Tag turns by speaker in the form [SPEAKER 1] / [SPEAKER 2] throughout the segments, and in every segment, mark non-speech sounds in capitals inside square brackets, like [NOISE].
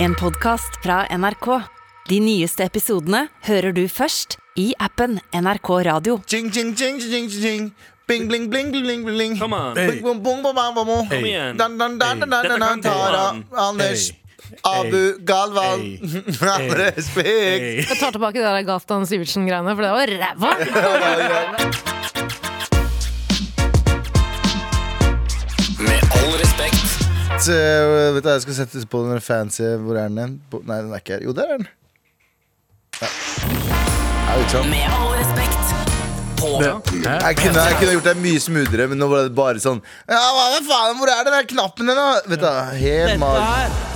[SPEAKER 1] En podcast fra NRK. De nyeste episodene hører du først i appen NRK Radio.
[SPEAKER 2] Jing, jing, jing, jing, jing, jing. Bing, bling, bling, bling, bling, bling.
[SPEAKER 3] Come on.
[SPEAKER 4] Hey.
[SPEAKER 2] Bing, bong, bong, bong, bong, bong, bong.
[SPEAKER 4] Hey.
[SPEAKER 3] igjen.
[SPEAKER 2] Dan, dan, dan, dan, dan,
[SPEAKER 3] Dette
[SPEAKER 2] dan, dan,
[SPEAKER 3] kan du,
[SPEAKER 2] Tara,
[SPEAKER 3] mann.
[SPEAKER 2] Anders,
[SPEAKER 4] Hey.
[SPEAKER 2] Abu, Galvan.
[SPEAKER 4] Hey.
[SPEAKER 2] [LAUGHS] Respekt.
[SPEAKER 4] Hey.
[SPEAKER 5] Jeg tar tilbake det der Gaftan Sivertsen-greiene, for det var ræva!
[SPEAKER 6] Med all respekt.
[SPEAKER 2] [LAUGHS] Så, øh, Vet du, hva, jeg skal sette på den fancy Hvor er den? igjen? På- Nei, den er ikke her. Jo, der er den. Ja. Jeg vet ikke om-
[SPEAKER 1] Med all respekt.
[SPEAKER 6] På
[SPEAKER 2] Jeg kunne, jeg kunne gjort det mye smoothere, men nå var det bare sånn Ja, hva faen, Hvor er den der knappen den, da? Vet du, hva, helt mag...
[SPEAKER 7] er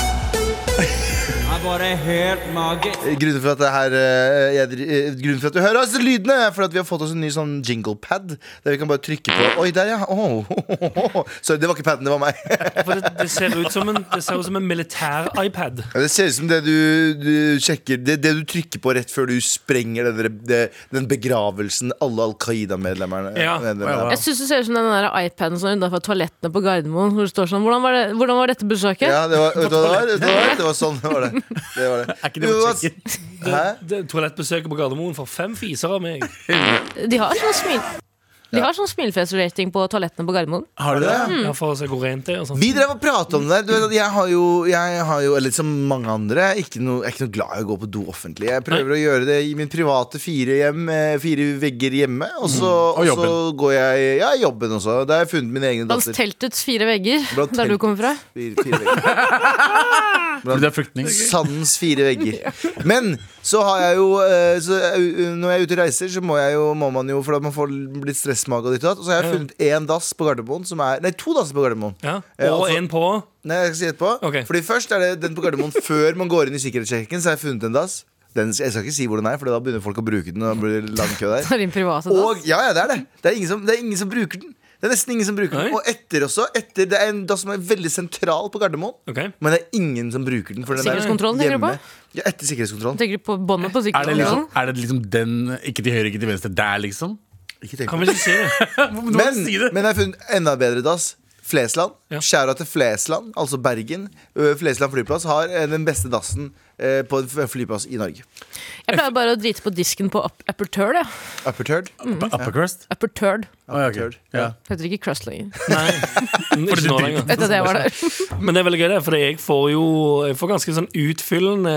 [SPEAKER 7] bare helt magisk.
[SPEAKER 2] Grunnen for at, det her, eh, jeg, dri- eh, grunnen for at du hører oss lydene, er fordi at vi har fått oss en ny sånn jinglepad. Der vi kan bare trykke på. Oi, der, ja. Åh, Sorry, det var ikke paden, det var meg.
[SPEAKER 3] For det, det ser ut som en, det ser ut som en militær-iPad.
[SPEAKER 2] [LAUGHS] Ja, Det ser ut som det du, du sjekker det, det du trykker på rett før du sprenger den, der- det, den begravelsen alle Al Qaida-medlemmerne
[SPEAKER 3] Ja.
[SPEAKER 2] medlemmerne-
[SPEAKER 5] Jeg syns det ser ut som den der iPaden som er utenfor toalettene på Gardermoen. Hvor det står sånn, hvordan var, det, hvordan var dette besøket?
[SPEAKER 2] Ja, det var, vet du hva det var? Vet du hva det var? Det var sånn det var.
[SPEAKER 4] [LAUGHS]
[SPEAKER 2] Det. Det var det.
[SPEAKER 4] Er ikke det på
[SPEAKER 2] Jo,
[SPEAKER 4] tjekken?
[SPEAKER 2] hva- Hæ?
[SPEAKER 3] Det- Toalettbesøket på Gardermoen får fem fiser av meg.
[SPEAKER 5] De har sånn smil... De har sånn smilefjes-rating på toalettene på Gardermoen.
[SPEAKER 4] Har du det?
[SPEAKER 5] Hmm.
[SPEAKER 3] Ja, for å se hvor rent det er. og sånn. sånt.
[SPEAKER 2] Vi drev og pratet om det der. Du vet at jeg har jo, jeg har jo eller som mange andre, jeg er ikke noe, jeg er ikke noe glad i å gå på do offentlig. Jeg prøver å gjøre det i min private fire, hjem, eh, fire vegger hjemme. Og så,
[SPEAKER 4] Mm. Og
[SPEAKER 2] og så går jeg Ja, jobben også. Da har jeg funnet mine egne
[SPEAKER 5] Blant
[SPEAKER 2] datter.
[SPEAKER 5] teltets fire vegger, [LAUGHS]
[SPEAKER 2] Blant
[SPEAKER 5] der du
[SPEAKER 2] telt-
[SPEAKER 5] kommer fra.
[SPEAKER 2] Fire, fire
[SPEAKER 4] [LAUGHS]
[SPEAKER 2] vegger.
[SPEAKER 4] Fordi du er flyktning?
[SPEAKER 2] Sandens fire
[SPEAKER 5] [LAUGHS]
[SPEAKER 2] vegger. Men så har jeg jo eh, så, eh, Når jeg er ute og reiser, så må, jeg jo, må man jo For da man får litt stressmage og ditt og datt. Og så har jeg funnet én dass på Gardermoen som er Nei, to dasser på Gardermoen.
[SPEAKER 3] Ja.
[SPEAKER 2] Ja,
[SPEAKER 3] Og
[SPEAKER 2] altså-
[SPEAKER 3] en på.
[SPEAKER 2] Nei, jeg skal si etterpå
[SPEAKER 3] Ok.
[SPEAKER 2] Fordi først er det den på Gardermoen [LAUGHS] Før man går inn i sikkerhetssjekken Så har jeg funnet en dass den, Jeg skal ikke si hvor den er For da begynner folk å bruke den Og da blir det lang kø
[SPEAKER 5] [LAUGHS]
[SPEAKER 2] der
[SPEAKER 5] Det er din private dass.
[SPEAKER 2] Og ja, ja, det er det Det er ingen som, det er ingen som bruker den det er nesten ingen som bruker den
[SPEAKER 3] Nei.
[SPEAKER 2] Og etter også etter, Det er en dass som er veldig sentral på Gardermoen
[SPEAKER 3] Ok.
[SPEAKER 2] Men det er ingen som bruker den for den er
[SPEAKER 5] Sikkerhetskontrollen, tenker du på?
[SPEAKER 2] hjemme. Ja, etter sikkerhetskontrollen
[SPEAKER 5] Tenker du på båndet på
[SPEAKER 4] Er det, liksom,
[SPEAKER 5] sikkerhetskontrollen?
[SPEAKER 4] er det liksom den Ikke til høyre, ikke til venstre. Der, liksom?
[SPEAKER 2] Ikke tenk på
[SPEAKER 3] Kan vi ikke si
[SPEAKER 2] [LAUGHS]
[SPEAKER 3] det?
[SPEAKER 4] Du må
[SPEAKER 2] Men,
[SPEAKER 4] si det.
[SPEAKER 2] men jeg har funnet enda bedre dass. Flesland.
[SPEAKER 3] Ja.
[SPEAKER 2] Skjæra til Flesland, altså Bergen. Ø, Flesland flyplass har eh, den beste dassen eh, på en f- flyplass i Norge.
[SPEAKER 5] Jeg pleier bare å drite på disken på up upper turd, jeg.
[SPEAKER 2] Upper Turd.
[SPEAKER 4] Upper- upper crust?
[SPEAKER 5] Mm. Upper turd.
[SPEAKER 4] Å, ja, ok.
[SPEAKER 2] Turd.
[SPEAKER 4] Ja.
[SPEAKER 5] Heter ikke crust lenger.
[SPEAKER 2] [LAUGHS]
[SPEAKER 3] Nei. Ikke nå lenger.
[SPEAKER 5] Etter at jeg var
[SPEAKER 2] sånn-
[SPEAKER 5] der.
[SPEAKER 3] Men det er veldig gøy, det, for jeg får jo jeg får ganske sånn utfyllende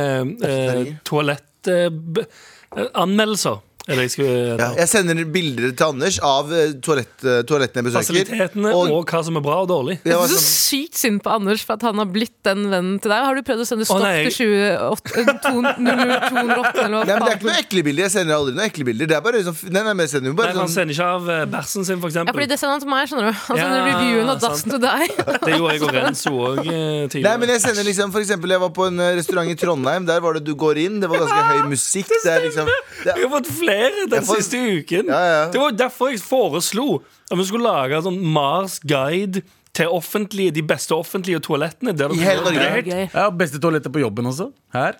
[SPEAKER 3] eh, toalettanmeldelser. eh, er det jeg skulle
[SPEAKER 2] Ja. Jeg sender bilder til Anders av eh, toalett, eh, toalettene jeg besøker.
[SPEAKER 3] Fasilitetene og, hva som er bra og dårlig.
[SPEAKER 2] jeg
[SPEAKER 5] Jeg
[SPEAKER 2] var
[SPEAKER 5] er så
[SPEAKER 2] sånn,
[SPEAKER 5] sykt synd på Anders for at han har blitt den vennen til deg. Har du prøvd å sende stopp
[SPEAKER 3] nei.
[SPEAKER 5] til 28, eh, to- nummer 208 eller
[SPEAKER 2] Nei, men
[SPEAKER 5] hva
[SPEAKER 2] Det er ikke
[SPEAKER 5] faen?
[SPEAKER 2] noen ekle bilder. Jeg sender aldri noen ekle bilder. Det er bare sånn, nei, nei, men jeg sender jo
[SPEAKER 3] Nei,
[SPEAKER 2] bare
[SPEAKER 3] han
[SPEAKER 2] sånn
[SPEAKER 3] sender ikke av eh, bæsjen sin, for
[SPEAKER 5] Ja, fordi
[SPEAKER 3] eksempel.
[SPEAKER 5] det sånn sender han til meg, skjønner du. Han
[SPEAKER 3] Ja,
[SPEAKER 5] sender reviewen av dassen
[SPEAKER 3] sant.
[SPEAKER 5] til deg.
[SPEAKER 3] [LAUGHS] Det gjorde jeg og Renzo òg
[SPEAKER 2] Nei, men
[SPEAKER 3] tidligere.
[SPEAKER 2] jeg sender liksom, for eksempel, jeg var på en eh, restaurant i Trondheim. Der var det du går inn. Det var
[SPEAKER 3] [LAUGHS]
[SPEAKER 2] ganske høy musikk. Det er liksom det,
[SPEAKER 3] Jeg har fått flere den
[SPEAKER 2] Jeg får-
[SPEAKER 3] siste uken.
[SPEAKER 2] Ja, ja.
[SPEAKER 3] Det var jo derfor jeg foreslo at vi skulle lage en sånn Mars Guide til offentlige, de beste offentlige toalettene. Der det
[SPEAKER 2] I hele
[SPEAKER 3] kunne
[SPEAKER 2] Norge.
[SPEAKER 3] være greit.
[SPEAKER 5] Gøy.
[SPEAKER 4] ja, Beste toaletter på jobben også? Her?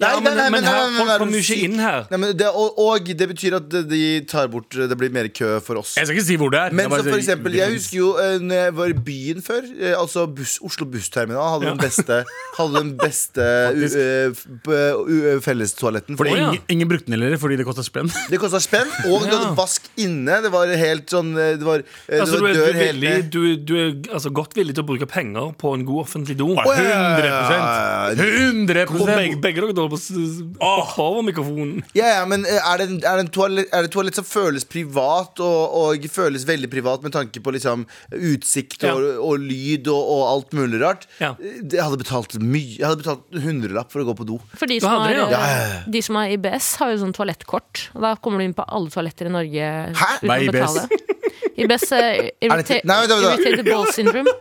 [SPEAKER 3] Ja, men, men,
[SPEAKER 2] nei,
[SPEAKER 3] her,
[SPEAKER 2] nei,
[SPEAKER 3] folk
[SPEAKER 2] nei,
[SPEAKER 3] kommer jo
[SPEAKER 2] musikk.
[SPEAKER 3] ikke inn her.
[SPEAKER 2] Nei, men det, og, og det betyr at de tar bort Det blir mer kø for oss.
[SPEAKER 4] Jeg skal ikke si hvor det er.
[SPEAKER 2] Men så
[SPEAKER 4] bare
[SPEAKER 2] for
[SPEAKER 4] sier-
[SPEAKER 2] eksempel, jeg husker jo eh, Når jeg var i byen før eh, Altså buss, Oslo bussterminal hadde den beste Hadde den beste
[SPEAKER 4] Faktisk.
[SPEAKER 2] eh, f- eh, u- eh, fellestoaletten
[SPEAKER 4] Fordi
[SPEAKER 2] for
[SPEAKER 3] Å, ja.
[SPEAKER 4] ingen, ingen brukte den heller, fordi det kosta spenn.
[SPEAKER 2] det kostet spenn, og du hadde vask inne Det var helt sånn eh, Det var, eh, det
[SPEAKER 3] Altså, du,
[SPEAKER 2] var
[SPEAKER 3] er, du,
[SPEAKER 2] dør
[SPEAKER 3] er
[SPEAKER 2] hele
[SPEAKER 3] villig, du, du er altså, godt villig til å bruke penger på en god offentlig do.
[SPEAKER 4] Å,
[SPEAKER 3] Og
[SPEAKER 2] ja, ja, ja, ja.
[SPEAKER 4] 100
[SPEAKER 3] begge,
[SPEAKER 4] 100
[SPEAKER 3] begge dere dere på s- hoppe over mikrofonen.
[SPEAKER 2] Ja, ja, men eh, er det, en- er det en toalett, er det toalett som føles privat og, og føles veldig privat med tanke på liksom utsikt og, og lyd og, og alt mulig rart? Eh,
[SPEAKER 3] Ja.
[SPEAKER 2] Jeg hadde betalt mye Jeg hadde betalt en hundrelapp for å gå på do.
[SPEAKER 5] For de
[SPEAKER 3] Du
[SPEAKER 5] som,
[SPEAKER 3] hadde
[SPEAKER 5] har,
[SPEAKER 3] det, ja.
[SPEAKER 5] eh, de som har IBS, har jo sånn toalettkort. Og Da kommer du inn på alle toaletter i Norge uten å
[SPEAKER 4] Hva er IBS?
[SPEAKER 5] betale.
[SPEAKER 2] [LAUGHS]
[SPEAKER 5] IBS eh, irrita
[SPEAKER 2] te- Nei, vent, vent, vent.
[SPEAKER 5] Irritated Ball Syndrome.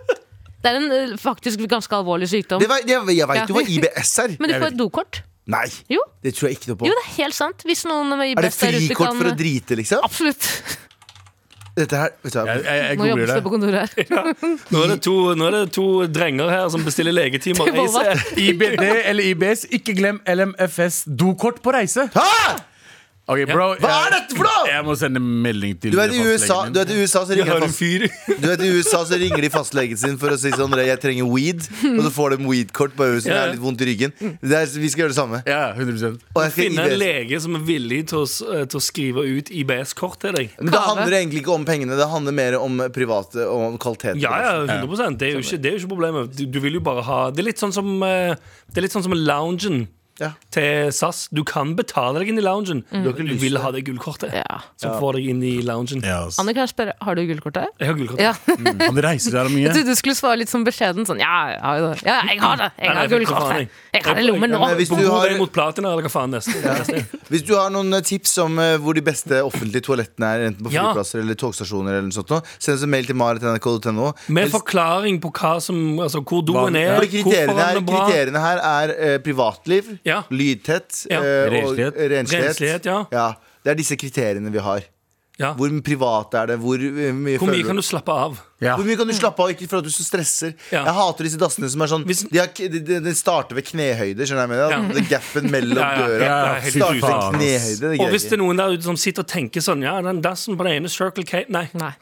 [SPEAKER 5] Det er en eh, faktisk ganske alvorlig sykdom.
[SPEAKER 2] Det var, jeg jeg veit
[SPEAKER 5] Ja.
[SPEAKER 2] jo hva IBS er.
[SPEAKER 5] Men du
[SPEAKER 4] Jeg
[SPEAKER 5] får
[SPEAKER 4] vet.
[SPEAKER 5] et dokort.
[SPEAKER 2] Nei,
[SPEAKER 5] Jo.
[SPEAKER 2] det tror jeg ikke noe på.
[SPEAKER 5] jo, det er helt sant. Hvis noen med IBS
[SPEAKER 2] er det
[SPEAKER 5] der ute
[SPEAKER 2] frikort
[SPEAKER 5] kan-
[SPEAKER 2] for å drite, liksom?
[SPEAKER 5] Absolutt.
[SPEAKER 2] Dette her, vet du hva
[SPEAKER 4] Jeg, jeg, jeg
[SPEAKER 5] Nå jobbes
[SPEAKER 4] googler
[SPEAKER 5] det
[SPEAKER 4] det.
[SPEAKER 5] på
[SPEAKER 3] [LAUGHS]
[SPEAKER 5] kontoret her.
[SPEAKER 3] Nå er, det to, nå er det to drenger her som bestiller legetimer.
[SPEAKER 5] Det var
[SPEAKER 3] Jeg ser-
[SPEAKER 4] IBD eller IBS, ikke glem LMFS. Dokort på reise.
[SPEAKER 2] Hæ?!
[SPEAKER 4] Ok, bro,
[SPEAKER 2] Hva
[SPEAKER 4] jeg-
[SPEAKER 2] er dette for noe?!
[SPEAKER 4] Jeg må sende melding til
[SPEAKER 2] Du vet, i
[SPEAKER 4] fastlegen
[SPEAKER 2] USA,
[SPEAKER 4] min.
[SPEAKER 2] du vet, i USA så
[SPEAKER 3] Jeg
[SPEAKER 2] ringer
[SPEAKER 3] har
[SPEAKER 2] jeg
[SPEAKER 3] en
[SPEAKER 2] fast
[SPEAKER 3] fyr
[SPEAKER 2] [LAUGHS] Du vet, I USA så ringer de fastlegen sin for å si sånn Jeg trenger weed. Og så får de weed-kort på øyet, så det
[SPEAKER 3] Ja, ja.
[SPEAKER 2] er litt vondt i ryggen. Det er, vi skal gjøre det samme.
[SPEAKER 4] Ja, 100
[SPEAKER 2] Og jeg skal
[SPEAKER 3] Finne en
[SPEAKER 2] IBS.
[SPEAKER 3] lege som er villig til å, s- eh, til å skrive ut IBS-kort til deg.
[SPEAKER 2] Men det
[SPEAKER 5] Kave.
[SPEAKER 2] handler egentlig ikke om pengene, det handler mer om private og om kvalitet.
[SPEAKER 3] Ja, ja, 100 Det er jo ikke, det er jo ikke problemet. Du, du vil jo bare ha Det er litt sånn som eh, Det er litt sånn som loungen
[SPEAKER 2] Ja.
[SPEAKER 3] til SAS. Du kan betale deg inn i loungen. Du,
[SPEAKER 2] ikke lyst
[SPEAKER 3] vil
[SPEAKER 2] til
[SPEAKER 3] ha det gullkortet
[SPEAKER 5] Ja.
[SPEAKER 3] som får deg inn i loungen.
[SPEAKER 4] Ja, ass.
[SPEAKER 5] Anne, kan jeg spørre, har du gullkortet?
[SPEAKER 3] Jeg har gullkortet.
[SPEAKER 5] Ja. [LAUGHS] Jeg
[SPEAKER 4] Han reiser der mye.
[SPEAKER 5] trodde du skulle svare litt sånn beskjeden sånn Ja, jeg har jo det. Ja, jeg har det. Jeg
[SPEAKER 3] Nei, nei,
[SPEAKER 5] har
[SPEAKER 3] for faen,
[SPEAKER 5] gullkortet. Jeg har det i lommen
[SPEAKER 3] Ja,
[SPEAKER 5] nå.
[SPEAKER 2] men hvis
[SPEAKER 3] På
[SPEAKER 2] du
[SPEAKER 3] god
[SPEAKER 2] har-
[SPEAKER 3] vei mot platina, eller hva faen neste? neste.
[SPEAKER 2] Hvis du har noen eh, tips om eh, hvor de beste offentlige toalettene er, enten på
[SPEAKER 3] Ja.
[SPEAKER 2] flyplasser eller togstasjoner, eller noe sånt, nå, send oss en mail til marit.nrk.no.
[SPEAKER 3] Med
[SPEAKER 2] Eller-
[SPEAKER 3] forklaring på hva som, altså, hvor doen
[SPEAKER 4] Hva-
[SPEAKER 3] er,
[SPEAKER 2] Fordi
[SPEAKER 3] hvorfor
[SPEAKER 2] kriteriene,
[SPEAKER 3] den
[SPEAKER 2] her,
[SPEAKER 3] er bra.
[SPEAKER 2] kriteriene her er eh, privatliv,
[SPEAKER 3] Ja.
[SPEAKER 2] lydtett
[SPEAKER 3] Ja.
[SPEAKER 2] eh, og
[SPEAKER 4] Renslighet.
[SPEAKER 2] renslighet.
[SPEAKER 3] Renslighet, ja.
[SPEAKER 2] Det er disse kriteriene vi har.
[SPEAKER 3] Ja.
[SPEAKER 2] Hvor privat er det? Hvor eh, mye
[SPEAKER 3] Hvor mye
[SPEAKER 2] føler
[SPEAKER 3] kan du slappe av?
[SPEAKER 4] Ja.
[SPEAKER 2] Hvor mye kan du slappe av ikke for at du så stresser?
[SPEAKER 3] Ja.
[SPEAKER 2] Jeg hater disse dassene som er sånn
[SPEAKER 3] Hvis-
[SPEAKER 2] de, har, k- de, de de starter ved knehøyde, skjønner jeg. Med,
[SPEAKER 3] Ja.
[SPEAKER 2] Det er gappen mellom
[SPEAKER 3] [LAUGHS] Ja, ja,
[SPEAKER 2] døra.
[SPEAKER 3] ja, ja, helt
[SPEAKER 2] starter ved
[SPEAKER 4] faen, ass.
[SPEAKER 2] knehøyde. Det
[SPEAKER 3] Og
[SPEAKER 2] greier
[SPEAKER 3] hvis det
[SPEAKER 2] ikke.
[SPEAKER 3] er noen der ute som sitter og tenker sånn Ja, den dassen på den ene Circle K Nei.
[SPEAKER 5] Nei,
[SPEAKER 3] nei.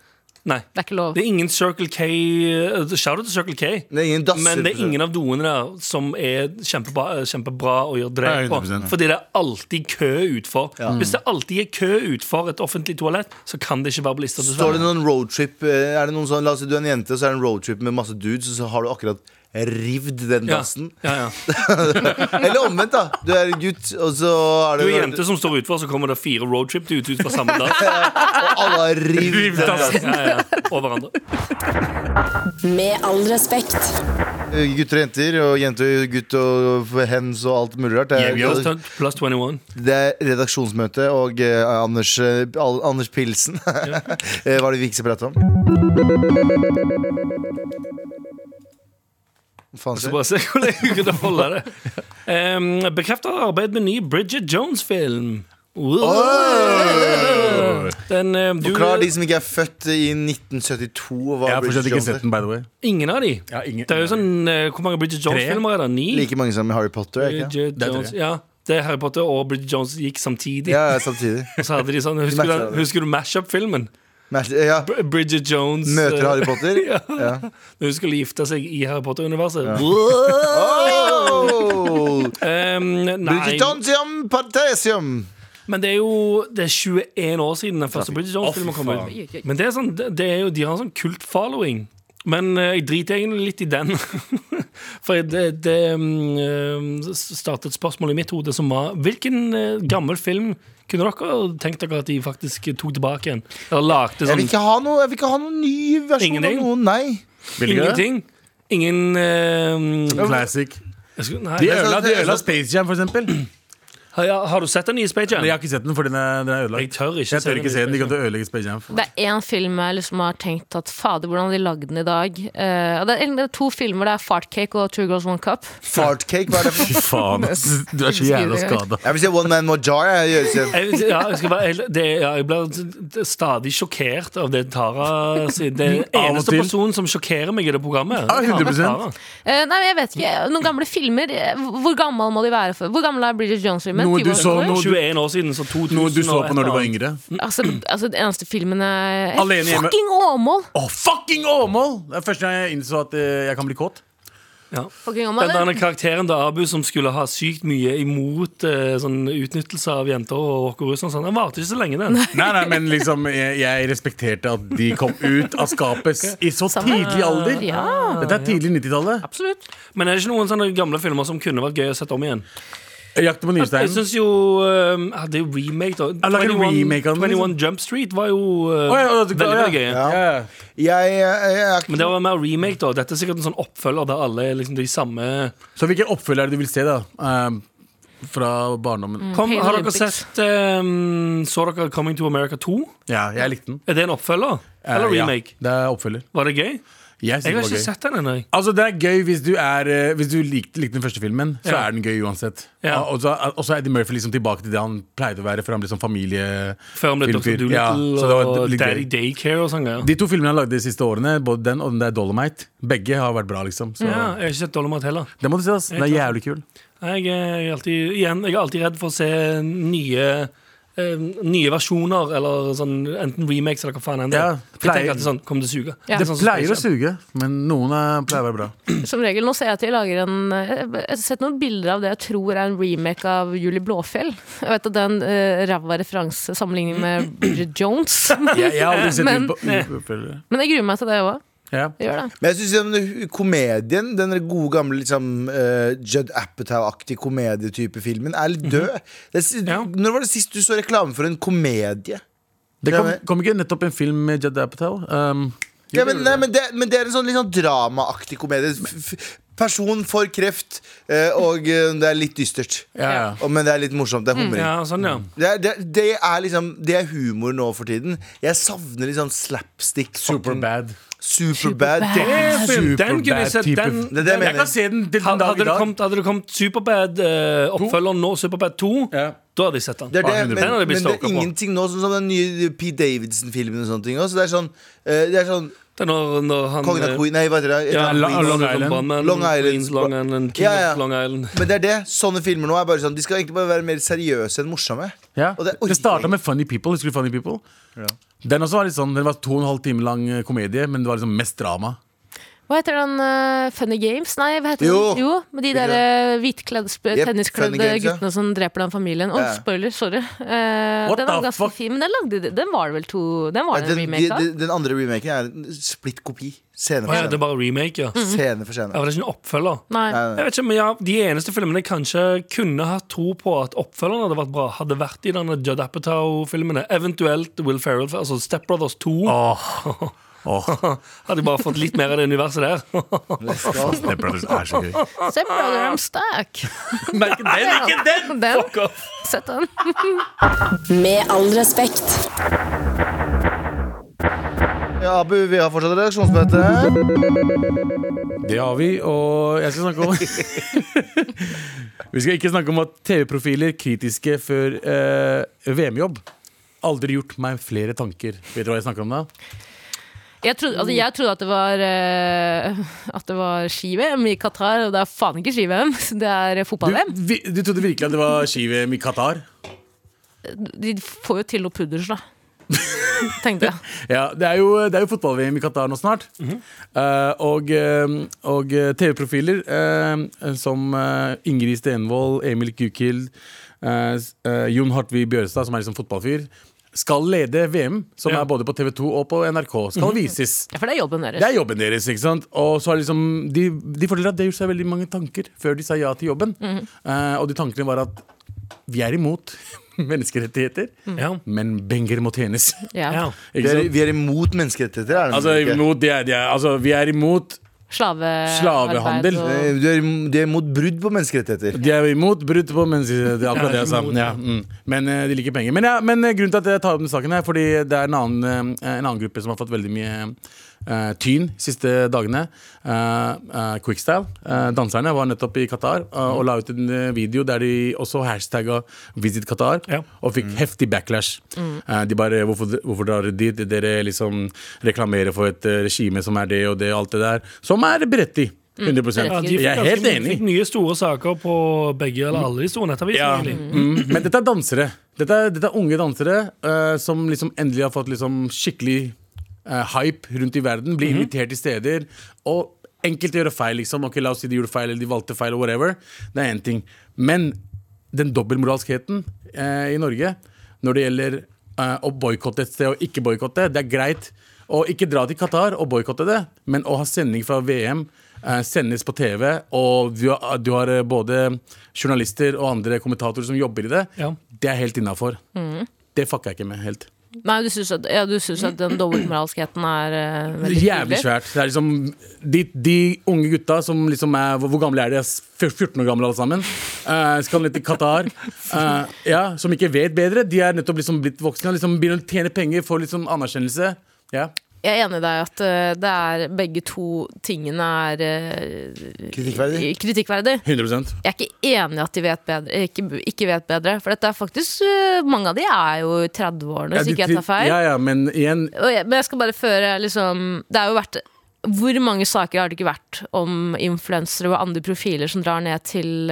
[SPEAKER 5] Mm. det er ikke lov.
[SPEAKER 3] Det er ingen Circle K eh, Shout out til Circle K.
[SPEAKER 2] Det er ingen dasser.
[SPEAKER 3] Men det er ingen av doene der som er kjempebra, kjempebra å gjøre
[SPEAKER 4] Ja,
[SPEAKER 3] drev på.
[SPEAKER 4] 100%.
[SPEAKER 3] Fordi det er alltid kø utfor. Hvis det alltid er kø utfor et offentlig toalett, så kan det ikke være
[SPEAKER 2] Står
[SPEAKER 3] bilister.
[SPEAKER 2] det
[SPEAKER 3] dessverre.
[SPEAKER 2] noen roadtrip eh, Er det noen sånn, La oss si du er en jente, og så er det en roadtrip med masse dudes, og så har du akkurat rivd den
[SPEAKER 3] Ja.
[SPEAKER 2] dassen.
[SPEAKER 3] Ja, ja.
[SPEAKER 2] Eller omvendt, da. Du er en gutt, og så er
[SPEAKER 3] Du
[SPEAKER 2] det
[SPEAKER 3] er jente som står utfor, så kommer det fire roadtrip ut, ut fra
[SPEAKER 2] [LAUGHS]
[SPEAKER 3] samme dag.
[SPEAKER 2] Og alle har rivd den dassen.
[SPEAKER 3] Ja, ja. Og
[SPEAKER 2] [LAUGHS]
[SPEAKER 3] hverandre.
[SPEAKER 8] Med all respekt.
[SPEAKER 2] Eh, Gutter og jenter, og jente og gutt og hens og alt mulig rart. Det er-
[SPEAKER 3] Plus, plus 21.
[SPEAKER 2] Det er redaksjonsmøte, og eh, Anders, eh, Al- Anders Pilsen [LAUGHS] Eh, Hva er det vi ikke skal prate om? Faen,
[SPEAKER 3] Så
[SPEAKER 2] se.
[SPEAKER 3] Altså, bare se hvordan jeg kunne holde det. Um, Bekreftet arbeid med ny Bridget Jones-film. Den, um, du,
[SPEAKER 2] Forklar de som ikke er født i 1972. og hva
[SPEAKER 4] Jeg har
[SPEAKER 2] Bridget
[SPEAKER 4] fortsatt ikke
[SPEAKER 2] Jones
[SPEAKER 4] sett
[SPEAKER 2] er.
[SPEAKER 4] den, by the way.
[SPEAKER 3] Ingen av de.
[SPEAKER 4] Ja, ingen-
[SPEAKER 3] Det er jo sånn, uh, Hvor mange Bridget Jones-filmer er det? Ni?
[SPEAKER 2] Like mange som i Harry Potter. er Ikke? det?
[SPEAKER 3] Bridget
[SPEAKER 4] Det er
[SPEAKER 3] Jones,
[SPEAKER 4] tre.
[SPEAKER 3] ja det er Harry Potter og Bridget Jones gikk samtidig.
[SPEAKER 2] Ja, ja, samtidig.
[SPEAKER 3] Og så hadde de sånn, Husker du,
[SPEAKER 2] matcher
[SPEAKER 3] den-
[SPEAKER 2] det.
[SPEAKER 3] husker du Mashup-filmen?
[SPEAKER 2] Mer- Ja.
[SPEAKER 3] Br- Bridget Jones
[SPEAKER 2] Møter
[SPEAKER 3] uh,
[SPEAKER 2] Harry Potter.
[SPEAKER 3] ja.
[SPEAKER 2] Ja.
[SPEAKER 3] Når hun skulle gifte seg i Harry Potter-universet.
[SPEAKER 2] Oh!
[SPEAKER 3] Um, nei,
[SPEAKER 2] Bridget Johnsium Partesium.
[SPEAKER 3] men det er jo Det er 21 år siden den første Bridget Jones-filmen kom ut.
[SPEAKER 5] Oi, oi, oi.
[SPEAKER 3] Men det er sånn, det det er jo, de har en sånn kult-following. Men eh, jeg driter egentlig litt i den. [LAUGHS] For det, det mm, eh, startet et spørsmål i mitt hode som var Hvilken eh, gammel film kunne dere tenkt dere at de faktisk tok tilbake igjen? Eller lagde
[SPEAKER 2] Jeg vil
[SPEAKER 3] sånn
[SPEAKER 2] ikke ha noe, jeg vil ikke ha noen ny versjon
[SPEAKER 3] Ingenting?
[SPEAKER 2] av noen. Nei.
[SPEAKER 4] Vil du ikke det?
[SPEAKER 3] ingenting? Ingen eh,
[SPEAKER 4] Classic. sånn-
[SPEAKER 3] jeg skulle, nei,
[SPEAKER 4] De
[SPEAKER 2] er-
[SPEAKER 4] ødela, de
[SPEAKER 2] det er-
[SPEAKER 4] ødela Space Jam, for eksempel.
[SPEAKER 3] har, har du sett den nye Space Jam?
[SPEAKER 4] Jeg har ikke sett den, for den er, den er
[SPEAKER 3] Jeg
[SPEAKER 4] ødelagt.
[SPEAKER 3] tør ikke
[SPEAKER 4] Jeg
[SPEAKER 3] se
[SPEAKER 4] tør
[SPEAKER 3] den i
[SPEAKER 4] ikke se den. De
[SPEAKER 3] Space
[SPEAKER 4] kan til å ødelegge Space Jam. for meg.
[SPEAKER 5] Det er én film jeg liksom har tenkt at fader, hvordan har de lagd den i dag? Eh, og det, er, egentlig- det er to filmer. Det er Fartcake og Two Girls One Cup.
[SPEAKER 2] Fartcake, hva er det for?
[SPEAKER 4] Fy faen, ass. Du er så jævla skada.
[SPEAKER 2] Jeg vil se One Man More Jar. Jeg, gjør det selv.
[SPEAKER 3] Jeg, vil si- ja, jeg, skal være, helt- det, ja, jeg blir stadig sjokkert av det Tara sier. Det er den
[SPEAKER 4] Mm, Av og
[SPEAKER 3] eneste
[SPEAKER 4] til.
[SPEAKER 3] personen som sjokkerer meg i det programmet.
[SPEAKER 4] Ja, 100%.
[SPEAKER 3] Tara.
[SPEAKER 5] Eh, nei, men jeg vet ikke. Noen gamle filmer. eh, Hvor gammel må de være for? Hvor gammel er Bridget Jones-filmen?
[SPEAKER 4] Noe
[SPEAKER 5] 20
[SPEAKER 4] du
[SPEAKER 5] år
[SPEAKER 4] så,
[SPEAKER 5] gammel?
[SPEAKER 4] noe-
[SPEAKER 3] 21 år siden, så 2000
[SPEAKER 4] Noe du så
[SPEAKER 3] og
[SPEAKER 4] på
[SPEAKER 3] et
[SPEAKER 4] når du var
[SPEAKER 3] annet.
[SPEAKER 4] yngre.
[SPEAKER 5] Altså, altså, den eneste filmen er
[SPEAKER 4] Alene hjemme.
[SPEAKER 5] Fucking Åmål!
[SPEAKER 4] Å, fucking Åmål! Det er første gang jeg innså at eh, jeg kan bli kåt.
[SPEAKER 5] Fucking Åmål.
[SPEAKER 3] Den der karakteren til Abu som skulle ha sykt mye imot eh, sånn utnyttelse av jenter og rocker russen, og sånn, den varte ikke så lenge, den.
[SPEAKER 4] Nei, nei, men liksom, jeg, jeg respekterte at de kom ut av skapet s- i så
[SPEAKER 5] Samme.
[SPEAKER 4] tidlig alder.
[SPEAKER 5] Ja.
[SPEAKER 4] Dette er tidlig 90-tallet.
[SPEAKER 5] Absolutt.
[SPEAKER 3] Men er det ikke noen sånne gamle filmer som kunne vært gøy å sette om igjen?
[SPEAKER 4] Jakten på
[SPEAKER 3] Jeg
[SPEAKER 4] Nyrsteinen.
[SPEAKER 3] syns jo um, ja, Det er jo remake, da.
[SPEAKER 4] Ja, lager remake av den, liksom?
[SPEAKER 3] 21 Jump Street var jo uh,
[SPEAKER 4] Å, ja, å,
[SPEAKER 3] veldig, veldig gøy.
[SPEAKER 4] ja. Ja.
[SPEAKER 2] jeg, jeg, jeg er
[SPEAKER 3] Men det var mer remake, da. Dette er sikkert en sånn oppfølger der alle er liksom de samme
[SPEAKER 4] Så hvilken oppfølger er det du vil se, da? Ehm, fra barndommen.
[SPEAKER 3] Kom,
[SPEAKER 5] Pain
[SPEAKER 3] Har dere
[SPEAKER 5] Olympics.
[SPEAKER 3] sett um, Så dere Coming to America 2?
[SPEAKER 4] Ja, jeg likte den.
[SPEAKER 3] Er det en oppfølger? Eller
[SPEAKER 4] Eh, ja,
[SPEAKER 3] remake?
[SPEAKER 4] det er oppfølger.
[SPEAKER 3] Var det gøy? Jeg
[SPEAKER 4] Jeg synes
[SPEAKER 3] har
[SPEAKER 4] det
[SPEAKER 3] ikke
[SPEAKER 4] var gøy.
[SPEAKER 3] sett den ennå. jeg.
[SPEAKER 4] Altså, det er gøy hvis du, er, eh, hvis du likte, likte den første filmen, så
[SPEAKER 3] Ja.
[SPEAKER 4] er den gøy uansett.
[SPEAKER 3] Ja.
[SPEAKER 4] Og og så og så er Eddie Murphy liksom tilbake til det han pleide å være, for han ble sånn familie...
[SPEAKER 3] Før om det er Dr.
[SPEAKER 4] Filmfyr.
[SPEAKER 3] Doolittle
[SPEAKER 4] Ja, så det var
[SPEAKER 3] og
[SPEAKER 4] litt
[SPEAKER 3] Daddy
[SPEAKER 4] gøy.
[SPEAKER 3] Daycare og sånn greier.
[SPEAKER 4] De to filmene han lagde de siste årene, både den og den der Dolomite, begge har vært bra, liksom. Så
[SPEAKER 3] Ja, jeg har ikke sett Dolomite heller. eh,
[SPEAKER 4] det må du se, ass. Den er jævlig kul.
[SPEAKER 3] Jeg er, jeg, er alltid, igjen, jeg er alltid redd for å se nye eh, nye versjoner, eller sånn, enten remakes eller hva faen enn det
[SPEAKER 4] Ja,
[SPEAKER 3] er. For jeg
[SPEAKER 4] pleier-
[SPEAKER 3] tenker alltid sånn, kommer det til å suge?
[SPEAKER 5] Ja.
[SPEAKER 3] er
[SPEAKER 4] Det
[SPEAKER 3] sånn som
[SPEAKER 4] pleier å
[SPEAKER 3] Space Jam.
[SPEAKER 4] suge, men noen er, pleier å være bra.
[SPEAKER 5] Som regel, nå ser jeg at de lager en eh, Jeg har sett noen bilder av det jeg tror er en remake av Julie Blåfjell. Jeg vet at det er en eh, ræva referanse sammenlignet med Bridget Jones.
[SPEAKER 4] Jeg, jeg har aldri sett
[SPEAKER 5] Men-
[SPEAKER 4] ut på Ufoppfølgelig.
[SPEAKER 5] Men jeg gruer meg til det òg.
[SPEAKER 4] ja.
[SPEAKER 5] Gjør det.
[SPEAKER 2] Men jeg synes den komedien, den gode gamle liksom, eh, Judd Apatow-aktig komedietype filmen, er litt død. det, er si-
[SPEAKER 3] Mhm. Ja.
[SPEAKER 2] Når var det sist du så reklame for en komedie?
[SPEAKER 4] Det kom,
[SPEAKER 2] Ja, men-
[SPEAKER 4] kom ikke nettopp en film med Judd Apatow? Um,
[SPEAKER 2] Ja, men, nei, men, det, men det er en sånn litt sånn dramaaktig komedie. F f person får kreft, eh, og eh, det er litt dystert.
[SPEAKER 4] ja, ja.
[SPEAKER 2] Og, men det er litt morsomt. Det er humring.
[SPEAKER 3] Ja, sånn, ja.
[SPEAKER 2] Det, er, det, det er liksom Det er humor nå for tiden. Jeg savner litt sånn slapstick. fucking-
[SPEAKER 4] Superbad.
[SPEAKER 2] Superbad.
[SPEAKER 3] Den film, den kunne jeg
[SPEAKER 4] Superbad
[SPEAKER 3] sett.
[SPEAKER 4] type
[SPEAKER 3] Den,
[SPEAKER 2] Det er det jeg
[SPEAKER 4] Jeg
[SPEAKER 2] mener.
[SPEAKER 4] kan se den til den
[SPEAKER 3] hadde,
[SPEAKER 4] dag
[SPEAKER 3] hadde,
[SPEAKER 4] i
[SPEAKER 3] det
[SPEAKER 4] dag.
[SPEAKER 3] kommet, hadde det kommet Superbad eh, oppfølgeren nå, Superbad 2,
[SPEAKER 4] Ja.
[SPEAKER 3] da hadde jeg sett den.
[SPEAKER 2] Det er det,
[SPEAKER 4] 100%.
[SPEAKER 2] men,
[SPEAKER 3] Den hadde jeg blitt
[SPEAKER 2] men det er
[SPEAKER 3] stalka på.
[SPEAKER 2] ingenting nå, sånn som den nye P. Davidson-filmen og sånne ting. også. Så det er sånn, eh, det er sånn
[SPEAKER 3] Det er når, når han
[SPEAKER 2] Kongen av Queen Nei, hva heter det? Et
[SPEAKER 3] eh, Ja,
[SPEAKER 2] eller annet Queens.
[SPEAKER 3] Long, Long Island. Brandman,
[SPEAKER 2] Long Island.
[SPEAKER 3] Queens, Long Island King
[SPEAKER 2] Ja, ja.
[SPEAKER 3] of Long Island.
[SPEAKER 2] Men det er det. Sånne filmer nå er bare sånn De skal egentlig bare være mer seriøse enn morsomme.
[SPEAKER 4] Ja.
[SPEAKER 2] Og
[SPEAKER 4] Det,
[SPEAKER 2] oi,
[SPEAKER 4] starta med Funny People. Husker du Funny People? Den også var litt sånn, den var to og en halv time lang eh, komedie, men det var liksom mest drama.
[SPEAKER 5] Hva heter den eh, Funny Games? Nei, hva heter
[SPEAKER 2] Jo.
[SPEAKER 5] den? Jo, med de der eh, hvitkledde,
[SPEAKER 2] Yep,
[SPEAKER 5] sp-
[SPEAKER 2] Funny
[SPEAKER 5] tenniskledde
[SPEAKER 2] Games, ja.
[SPEAKER 5] guttene som dreper den familien. Å,
[SPEAKER 2] Ja.
[SPEAKER 5] spoiler, sorry. Eh,
[SPEAKER 4] What
[SPEAKER 5] den var
[SPEAKER 4] the
[SPEAKER 5] ganske
[SPEAKER 4] fuck?
[SPEAKER 5] fin, men den lagde de. Den var det vel to Den
[SPEAKER 2] Nei,
[SPEAKER 5] var det en
[SPEAKER 2] den, de,
[SPEAKER 5] remake av?
[SPEAKER 2] de, den andre remaken er en splitt kopi. Scene for
[SPEAKER 3] Å, ja, det er
[SPEAKER 2] scene.
[SPEAKER 3] bare remake, ja.
[SPEAKER 2] Scene for
[SPEAKER 3] Ja,
[SPEAKER 2] scene.
[SPEAKER 3] for det er ikke en oppfølger.
[SPEAKER 2] Nei,
[SPEAKER 5] Nei.
[SPEAKER 2] nei,
[SPEAKER 3] Jeg vet ikke, men ja, De eneste filmene jeg kanskje kunne hatt tro på at oppfølgeren hadde vært bra, hadde vært i denne Judd Apatow-filmene. Eventuelt Will Ferrell, altså Step Brothers 2.
[SPEAKER 4] Åh, åh
[SPEAKER 3] Hadde jeg bare fått litt mer av det universet der.
[SPEAKER 4] Det er så gøy.
[SPEAKER 5] Se Brother I'm Stack.
[SPEAKER 2] [LAUGHS]
[SPEAKER 4] Men ikke den, ikke den!
[SPEAKER 5] Den. Sett den.
[SPEAKER 8] Med all respekt.
[SPEAKER 2] Ja, Abu, vi har fortsatt redaksjonsmøte.
[SPEAKER 3] Mm.
[SPEAKER 4] Det har vi, og jeg skal snakke om [LAUGHS] Vi skal ikke snakke om at TV-profiler kritiske før eh, VM-jobb. Aldri gjort meg flere tanker. Vet dere hva jeg snakker om da?
[SPEAKER 5] Jeg trodde, altså, jeg trodde at det var eh, At det var ski-VM i Qatar, og det er faen ikke ski-VM. [LAUGHS] Det er
[SPEAKER 4] Du,
[SPEAKER 5] fotball-VM.
[SPEAKER 4] vi, du trodde virkelig at det var ski-VM i Qatar?
[SPEAKER 5] De får jo til noe pudders,
[SPEAKER 2] [LAUGHS]
[SPEAKER 5] da. Tenkte jeg.
[SPEAKER 4] Ja, det er jo, det er jo fotball-VM i Qatar nå snart. Eh, og eh, og eh, TV-profiler eh, som eh, Ingrid Stenvold, Emil Kukild, eh, s- eh, Jon Hartvig Bjørstad, som er liksom fotballfyr, skal lede VM, som
[SPEAKER 3] Ja.
[SPEAKER 4] er både på TV2 og på NRK. Skal vises.
[SPEAKER 5] Ja, for det er jobben deres.
[SPEAKER 4] Det er jobben deres. ikke sant? Og så er det liksom, De, de forteller at det gjorde seg veldig mange tanker før de sa ja til jobben. Eh, og de tankene var at vi er imot [LAUGHS] menneskerettigheter,
[SPEAKER 3] Ja.
[SPEAKER 4] men penger må tjenes.
[SPEAKER 5] Ja.
[SPEAKER 3] Mhm. Ja.
[SPEAKER 4] Ikke
[SPEAKER 2] Vi er,
[SPEAKER 4] sant?
[SPEAKER 2] vi er imot menneskerettigheter. Er det
[SPEAKER 4] Altså,
[SPEAKER 2] ikke?
[SPEAKER 4] imot, det er, det er, altså, vi er imot
[SPEAKER 5] Slave-
[SPEAKER 4] Slavehandel.
[SPEAKER 5] arbeid
[SPEAKER 2] Eh, du er, im- de er imot brudd på menneskerettigheter.
[SPEAKER 4] De er imot brudd på mennesker. Det er akkurat det jeg sa.
[SPEAKER 3] imot,
[SPEAKER 4] Ja,
[SPEAKER 3] ja.
[SPEAKER 4] mm. Men eh, de liker penger. Men, ja, men eh, grunnen til at jeg tar opp denne saken her, fordi det er en annen, eh, en annen gruppe som har fått veldig mye eh, tyn de siste dagene. Eh, eh, Quickstyle. Eh, danserne var nettopp i Qatar eh, og la ut en eh, video der de også hashtagga 'Visit Qatar'
[SPEAKER 3] Ja. Mm.
[SPEAKER 4] og fikk heftig backlash. Eh, de bare 'Hvorfor, hvorfor drar dere dit? Dere liksom reklamerer for et eh, regime som er det og det og alt det der', som er berettig. 100
[SPEAKER 3] Mm. Ja, de fikk
[SPEAKER 4] Jeg er
[SPEAKER 3] ganske-
[SPEAKER 4] helt enig.
[SPEAKER 3] Fikk mye store saker på begge eller alle de store nettavisene.
[SPEAKER 4] Ja.
[SPEAKER 3] egentlig.
[SPEAKER 4] Mm. Men dette er dansere. Dette er, dette er unge dansere eh, som liksom endelig har fått liksom skikkelig eh, hype rundt i verden. Blir invitert til steder. Og enkelte gjør feil. liksom Ok, La oss si de gjorde feil, eller de valgte feil, whatever. Det er én ting. Men den dobbeltmoralskheten eh, i Norge når det gjelder eh, å boikotte et sted og ikke boikotte, det er greit. å ikke dra til Qatar og boikotte det, men å ha sending fra VM eh, sendes på TV, og du har, du har eh, både journalister og andre kommentatorer som jobber i det,
[SPEAKER 3] Ja.
[SPEAKER 4] det er helt innafor. Det fucker jeg ikke med helt.
[SPEAKER 5] Nei, du syns at, ja, du synes at den dobbeltmoralskheten er eh,
[SPEAKER 4] Det
[SPEAKER 5] veldig
[SPEAKER 4] er Jævlig
[SPEAKER 5] tydelig?
[SPEAKER 4] svært. Det er liksom, de, de unge gutta som liksom er Hvor, hvor gamle er de? F- 14 år gamle alle sammen. Eh, skal ned til [LAUGHS] Qatar. Eh, ja, som ikke vet bedre. De er nettopp liksom blitt voksne og liksom begynner å tjene penger, får liksom anerkjennelse. Ja.
[SPEAKER 5] Jeg er enig i deg at eh, det er begge to tingene er eh,
[SPEAKER 2] Kritikkverdig.
[SPEAKER 5] kritikkverdig.
[SPEAKER 4] 100
[SPEAKER 5] Jeg er ikke enig i at de vet bedre, ikke, ikke vet bedre. For dette er faktisk eh, mange av de er jo i 30-årene, hvis
[SPEAKER 4] Ja, de
[SPEAKER 5] ikke jeg
[SPEAKER 4] tri-
[SPEAKER 5] tar feil.
[SPEAKER 4] Ja, ja, men igjen
[SPEAKER 5] Og jeg, men jeg skal bare føre liksom Det har jo vært hvor mange saker har det ikke vært om influensere og andre profiler som drar ned til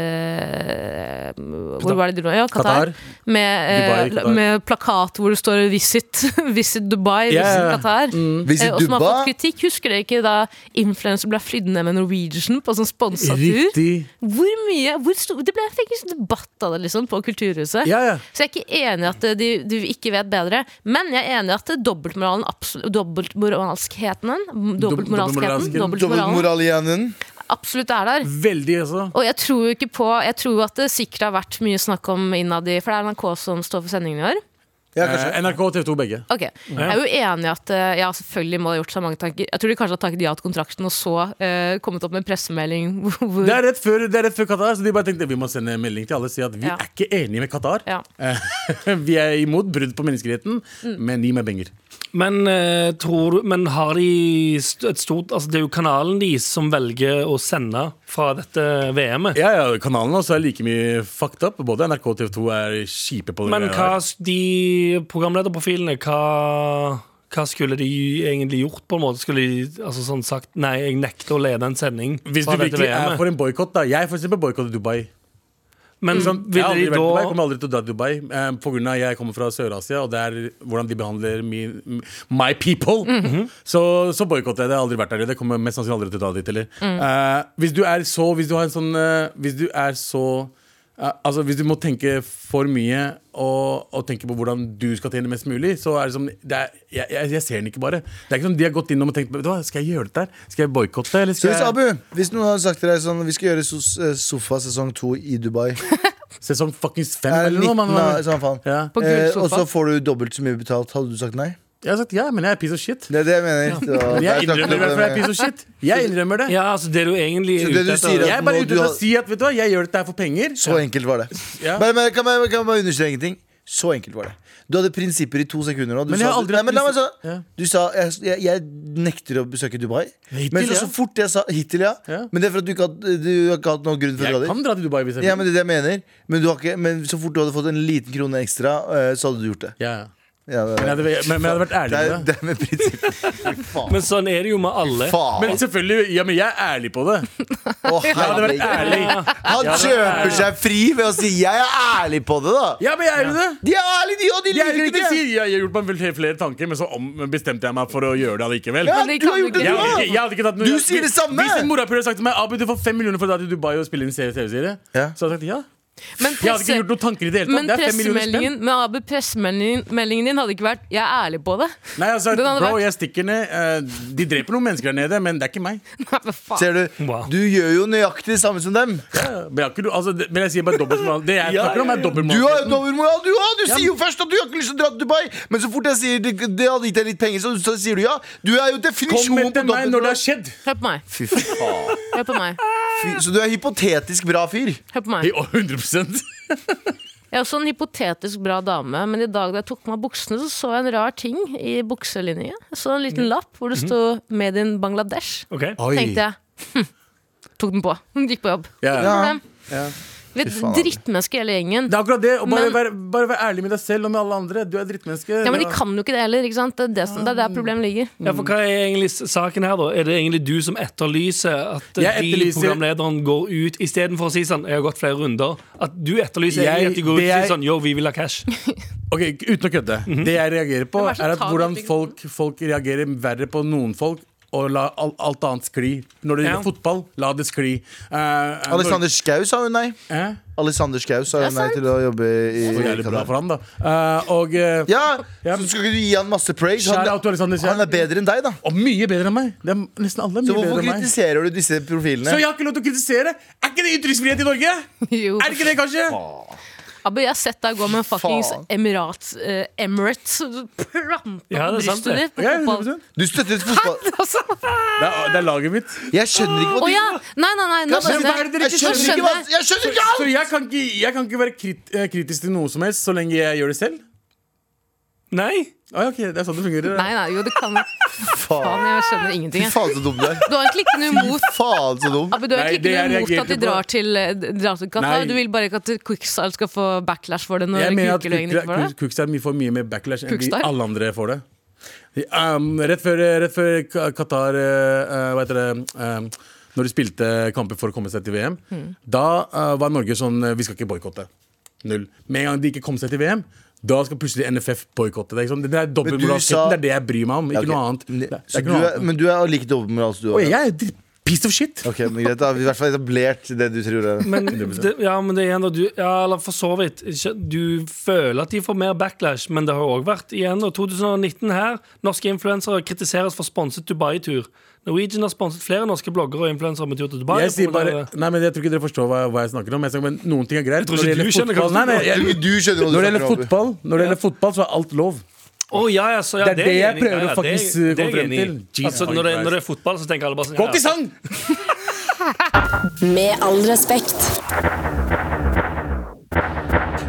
[SPEAKER 5] eh, eh, Hvor var det de dro? Ja, Qatar.
[SPEAKER 4] Qatar.
[SPEAKER 5] Med, eh,
[SPEAKER 4] Dubai, Qatar.
[SPEAKER 5] med plakat hvor det står 'Visit, [LAUGHS] visit Dubai',
[SPEAKER 4] Ja, ja,
[SPEAKER 5] 'Visit
[SPEAKER 4] Mm. ja.
[SPEAKER 5] Qatar'.
[SPEAKER 2] Visit
[SPEAKER 5] Eh, og som har
[SPEAKER 2] Dubai.
[SPEAKER 5] fått kritikk. Husker dere ikke da influensere ble flydd ned med Norwegian på sånn sponsa tur?
[SPEAKER 4] Riktig.
[SPEAKER 5] Hvor mye, hvor stor, det ble jeg fikk en sånn debatt av det liksom på Kulturhuset.
[SPEAKER 4] Ja, ja.
[SPEAKER 5] Så jeg er ikke enig i at eh, de, de ikke vet bedre, men jeg er enig i at eh, dobbeltmoralen absolutt, dobbeltmoralskheten dobbeltmoralskheten,
[SPEAKER 4] dobbeltmoralsken.
[SPEAKER 5] dobbeltmoralen
[SPEAKER 2] Dobbeltmoralianen.
[SPEAKER 5] absolutt er der.
[SPEAKER 4] Veldig, altså.
[SPEAKER 5] Og jeg tror jo ikke på Jeg tror jo at det sikkert har vært mye snakk om innad i For det er NRK som står for sendingen i år.
[SPEAKER 2] Ja, kanskje.
[SPEAKER 4] Eh, NRK og TV 2 begge.
[SPEAKER 5] Ok, Jeg er jo enig i at eh, ja, selvfølgelig må ha gjort seg mange tanker. Jeg tror de kanskje har takket ja til kontrakten og så eh, kommet opp med en pressemelding [LAUGHS] hvor, hvor
[SPEAKER 4] Det er, rett før, det er rett før Qatar, så de bare tenkte vi må sende en melding til alle og si at vi
[SPEAKER 5] Ja.
[SPEAKER 4] er ikke enige med Qatar. Eh,
[SPEAKER 5] Ja.
[SPEAKER 4] [LAUGHS] vi er imot brudd på menneskeligheten,
[SPEAKER 5] Mm.
[SPEAKER 4] men gi meg penger.
[SPEAKER 3] Men, eh, tror, du- men har de st et stort altså Det er jo kanalen de som velger å sende fra dette VM-et.
[SPEAKER 4] Ja, ja, Kanalene også er like mye fucked up. Både NRK og TV 2 er kjipe på det.
[SPEAKER 3] Men hva
[SPEAKER 4] der.
[SPEAKER 3] s- de programlederprofilene hva, hva skulle de egentlig gjort, på en måte? Skulle de altså sånn sagt Nei, jeg nekter å lede en sending
[SPEAKER 4] Hvis
[SPEAKER 3] fra
[SPEAKER 4] du
[SPEAKER 3] dette
[SPEAKER 4] virkelig er
[SPEAKER 3] VM-et.
[SPEAKER 4] for en boikott, da. Jeg for eksempel boikotter Dubai.
[SPEAKER 3] Men
[SPEAKER 4] Sånn, jeg har
[SPEAKER 3] ville de
[SPEAKER 4] aldri vært
[SPEAKER 3] da
[SPEAKER 4] i Dubai, jeg kommer aldri til å dra til Dubai. Eh, på grunn av jeg kommer fra Sør-Asia, og det er hvordan de behandler min, my people. Så, så boikotter jeg det. Jeg har aldri vært der. Det kommer jeg mest sannsynlig aldri til å dra dit heller. Eh, hvis du er så Hvis du har en sånn eh, Hvis du er så eh, Altså Hvis du må tenke for mye og, og tenke på hvordan du skal tjene mest mulig, så er det som det er, jeg, jeg, jeg ser den ikke bare. Det er ikke som de har gått innom og tenkt Vet du hva, Skal jeg gjøre dette her? Skal jeg boikotte, eller
[SPEAKER 2] Så
[SPEAKER 4] skal
[SPEAKER 2] hvis
[SPEAKER 4] jeg
[SPEAKER 2] Abu, hvis noen hadde sagt til deg sånn Vi skal gjøre sos- eh, Sofa sesong to i
[SPEAKER 4] [LAUGHS]
[SPEAKER 2] Dubai.
[SPEAKER 4] Sesong fuckings fem,
[SPEAKER 2] Er
[SPEAKER 4] eller noe?
[SPEAKER 2] 19
[SPEAKER 4] Man,
[SPEAKER 2] av samme faen.
[SPEAKER 4] ja.
[SPEAKER 5] På
[SPEAKER 2] Eh,
[SPEAKER 5] gullsofa.
[SPEAKER 2] og så får du dobbelt så mye betalt. Hadde du sagt nei?
[SPEAKER 4] Jeg har sagt ja, men jeg er piece of shit.
[SPEAKER 2] Det er det jeg mener. Det var-
[SPEAKER 4] Jeg
[SPEAKER 2] jeg snakket
[SPEAKER 4] innrømmer
[SPEAKER 2] om
[SPEAKER 4] det, for jeg er
[SPEAKER 2] det med-
[SPEAKER 4] piece of shit. Jeg innrømmer det.
[SPEAKER 3] Ja, altså det du egentlig
[SPEAKER 2] Så
[SPEAKER 3] er
[SPEAKER 2] det du
[SPEAKER 3] ute
[SPEAKER 2] sier
[SPEAKER 3] etter
[SPEAKER 4] Jeg er bare
[SPEAKER 2] Nå,
[SPEAKER 4] ute
[SPEAKER 2] du
[SPEAKER 4] etter
[SPEAKER 2] har-
[SPEAKER 4] å si at vet du hva, jeg gjør dette her for penger.
[SPEAKER 2] Så enkelt var det.
[SPEAKER 4] Ja.
[SPEAKER 2] Men, men, kan, jeg, kan jeg bare understreke en ting? Så enkelt var det. Du hadde prinsipper i to sekunder nå. Du
[SPEAKER 4] Men jeg har
[SPEAKER 2] sa-
[SPEAKER 4] aldri
[SPEAKER 2] nei,
[SPEAKER 4] hatt
[SPEAKER 2] men la meg
[SPEAKER 4] prinsipper.
[SPEAKER 2] så-
[SPEAKER 4] Ja.
[SPEAKER 2] Du sa jeg, jeg, jeg nekter å besøke Dubai.
[SPEAKER 4] Hittil,
[SPEAKER 2] men så,
[SPEAKER 4] ja.
[SPEAKER 2] så fort jeg sa Hittil, ja.
[SPEAKER 4] Ja.
[SPEAKER 2] Men det er for at du ikke har, du har ikke hatt noen grunn for å dra
[SPEAKER 4] Jeg
[SPEAKER 2] dit.
[SPEAKER 4] kan dra til Dubai hvis jeg
[SPEAKER 2] Ja,
[SPEAKER 4] vil.
[SPEAKER 2] men det er det jeg mener. Men, du har ikke, men så fort du hadde fått en liten krone ekstra, eh, så hadde du gjort det.
[SPEAKER 4] Ja.
[SPEAKER 2] Ja, det,
[SPEAKER 4] Men jeg
[SPEAKER 2] det,
[SPEAKER 4] hadde, men, men jeg hadde vært ærlig
[SPEAKER 2] er,
[SPEAKER 4] med det.
[SPEAKER 2] det er med prinsipp.
[SPEAKER 3] Men sånn er det jo med alle.
[SPEAKER 2] Faen!
[SPEAKER 4] Men selvfølgelig, ja, men jeg er ærlig på det.
[SPEAKER 2] Å,
[SPEAKER 4] Jeg hadde vært
[SPEAKER 2] herregud.
[SPEAKER 4] ærlig.
[SPEAKER 2] Han kjøper seg fri ved å si 'jeg er ærlig på det', da.
[SPEAKER 4] Ja, men jeg er jo det.
[SPEAKER 2] De er ærlige, de, og de
[SPEAKER 4] Jeg er jo
[SPEAKER 2] liker
[SPEAKER 4] ikke
[SPEAKER 2] ikke det.
[SPEAKER 4] si, jeg har gjort meg vel- flere tanker, men så om, bestemte jeg meg for å gjøre det allikevel.
[SPEAKER 2] Ja,
[SPEAKER 5] Men de
[SPEAKER 2] du har
[SPEAKER 5] kan
[SPEAKER 2] gjort det,
[SPEAKER 5] ikke-
[SPEAKER 2] du
[SPEAKER 4] Jeg, jeg,
[SPEAKER 2] òg.
[SPEAKER 4] jeg hadde ikke tatt noe
[SPEAKER 2] Du sier det samme!
[SPEAKER 4] Hvis en morapuler hadde sagt til meg Abu, du får fem millioner for å dra til Dubai og spille inn en TV-serie,
[SPEAKER 2] Ja.
[SPEAKER 4] så hadde jeg sagt ja.
[SPEAKER 5] Men
[SPEAKER 4] Jeg hadde ikke
[SPEAKER 5] presse-
[SPEAKER 4] gjort noen tanker i det hele tatt.
[SPEAKER 5] Men
[SPEAKER 4] Det er fem millioner spenn.
[SPEAKER 5] pressemeldingen, men Abu, pressemeldingen meldingen din hadde ikke vært 'jeg er ærlig på det'. [LAUGHS]
[SPEAKER 4] Nei, altså,
[SPEAKER 5] Den hadde
[SPEAKER 4] bro,
[SPEAKER 5] vært-
[SPEAKER 4] jeg stikker ned. Eh, De dreper noen mennesker der nede, men det er ikke meg.
[SPEAKER 5] Nei, hva faen?
[SPEAKER 2] Ser du,
[SPEAKER 3] Wow.
[SPEAKER 2] du gjør jo nøyaktig det samme som dem.
[SPEAKER 4] Men jeg, har ikke, no- altså, det- men jeg sier bare dobbeltmoral. Det jeg snakker om, er
[SPEAKER 2] Du har jo
[SPEAKER 4] dobbeltmoral.
[SPEAKER 2] dobbeltmoral, du òg! Du
[SPEAKER 4] Ja,
[SPEAKER 2] sier jo først at du har ikke lyst til å dra til Dubai, men så fort jeg sier det, det hadde gitt deg litt penger, så, så sier du ja. Du er jo definisjonen
[SPEAKER 4] Kom
[SPEAKER 2] på
[SPEAKER 4] til meg når det har
[SPEAKER 2] dobbeltmoral.
[SPEAKER 4] skjedd.
[SPEAKER 5] Hør på meg.
[SPEAKER 2] Fy
[SPEAKER 5] [LAUGHS]
[SPEAKER 2] faen.
[SPEAKER 5] Hør på meg.
[SPEAKER 2] Fy- Så du er hypotetisk bra fyr.
[SPEAKER 5] Hør på meg.
[SPEAKER 4] I- å, 100
[SPEAKER 5] Jeg er også en hypotetisk bra dame, men i dag da jeg tok på meg buksene, så så jeg en rar ting i bukselinja. Jeg så en
[SPEAKER 4] Mm.
[SPEAKER 5] liten lapp hvor det
[SPEAKER 4] Mhm.
[SPEAKER 5] stod 'Made in Bangladesh'.
[SPEAKER 3] Ok?
[SPEAKER 5] Tenkte jeg. Hm. Tok den på. [LAUGHS] Gikk på jobb.
[SPEAKER 4] Ja.
[SPEAKER 5] Problem.
[SPEAKER 4] Ja.
[SPEAKER 5] Vi er
[SPEAKER 2] faen.
[SPEAKER 5] drittmennesker hele gjengen.
[SPEAKER 4] Det er akkurat det. Og bare,
[SPEAKER 5] Men-
[SPEAKER 4] være, bare være ærlig med deg selv og med alle andre. Du er drittmenneske.
[SPEAKER 5] Ja, Men de kan jo ikke det heller. ikke sant? Det er, det som, det er der problemet ligger.
[SPEAKER 3] Ja, for Hva er egentlig s- saken her, da? Er det egentlig du som etterlyser at eh,
[SPEAKER 4] Jeg
[SPEAKER 3] de
[SPEAKER 4] etterlyser-
[SPEAKER 3] programlederen går ut istedenfor å si sånn Jeg har gått flere runder. At du etterlyser
[SPEAKER 4] Jeg-
[SPEAKER 3] egentlig at de går ut og
[SPEAKER 4] det
[SPEAKER 3] sier
[SPEAKER 4] jeg-
[SPEAKER 3] sånn Yo, vi vil ha cash.
[SPEAKER 4] Ok, Uten å kødde.
[SPEAKER 2] Mhm.
[SPEAKER 4] Det jeg reagerer på,
[SPEAKER 5] Men vær så
[SPEAKER 4] er at
[SPEAKER 5] tar liksom?
[SPEAKER 4] hvordan
[SPEAKER 5] du ikke-
[SPEAKER 4] folk, folk reagerer verre på noen folk. Og la all, alt annet skli. Når det
[SPEAKER 3] Ja.
[SPEAKER 4] gjelder fotball, la det skli. Eh, eh,
[SPEAKER 2] Alexander Schou sa jo nei.
[SPEAKER 4] Hæ?
[SPEAKER 2] Alexander Schou sa jo
[SPEAKER 5] Det er
[SPEAKER 2] nei
[SPEAKER 5] sant.
[SPEAKER 2] til å jobbe i
[SPEAKER 4] Så jævlig bra for han, da. Eh, og, eh,
[SPEAKER 2] Ja,
[SPEAKER 4] Ja.
[SPEAKER 2] så skal ikke du gi han masse praise?
[SPEAKER 4] Shout out til
[SPEAKER 2] Han,
[SPEAKER 4] Alexander Schou.
[SPEAKER 2] han er bedre enn deg, da.
[SPEAKER 4] og mye bedre enn meg. Det er nesten alle
[SPEAKER 2] Så
[SPEAKER 4] er mye bedre
[SPEAKER 2] hvorfor
[SPEAKER 4] enn meg.
[SPEAKER 2] kritiserer du disse
[SPEAKER 4] Så
[SPEAKER 2] profilene?
[SPEAKER 4] jeg har ikke lov til å kritisere? Er ikke det ytringsfrihet i Norge?
[SPEAKER 5] Jo.
[SPEAKER 4] Er det ikke det, kanskje?
[SPEAKER 5] Abu, jeg har sett deg gå med en fuckings
[SPEAKER 2] Faen.
[SPEAKER 5] Emirats eh, Emirates [LAUGHS] planta
[SPEAKER 3] Ja,
[SPEAKER 5] på
[SPEAKER 3] det er sant,
[SPEAKER 5] brystet
[SPEAKER 3] det.
[SPEAKER 5] ditt. på
[SPEAKER 4] Ja,
[SPEAKER 5] fotball. [LAUGHS]
[SPEAKER 4] 100%.
[SPEAKER 2] Du støtter et fotball...
[SPEAKER 4] Det er, det er laget mitt.
[SPEAKER 2] Jeg skjønner ikke
[SPEAKER 5] Å
[SPEAKER 2] hva de
[SPEAKER 5] ja! Nei, nei, nei. Nå
[SPEAKER 2] Hva er det
[SPEAKER 5] skjønner
[SPEAKER 4] dere
[SPEAKER 2] Jeg
[SPEAKER 5] jeg.
[SPEAKER 4] ikke
[SPEAKER 2] skjønner ikke hva
[SPEAKER 5] skjønner jeg.
[SPEAKER 2] Jeg skjønner ikke
[SPEAKER 4] Så
[SPEAKER 2] alt!
[SPEAKER 4] jeg kan ikke, jeg kan ikke være krit, eh, kritisk til noe som helst så lenge jeg gjør det selv. [LAUGHS]
[SPEAKER 3] Nei?
[SPEAKER 4] Å, ja, ok, det er sånn det fungerer.
[SPEAKER 5] Nei, nei, jo, det kan
[SPEAKER 2] Faen,
[SPEAKER 5] Faen, jeg skjønner ingenting.
[SPEAKER 2] Fy
[SPEAKER 5] jeg.
[SPEAKER 2] faen så dum du er.
[SPEAKER 5] Du har egentlig ikke noe imot
[SPEAKER 2] Faen så dum.
[SPEAKER 5] Abu, du har
[SPEAKER 4] Nei,
[SPEAKER 5] egentlig ikke
[SPEAKER 4] det
[SPEAKER 5] noe
[SPEAKER 4] jeg
[SPEAKER 5] imot at de
[SPEAKER 4] reagerte på-
[SPEAKER 5] drar til, eh, drar til Qatar.
[SPEAKER 4] Nei.
[SPEAKER 5] Du vil bare ikke at Quicksal skal få backlash for det når
[SPEAKER 4] Jeg mener at
[SPEAKER 5] Kukkeløyen ikke får det.
[SPEAKER 4] Kukstad får mye mer backlash enn de
[SPEAKER 5] Kukstad?
[SPEAKER 4] alle andre får det. Um, rett før, rett før Ka- Qatar eh, eh, Hva heter det um, Når de spilte kamper for å komme seg til VM,
[SPEAKER 5] Hmm.
[SPEAKER 4] da eh, var Norge sånn eh, Vi skal ikke boikotte. Null. Med en gang de ikke kom seg til VM, da skal plutselig NFF boikotte. Det, er ikke sånn- det er
[SPEAKER 2] sa-
[SPEAKER 4] dobbeltmoraliteten. Det er det jeg bryr meg om, ikke
[SPEAKER 2] ok.
[SPEAKER 4] noe annet.
[SPEAKER 2] Ne-
[SPEAKER 4] Det, det
[SPEAKER 2] så du
[SPEAKER 4] er ikke noe
[SPEAKER 2] er,
[SPEAKER 4] annet.
[SPEAKER 2] men du er like dobbeltmoralsk, du
[SPEAKER 4] Og
[SPEAKER 2] også?
[SPEAKER 4] jeg er piece of shit.
[SPEAKER 2] Ok, men greit, da har vi i hvert fall etablert det du tror er
[SPEAKER 3] Men, det, ja, men det er igjen da du, ja, eller for så vidt ikke- Du føler at de får mer backlash, men det har jo òg vært igjen da 2019 her. Norske influensere kritiseres for sponset Dubai-tur. Norwegian har sponset flere norske bloggere og influensere med tur til Dubai.
[SPEAKER 4] Jeg sier
[SPEAKER 3] for å
[SPEAKER 4] bare
[SPEAKER 3] promotere-
[SPEAKER 4] Nei, men jeg tror ikke dere forstår hva, hva jeg snakker om. Jeg snakker, men noen ting er greit.
[SPEAKER 3] Jeg tror
[SPEAKER 4] Når det
[SPEAKER 3] ikke
[SPEAKER 4] gjelder
[SPEAKER 3] du skjønner hva
[SPEAKER 4] fotball, nei, nei,
[SPEAKER 2] Jeg tror
[SPEAKER 4] [LAUGHS] jeg,
[SPEAKER 2] ikke du skjønner hva du
[SPEAKER 4] når det
[SPEAKER 2] snakker om,
[SPEAKER 4] gjelder
[SPEAKER 2] Abu.
[SPEAKER 4] fotball, når det gjelder fotball, så er alt lov.
[SPEAKER 3] Å, ja, ja, så, ja,
[SPEAKER 4] Det er det jeg
[SPEAKER 3] enig. Ja,
[SPEAKER 4] prøver å
[SPEAKER 3] ja, det er- det
[SPEAKER 4] faktisk, eh,
[SPEAKER 3] er
[SPEAKER 4] komme
[SPEAKER 3] jeg
[SPEAKER 4] frem
[SPEAKER 3] enig i.
[SPEAKER 4] til. Jesus
[SPEAKER 3] Altså, når, det,
[SPEAKER 4] Christ.
[SPEAKER 3] når det er fotball, så tenker alle bare sånn
[SPEAKER 4] Gå til
[SPEAKER 3] ja.
[SPEAKER 4] sang!
[SPEAKER 8] Med all respekt.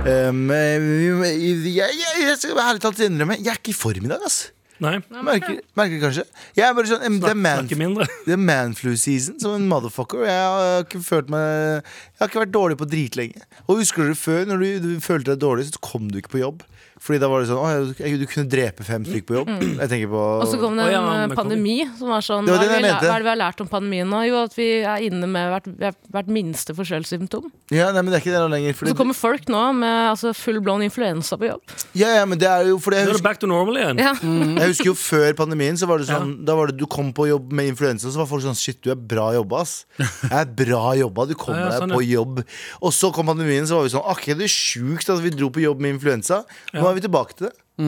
[SPEAKER 2] Um, eh, jeg, jeg, jeg skal ærlig talt innrømme, jeg er ikke i form i dag, ass.
[SPEAKER 3] Nei,
[SPEAKER 2] Merker, merker kanskje. Jeg er bare sånn, em, det er man-
[SPEAKER 3] snakke mindre.
[SPEAKER 2] det er manflu season som en motherfucker. Jeg har ikke følt meg Jeg har ikke vært dårlig på dritlenge. Og husker du før, når du, du følte deg dårlig, så kom du ikke på jobb. Fordi da var det sånn Å, jeg, du kunne drepe fem stykk på jobb. Jeg tenker på
[SPEAKER 5] Mm. Og så kom det
[SPEAKER 3] Å,
[SPEAKER 5] en
[SPEAKER 3] ja,
[SPEAKER 5] eh,
[SPEAKER 3] men kom-
[SPEAKER 5] pandemi som var sånn
[SPEAKER 2] Det var
[SPEAKER 5] hva,
[SPEAKER 2] det
[SPEAKER 5] er
[SPEAKER 2] jeg
[SPEAKER 5] vi, la-
[SPEAKER 2] mente.
[SPEAKER 5] hva er det vi har lært om pandemien nå? Jo, at vi er inne med hvert, hvert minste forskjellssymptom.
[SPEAKER 2] Ja, nei, men det er ikke det nå lenger.
[SPEAKER 5] Og
[SPEAKER 2] Fordi,
[SPEAKER 5] så kommer folk nå med altså, full blown influensa på jobb.
[SPEAKER 2] ja, ja, men det er jo fordi jeg
[SPEAKER 3] Nå er det
[SPEAKER 2] husker,
[SPEAKER 3] back to normal igjen.
[SPEAKER 5] [LAUGHS] Ja.
[SPEAKER 2] jeg husker jo før pandemien, så var det sånn Da var det du kom på jobb med influensa, så var folk sånn Shit, du er bra jobba,
[SPEAKER 3] [LAUGHS]
[SPEAKER 2] ass. Jeg er bra jobba, du kommer
[SPEAKER 3] Ja, ja, sånn,
[SPEAKER 2] deg på jobb. Og så kom pandemien, så var vi sånn Akkurat det er sjukt at vi dro på jobb med influensa. Nå er vi tilbake til det.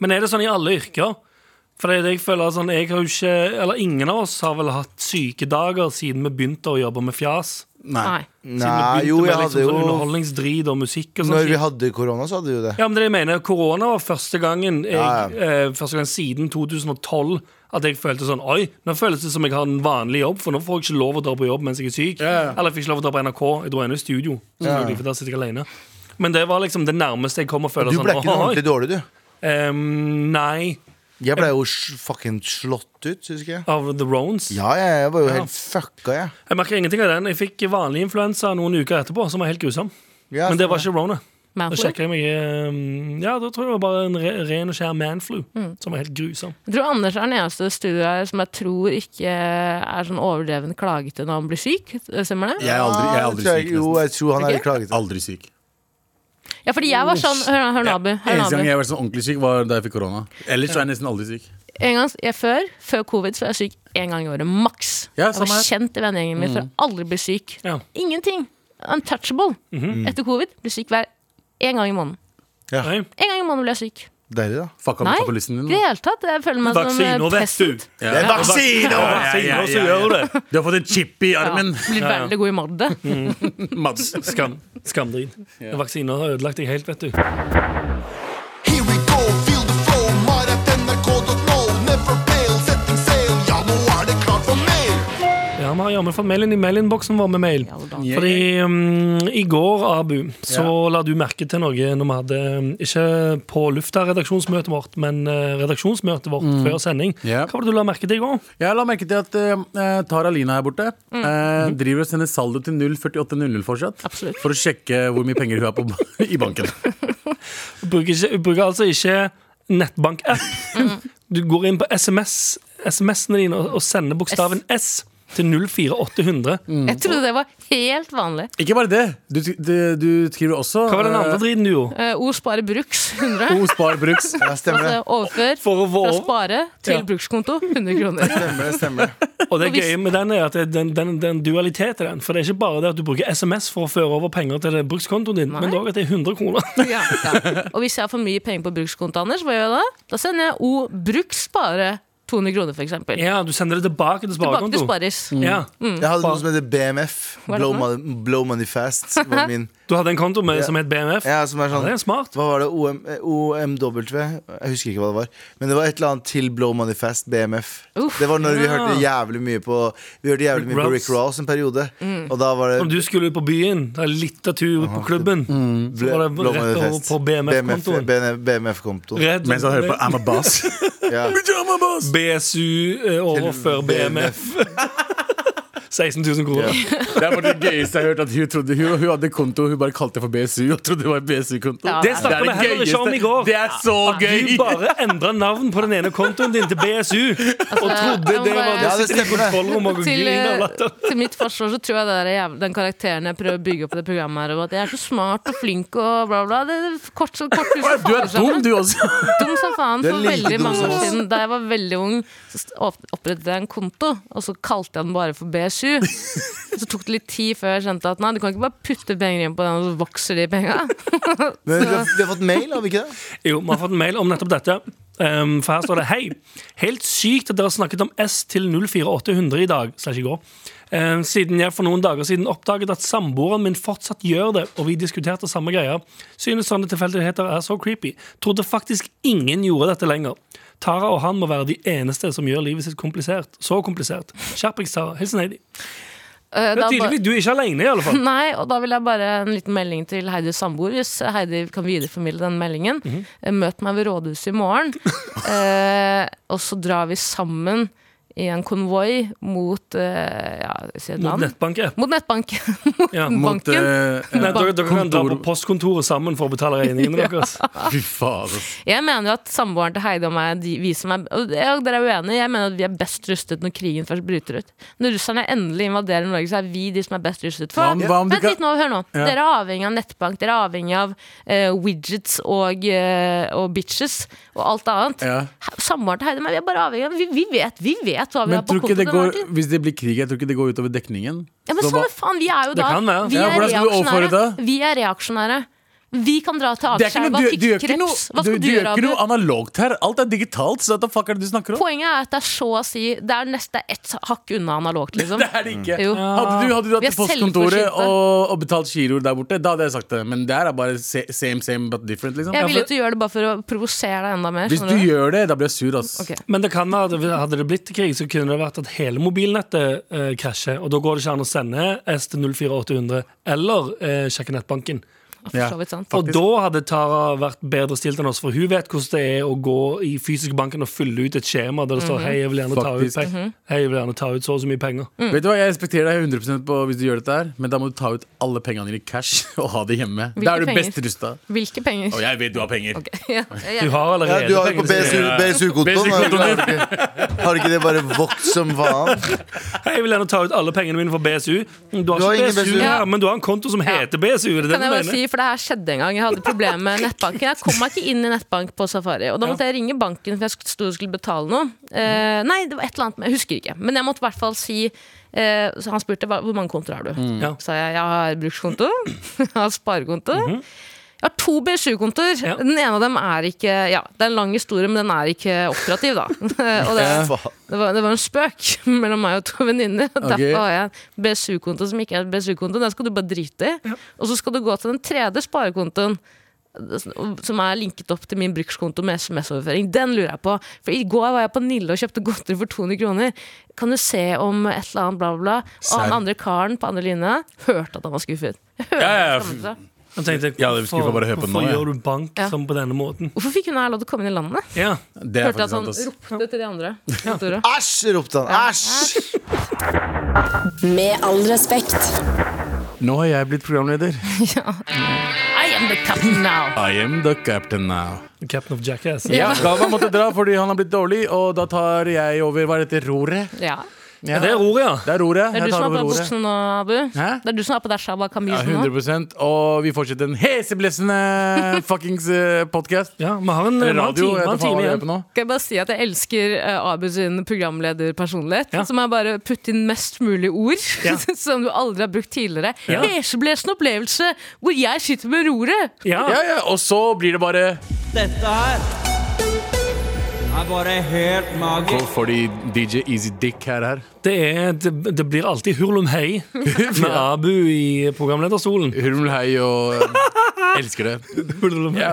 [SPEAKER 3] Men er det sånn i alle yrker? For det er det jeg føler sånn, jeg har jo ikke, eller Ingen av oss har vel hatt sykedager siden vi begynte å jobbe med fjas.
[SPEAKER 5] Nei.
[SPEAKER 3] Siden
[SPEAKER 2] Nei,
[SPEAKER 3] vi
[SPEAKER 2] jo, jeg
[SPEAKER 3] begynte med
[SPEAKER 2] hadde
[SPEAKER 3] liksom sånn
[SPEAKER 2] jo
[SPEAKER 3] underholdningsdrit og musikk og sånn.
[SPEAKER 2] Når vi hadde korona, så hadde vi jo det.
[SPEAKER 3] Ja, men det er det jeg mener, Korona var første gangen jeg,
[SPEAKER 2] Ja,
[SPEAKER 3] eh, første gang siden 2012 at jeg følte sånn Oi, nå føles det som jeg har en vanlig jobb, for nå får jeg ikke lov å dra på jobb mens jeg er syk.
[SPEAKER 4] Ja.
[SPEAKER 3] Eller jeg fikk ikke lov å dra på NRK. Jeg dro ennå i studio. selvfølgelig, for der sitter jeg alene. Men det var liksom det nærmeste jeg kom å føle
[SPEAKER 2] Du
[SPEAKER 3] sånn
[SPEAKER 2] ble ikke noe
[SPEAKER 3] «Oi,
[SPEAKER 2] ordentlig dårlig, du.
[SPEAKER 3] ehm, Nei.
[SPEAKER 2] Jeg ble jo s- fucking slått ut, husker jeg.
[SPEAKER 3] Av The Rones.
[SPEAKER 2] Ja, jeg, jeg var jo
[SPEAKER 3] Ja.
[SPEAKER 2] helt fucka, jeg.
[SPEAKER 3] Jeg merker ingenting av den. Jeg fikk vanlig influensa noen uker etterpå, som var helt grusom.
[SPEAKER 2] Ja,
[SPEAKER 3] Men det var ikke rona. Da
[SPEAKER 5] Manflu.
[SPEAKER 3] sjekket jeg meg eh, Ja, da tror jeg det var bare en re ren og skjær manflu, som var helt grusom.
[SPEAKER 5] Jeg tror Anders er den eneste i studioet her som jeg tror ikke er sånn overdreven klagete når han blir syk. Stemmer det?
[SPEAKER 4] Jeg er aldri, jeg er
[SPEAKER 2] Ja, det
[SPEAKER 4] aldri
[SPEAKER 2] tror jeg-
[SPEAKER 4] syk.
[SPEAKER 2] Jo,
[SPEAKER 4] nesten.
[SPEAKER 2] jeg tror han er litt klagete.
[SPEAKER 4] Aldri syk.
[SPEAKER 5] Ja, fordi jeg var sånn Hør, hør nå, Abu. Hør nå,
[SPEAKER 4] Eneste gang
[SPEAKER 5] Abu.
[SPEAKER 4] jeg har vært sånn ordentlig syk, var da jeg fikk korona. Ellers så er jeg nesten aldri syk.
[SPEAKER 5] En gang, jeg, før, før covid så var jeg syk én gang i året, maks.
[SPEAKER 4] Ja,
[SPEAKER 5] jeg
[SPEAKER 4] samme
[SPEAKER 5] var
[SPEAKER 4] her.
[SPEAKER 5] kjent i vennegjengen min for å aldri bli syk.
[SPEAKER 3] Ja.
[SPEAKER 5] Ingenting. Untouchable. Etter covid blir syk hver én gang i måneden.
[SPEAKER 3] Nei.
[SPEAKER 5] En gang i måneden blir jeg syk.
[SPEAKER 2] Deilig, da.
[SPEAKER 4] Fucka
[SPEAKER 5] Nei.
[SPEAKER 4] med kapitalisten
[SPEAKER 5] I
[SPEAKER 4] din.
[SPEAKER 5] det
[SPEAKER 4] da.
[SPEAKER 5] hele tatt. Jeg føler meg som
[SPEAKER 3] Vaksine, og
[SPEAKER 5] eh,
[SPEAKER 3] vet du!
[SPEAKER 5] pesten.
[SPEAKER 4] Ja.
[SPEAKER 2] Det er vaksine!
[SPEAKER 3] Ja,
[SPEAKER 2] da!
[SPEAKER 4] ja,
[SPEAKER 3] vaksine,
[SPEAKER 4] ja,
[SPEAKER 3] og så
[SPEAKER 4] ja,
[SPEAKER 3] gjør
[SPEAKER 4] ja.
[SPEAKER 3] hun det.
[SPEAKER 4] Du har fått en chip i
[SPEAKER 5] Ja,
[SPEAKER 4] armen, [LAUGHS]
[SPEAKER 5] blir
[SPEAKER 3] Ja, ja.
[SPEAKER 5] veldig god i madde.
[SPEAKER 4] Mads.
[SPEAKER 3] Skam, skamdrit. Vaksiner har ødelagt deg helt, vet du.
[SPEAKER 9] Here we go, feel the flow, maratnrk.no. Never fail, setting sail. Ja, nå er det klart for mer.
[SPEAKER 3] Ja, vi har jammen fått mailen i mailinnboksen vår med mail.
[SPEAKER 5] Ja, da.
[SPEAKER 3] Fordi mm, i går, Abu, så la du merke til noe når vi hadde mm, Ikke på lufta redaksjonsmøtet vårt, men eh, redaksjonsmøtet vårt før sending.
[SPEAKER 4] Ja.
[SPEAKER 3] Hva var det du la merke til i går?
[SPEAKER 4] Jeg la merke til at eh, Tara Lina her borte eh, driver og sender saldo til 04800 fortsatt.
[SPEAKER 5] Absolutt.
[SPEAKER 4] For å sjekke hvor mye penger hun har på, [LAUGHS] i banken.
[SPEAKER 3] bruker, ikke, bruker altså ikke nettbank-app. Du går inn på SMS, SMS-ene dine og, og sender bokstaven S til 04800.
[SPEAKER 5] Jeg trodde det var helt vanlig.
[SPEAKER 4] Ikke bare det. Du, du, du skriver også
[SPEAKER 3] Hva var den andre driten du gjorde?
[SPEAKER 5] Uh, o spare bruks [LAUGHS] 100.
[SPEAKER 4] eh, O Spar Bruks.
[SPEAKER 2] Ja, stemmer det.
[SPEAKER 5] Altså, overfør
[SPEAKER 3] For å vå-
[SPEAKER 5] fra spare til
[SPEAKER 3] Ja.
[SPEAKER 5] brukskonto 100 kroner.
[SPEAKER 2] Stemmer det, stemmer
[SPEAKER 5] [LAUGHS]
[SPEAKER 2] det.
[SPEAKER 3] Og det gøye med den er at det- den, den, den dualitet i den. For det er ikke bare det at du bruker SMS for å føre over penger til det- brukskontoen din, men
[SPEAKER 5] Nei.
[SPEAKER 3] òg at det er 100
[SPEAKER 5] [LAUGHS]
[SPEAKER 3] kroner.
[SPEAKER 5] Ja, ja. Og hvis jeg har for mye penger på brukskonto, Anders, hva gjør jeg da? Da sender jeg O bruks spare 200 kroner, for eksempel.
[SPEAKER 3] Ja, du sender det tilbake til
[SPEAKER 5] Tilbake til Mm.
[SPEAKER 3] sparekonto.
[SPEAKER 5] Sparis.
[SPEAKER 3] Ja.
[SPEAKER 2] Jeg hadde noe som heter BMF.
[SPEAKER 5] Hva er det
[SPEAKER 2] Blow
[SPEAKER 5] for
[SPEAKER 2] money, blow money fast. Var min.
[SPEAKER 3] Du hadde en konto med, som het BMF.
[SPEAKER 2] Ja, som er
[SPEAKER 3] Ja, det
[SPEAKER 2] sånn
[SPEAKER 3] er smart.
[SPEAKER 2] Hva var det? OM, eh, OMW? Jeg husker ikke hva det var. Men det var et eller annet til Blow Money Fast, BMF.
[SPEAKER 5] Uff.
[SPEAKER 2] det var når vi
[SPEAKER 3] Ja.
[SPEAKER 2] hørte jævlig mye på Vi hørte jævlig
[SPEAKER 3] Rick
[SPEAKER 2] mye på
[SPEAKER 3] Ross.
[SPEAKER 2] Rick Ross en periode.
[SPEAKER 5] Mm.
[SPEAKER 2] Og da var det
[SPEAKER 3] Om du skulle ut på byen, ta litt av tur på klubben, så var det rett over på BMF-kontoen.
[SPEAKER 2] eh, BMF-kontoen.
[SPEAKER 3] Rett-
[SPEAKER 4] Mens han hører på I'm a boss.
[SPEAKER 2] Ja.
[SPEAKER 4] I'm a boss.
[SPEAKER 3] BSU eh, overfør BMF. 16 000 kroner.
[SPEAKER 4] Det er bare det gøyeste jeg har hørt. At hun, trodde, hun, hun hadde konto, hun bare kalte det for BSU og trodde det var BSU-konto.
[SPEAKER 5] Ja.
[SPEAKER 3] Det snakka vi heller ikke om i går.
[SPEAKER 4] Det er så
[SPEAKER 3] Du
[SPEAKER 4] gøy!
[SPEAKER 3] bare endra navn på den ene kontoen din til BSU og trodde
[SPEAKER 5] jeg må
[SPEAKER 3] det var
[SPEAKER 5] bare-
[SPEAKER 3] det
[SPEAKER 5] Ja,
[SPEAKER 2] det
[SPEAKER 3] som sitter i
[SPEAKER 2] stemmer det.
[SPEAKER 3] kontrollrommet og
[SPEAKER 5] Altså, eh, til,
[SPEAKER 3] griner av
[SPEAKER 5] eh,
[SPEAKER 3] latter.
[SPEAKER 5] til mitt forsvar så tror jeg det der, jæv- den karakteren jeg prøver å bygge opp i det programmet her, og at jeg er så smart og flink og bla, bla det, er kort, så- kort, hus,
[SPEAKER 4] Du er dum, du også.
[SPEAKER 5] Dum som faen.
[SPEAKER 2] Du er
[SPEAKER 5] For
[SPEAKER 2] like
[SPEAKER 5] veldig
[SPEAKER 2] dum
[SPEAKER 5] mange
[SPEAKER 2] som
[SPEAKER 5] år
[SPEAKER 2] oss.
[SPEAKER 5] siden, da jeg var veldig ung, så st- opp- opprettet jeg en konto, og så kalte jeg den bare for B7. Så tok det litt tid før jeg skjønte at nei, du kan ikke bare putte penger inn på den, og så vokser de penga.
[SPEAKER 2] Men vi har, vi har fått mail, har vi ikke det?
[SPEAKER 3] Jo, vi har fått en mail om nettopp dette. Ehm, for her står det Hei, helt sykt at dere har snakket om S til 04800 i dag. Slash i går. Ehm, siden jeg for noen dager siden oppdaget at samboeren min fortsatt gjør det, og vi diskuterte samme greier. Synes sånne tilfeldigheter er så creepy. Trodde faktisk ingen gjorde dette lenger. Tara og han må være de eneste som gjør livet sitt komplisert. Så komplisert. Skjerpings, Tara. Hilsen Heidi.
[SPEAKER 5] Eh,
[SPEAKER 3] Det er
[SPEAKER 5] da ba-
[SPEAKER 3] tydeligvis du er ikke alene, i alle fall.
[SPEAKER 5] [LAUGHS] Nei, og da vil jeg bare en liten melding til Heidis samboer. Hvis Heidi kan videreformidle den meldingen.
[SPEAKER 3] Mhm.
[SPEAKER 5] Eh, Møt meg ved rådhuset i
[SPEAKER 3] [LAUGHS]
[SPEAKER 5] morgen, eh, og så drar vi sammen i en konvoi mot eh, ja, si et
[SPEAKER 3] Mot
[SPEAKER 5] navn.
[SPEAKER 3] nettbank-app.
[SPEAKER 5] Mot nettbanken. [LAUGHS]
[SPEAKER 3] Ja.
[SPEAKER 4] Mot,
[SPEAKER 5] Banken.
[SPEAKER 4] eh,
[SPEAKER 3] Nei, dere, dere kan dra på
[SPEAKER 4] Kontor-
[SPEAKER 3] postkontoret sammen for å betale
[SPEAKER 5] [LAUGHS]
[SPEAKER 3] regningene deres.
[SPEAKER 4] Fy faen. ass.
[SPEAKER 5] Jeg mener jo at samboeren til Heidi og meg de, vi som er, og jeg og Dere er uenige. Jeg mener at vi er best rustet når krigen først bryter ut. Når russerne endelig invaderer Norge, så er vi de som er best rustet. For,
[SPEAKER 4] Hva om- hva om de
[SPEAKER 5] vent
[SPEAKER 4] kan-
[SPEAKER 5] litt nå, hør nå.
[SPEAKER 4] Ja.
[SPEAKER 5] Dere er avhengig av nettbank, dere er avhengig av eh, widgets og, eh, og bitches og alt annet.
[SPEAKER 4] Ja.
[SPEAKER 5] He- Samboeren til Heidi og meg, vi er bare avhengig av vi, vi, vet, vi vet hva vi
[SPEAKER 4] Men
[SPEAKER 5] har på
[SPEAKER 4] tror ikke
[SPEAKER 5] kontoen.
[SPEAKER 4] det
[SPEAKER 5] til enhver
[SPEAKER 4] går,
[SPEAKER 5] tid.
[SPEAKER 4] hvis det blir krig, jeg tror ikke det går utover dekningen.
[SPEAKER 5] Ja, men
[SPEAKER 4] Så
[SPEAKER 5] samme
[SPEAKER 4] hva-
[SPEAKER 5] faen, vi er jo
[SPEAKER 3] Det
[SPEAKER 5] da
[SPEAKER 3] kan være.
[SPEAKER 5] Vi
[SPEAKER 4] Ja,
[SPEAKER 5] er
[SPEAKER 4] hvordan skal du overføre
[SPEAKER 5] reaksjonære.
[SPEAKER 4] det?
[SPEAKER 5] Vi er reaksjonære. Vi kan dra til
[SPEAKER 4] Det er ikke
[SPEAKER 5] Akerselva
[SPEAKER 4] noe-
[SPEAKER 5] og
[SPEAKER 4] du- du
[SPEAKER 5] fikke
[SPEAKER 4] gjør ikke noe-
[SPEAKER 5] kreps. Hva
[SPEAKER 4] du-
[SPEAKER 5] skal du
[SPEAKER 4] du gjør
[SPEAKER 5] gjøre,
[SPEAKER 4] ikke
[SPEAKER 5] Abu?
[SPEAKER 4] noe analogt her. Alt er digitalt. Så hva fuck er det du snakker om?
[SPEAKER 5] Poenget er at det er så å si Det er nest- det er ett hakk unna analogt, liksom.
[SPEAKER 4] [LAUGHS] Det er det ikke.
[SPEAKER 5] Jo.
[SPEAKER 4] Hadde du, hadde du
[SPEAKER 5] Vi
[SPEAKER 4] hatt
[SPEAKER 5] er
[SPEAKER 4] postkontoret
[SPEAKER 5] selvforsynte.
[SPEAKER 4] og, og betalt giroer der borte, da hadde jeg sagt det. Men der er bare se- same, same but different. liksom
[SPEAKER 5] Jeg ville at du gjør det bare for å provosere deg enda mer.
[SPEAKER 4] Hvis
[SPEAKER 5] skjønner
[SPEAKER 4] du
[SPEAKER 5] du?
[SPEAKER 4] gjør det, da blir jeg sur. ass
[SPEAKER 5] Ok.
[SPEAKER 3] Men det kan være, at hadde det blitt krig, så kunne det vært at hele mobilnettet eh, krasjer. Og da går det ikke an å sende S til 04800 eller eh, sjekke nettbanken.
[SPEAKER 4] Ja.
[SPEAKER 5] For så vidt sant.
[SPEAKER 3] Og da hadde Tara vært bedre stilt enn oss, for hun vet hvordan det er å gå i fysisk banken og fylle ut et skjema der det står Hei, jeg vil gjerne ta ut,
[SPEAKER 4] Faktisk.
[SPEAKER 3] peng- Hei, jeg vil gjerne ta ut så og så mye penger.
[SPEAKER 5] mm.
[SPEAKER 4] Vet du hva, Jeg respekterer deg 100 på hvis du gjør dette, her men da må du ta ut alle pengene dine i cash [LAUGHS] og ha det hjemme. Da er du
[SPEAKER 5] penger?
[SPEAKER 4] best rusta.
[SPEAKER 5] Hvilke penger?
[SPEAKER 4] Og jeg vet du har penger.
[SPEAKER 5] Ja,
[SPEAKER 3] Du har
[SPEAKER 5] jeg-
[SPEAKER 2] Ja,
[SPEAKER 3] allerede
[SPEAKER 2] du har jo på BSU
[SPEAKER 3] penger.
[SPEAKER 2] BSU-kontoen. Har,
[SPEAKER 4] BSU-kontoen
[SPEAKER 2] du ikke- har ikke det bare vokst som faen?
[SPEAKER 3] Hei, jeg vil gjerne ta ut alle pengene mine fra BSU. Du har,
[SPEAKER 2] Du har
[SPEAKER 3] ikke
[SPEAKER 2] ingen
[SPEAKER 3] BSU,
[SPEAKER 2] BSU.
[SPEAKER 3] her, men du har en konto som heter BSU. Er det det
[SPEAKER 5] Kan
[SPEAKER 3] du
[SPEAKER 5] jeg bare
[SPEAKER 3] mener?
[SPEAKER 5] si, for det her skjedde en gang. Jeg hadde problemer med nettbanken. Jeg kom meg ikke inn i nettbank på Safari. Og da måtte jeg ringe banken, for jeg sk- sto og skulle betale noe. Eh, nei, det var et eller annet, men jeg husker ikke. Men jeg måtte i hvert fall si eh, Så han spurte "Hva- hvor mange kontoer har du.
[SPEAKER 3] Mm. Ja.
[SPEAKER 5] sa jeg jeg har brukskonto, [LAUGHS] jeg har sparekonto. Jeg har to B7-kontoer.
[SPEAKER 3] Mhm. Ja.
[SPEAKER 5] Den ene av dem er ikke Ja, det er en lang historie, men den er ikke operativ, da. [LAUGHS] og det,
[SPEAKER 2] Faen.
[SPEAKER 5] det, var, det var en spøk [LAUGHS] mellom meg og to venninner. [LAUGHS] Derfor har jeg en B7-konto som ikke er en B7-konto. Den skal du bare drite i. Og så skal du gå til den tredje sparekontoen. Som er linket opp til min brukskonto med SMS-overføring. Den lurer jeg på. For i går var jeg på Nille og kjøpte godteri for 200 kroner. Kan du se om et eller annet, bla, bla, bla. Og han
[SPEAKER 4] Serr.
[SPEAKER 5] andre karen på andre linja hørte at han var skuffet. Jeg hørte
[SPEAKER 4] Ja, ja,
[SPEAKER 5] at han skammet seg.
[SPEAKER 3] Jeg tenkte,
[SPEAKER 4] Ja, det skulle jeg bare høre på
[SPEAKER 3] hvorfor
[SPEAKER 4] nå, ja.
[SPEAKER 3] gjør du bank
[SPEAKER 5] Ja.
[SPEAKER 3] sånn på denne måten?
[SPEAKER 5] Hvorfor fikk hun her lov til å komme inn i landet?
[SPEAKER 3] Ja.
[SPEAKER 4] Det er
[SPEAKER 5] Hørte sånn at han
[SPEAKER 4] faktisk sant. ass
[SPEAKER 5] ropte til de andre. kontoret.
[SPEAKER 2] Æsj! ropte han. Æsj!
[SPEAKER 8] Med all respekt.
[SPEAKER 4] Nå har jeg blitt programleder.
[SPEAKER 5] I am the captain now!
[SPEAKER 4] I am the captain now.
[SPEAKER 3] Captain of Jackass.
[SPEAKER 4] Ja, Galvan måtte dra fordi han har blitt dårlig, og da tar jeg over. Hva heter det? Roret?
[SPEAKER 5] Ja.
[SPEAKER 4] Ja.
[SPEAKER 3] Det er ordet, ja.
[SPEAKER 4] Det er roret.
[SPEAKER 5] Det er
[SPEAKER 4] Jeg
[SPEAKER 5] du som
[SPEAKER 4] tar
[SPEAKER 5] er på
[SPEAKER 4] over roret.
[SPEAKER 5] buksene nå, Abu.
[SPEAKER 4] Hæ?
[SPEAKER 5] Det er du som er på der shabba
[SPEAKER 4] Ja,
[SPEAKER 5] kamisen nå.
[SPEAKER 4] 100 Og vi fortsetter en
[SPEAKER 3] [LAUGHS]
[SPEAKER 4] heseblessende fuckings eh, podcast.
[SPEAKER 3] Ja, vi har en, vi har en
[SPEAKER 4] Radio,
[SPEAKER 3] time,
[SPEAKER 4] jeg
[SPEAKER 3] vi har en
[SPEAKER 4] vet faen
[SPEAKER 3] time
[SPEAKER 4] hva vi
[SPEAKER 3] igjen.
[SPEAKER 4] gjør på nå.
[SPEAKER 5] Skal jeg bare si at jeg elsker eh, Abu sin programlederpersonlighet.
[SPEAKER 3] Ja.
[SPEAKER 5] Som er bare å putte inn mest mulig ord
[SPEAKER 3] Ja.
[SPEAKER 5] [LAUGHS] som du aldri har brukt tidligere.
[SPEAKER 3] Ja.
[SPEAKER 5] Heseblesende opplevelse hvor jeg sitter med roret!
[SPEAKER 3] Ja.
[SPEAKER 4] Ja, ja, og så blir det bare
[SPEAKER 7] Dette her er bare helt magisk.
[SPEAKER 4] Får de DJ Easy Dick her her?
[SPEAKER 3] Det, er, det, det blir alltid hurlum
[SPEAKER 4] [LAUGHS]
[SPEAKER 3] hei med Abu i programlederstolen.
[SPEAKER 4] Hurmel hei og
[SPEAKER 3] [LAUGHS]
[SPEAKER 4] eh, Elsker det. Ja.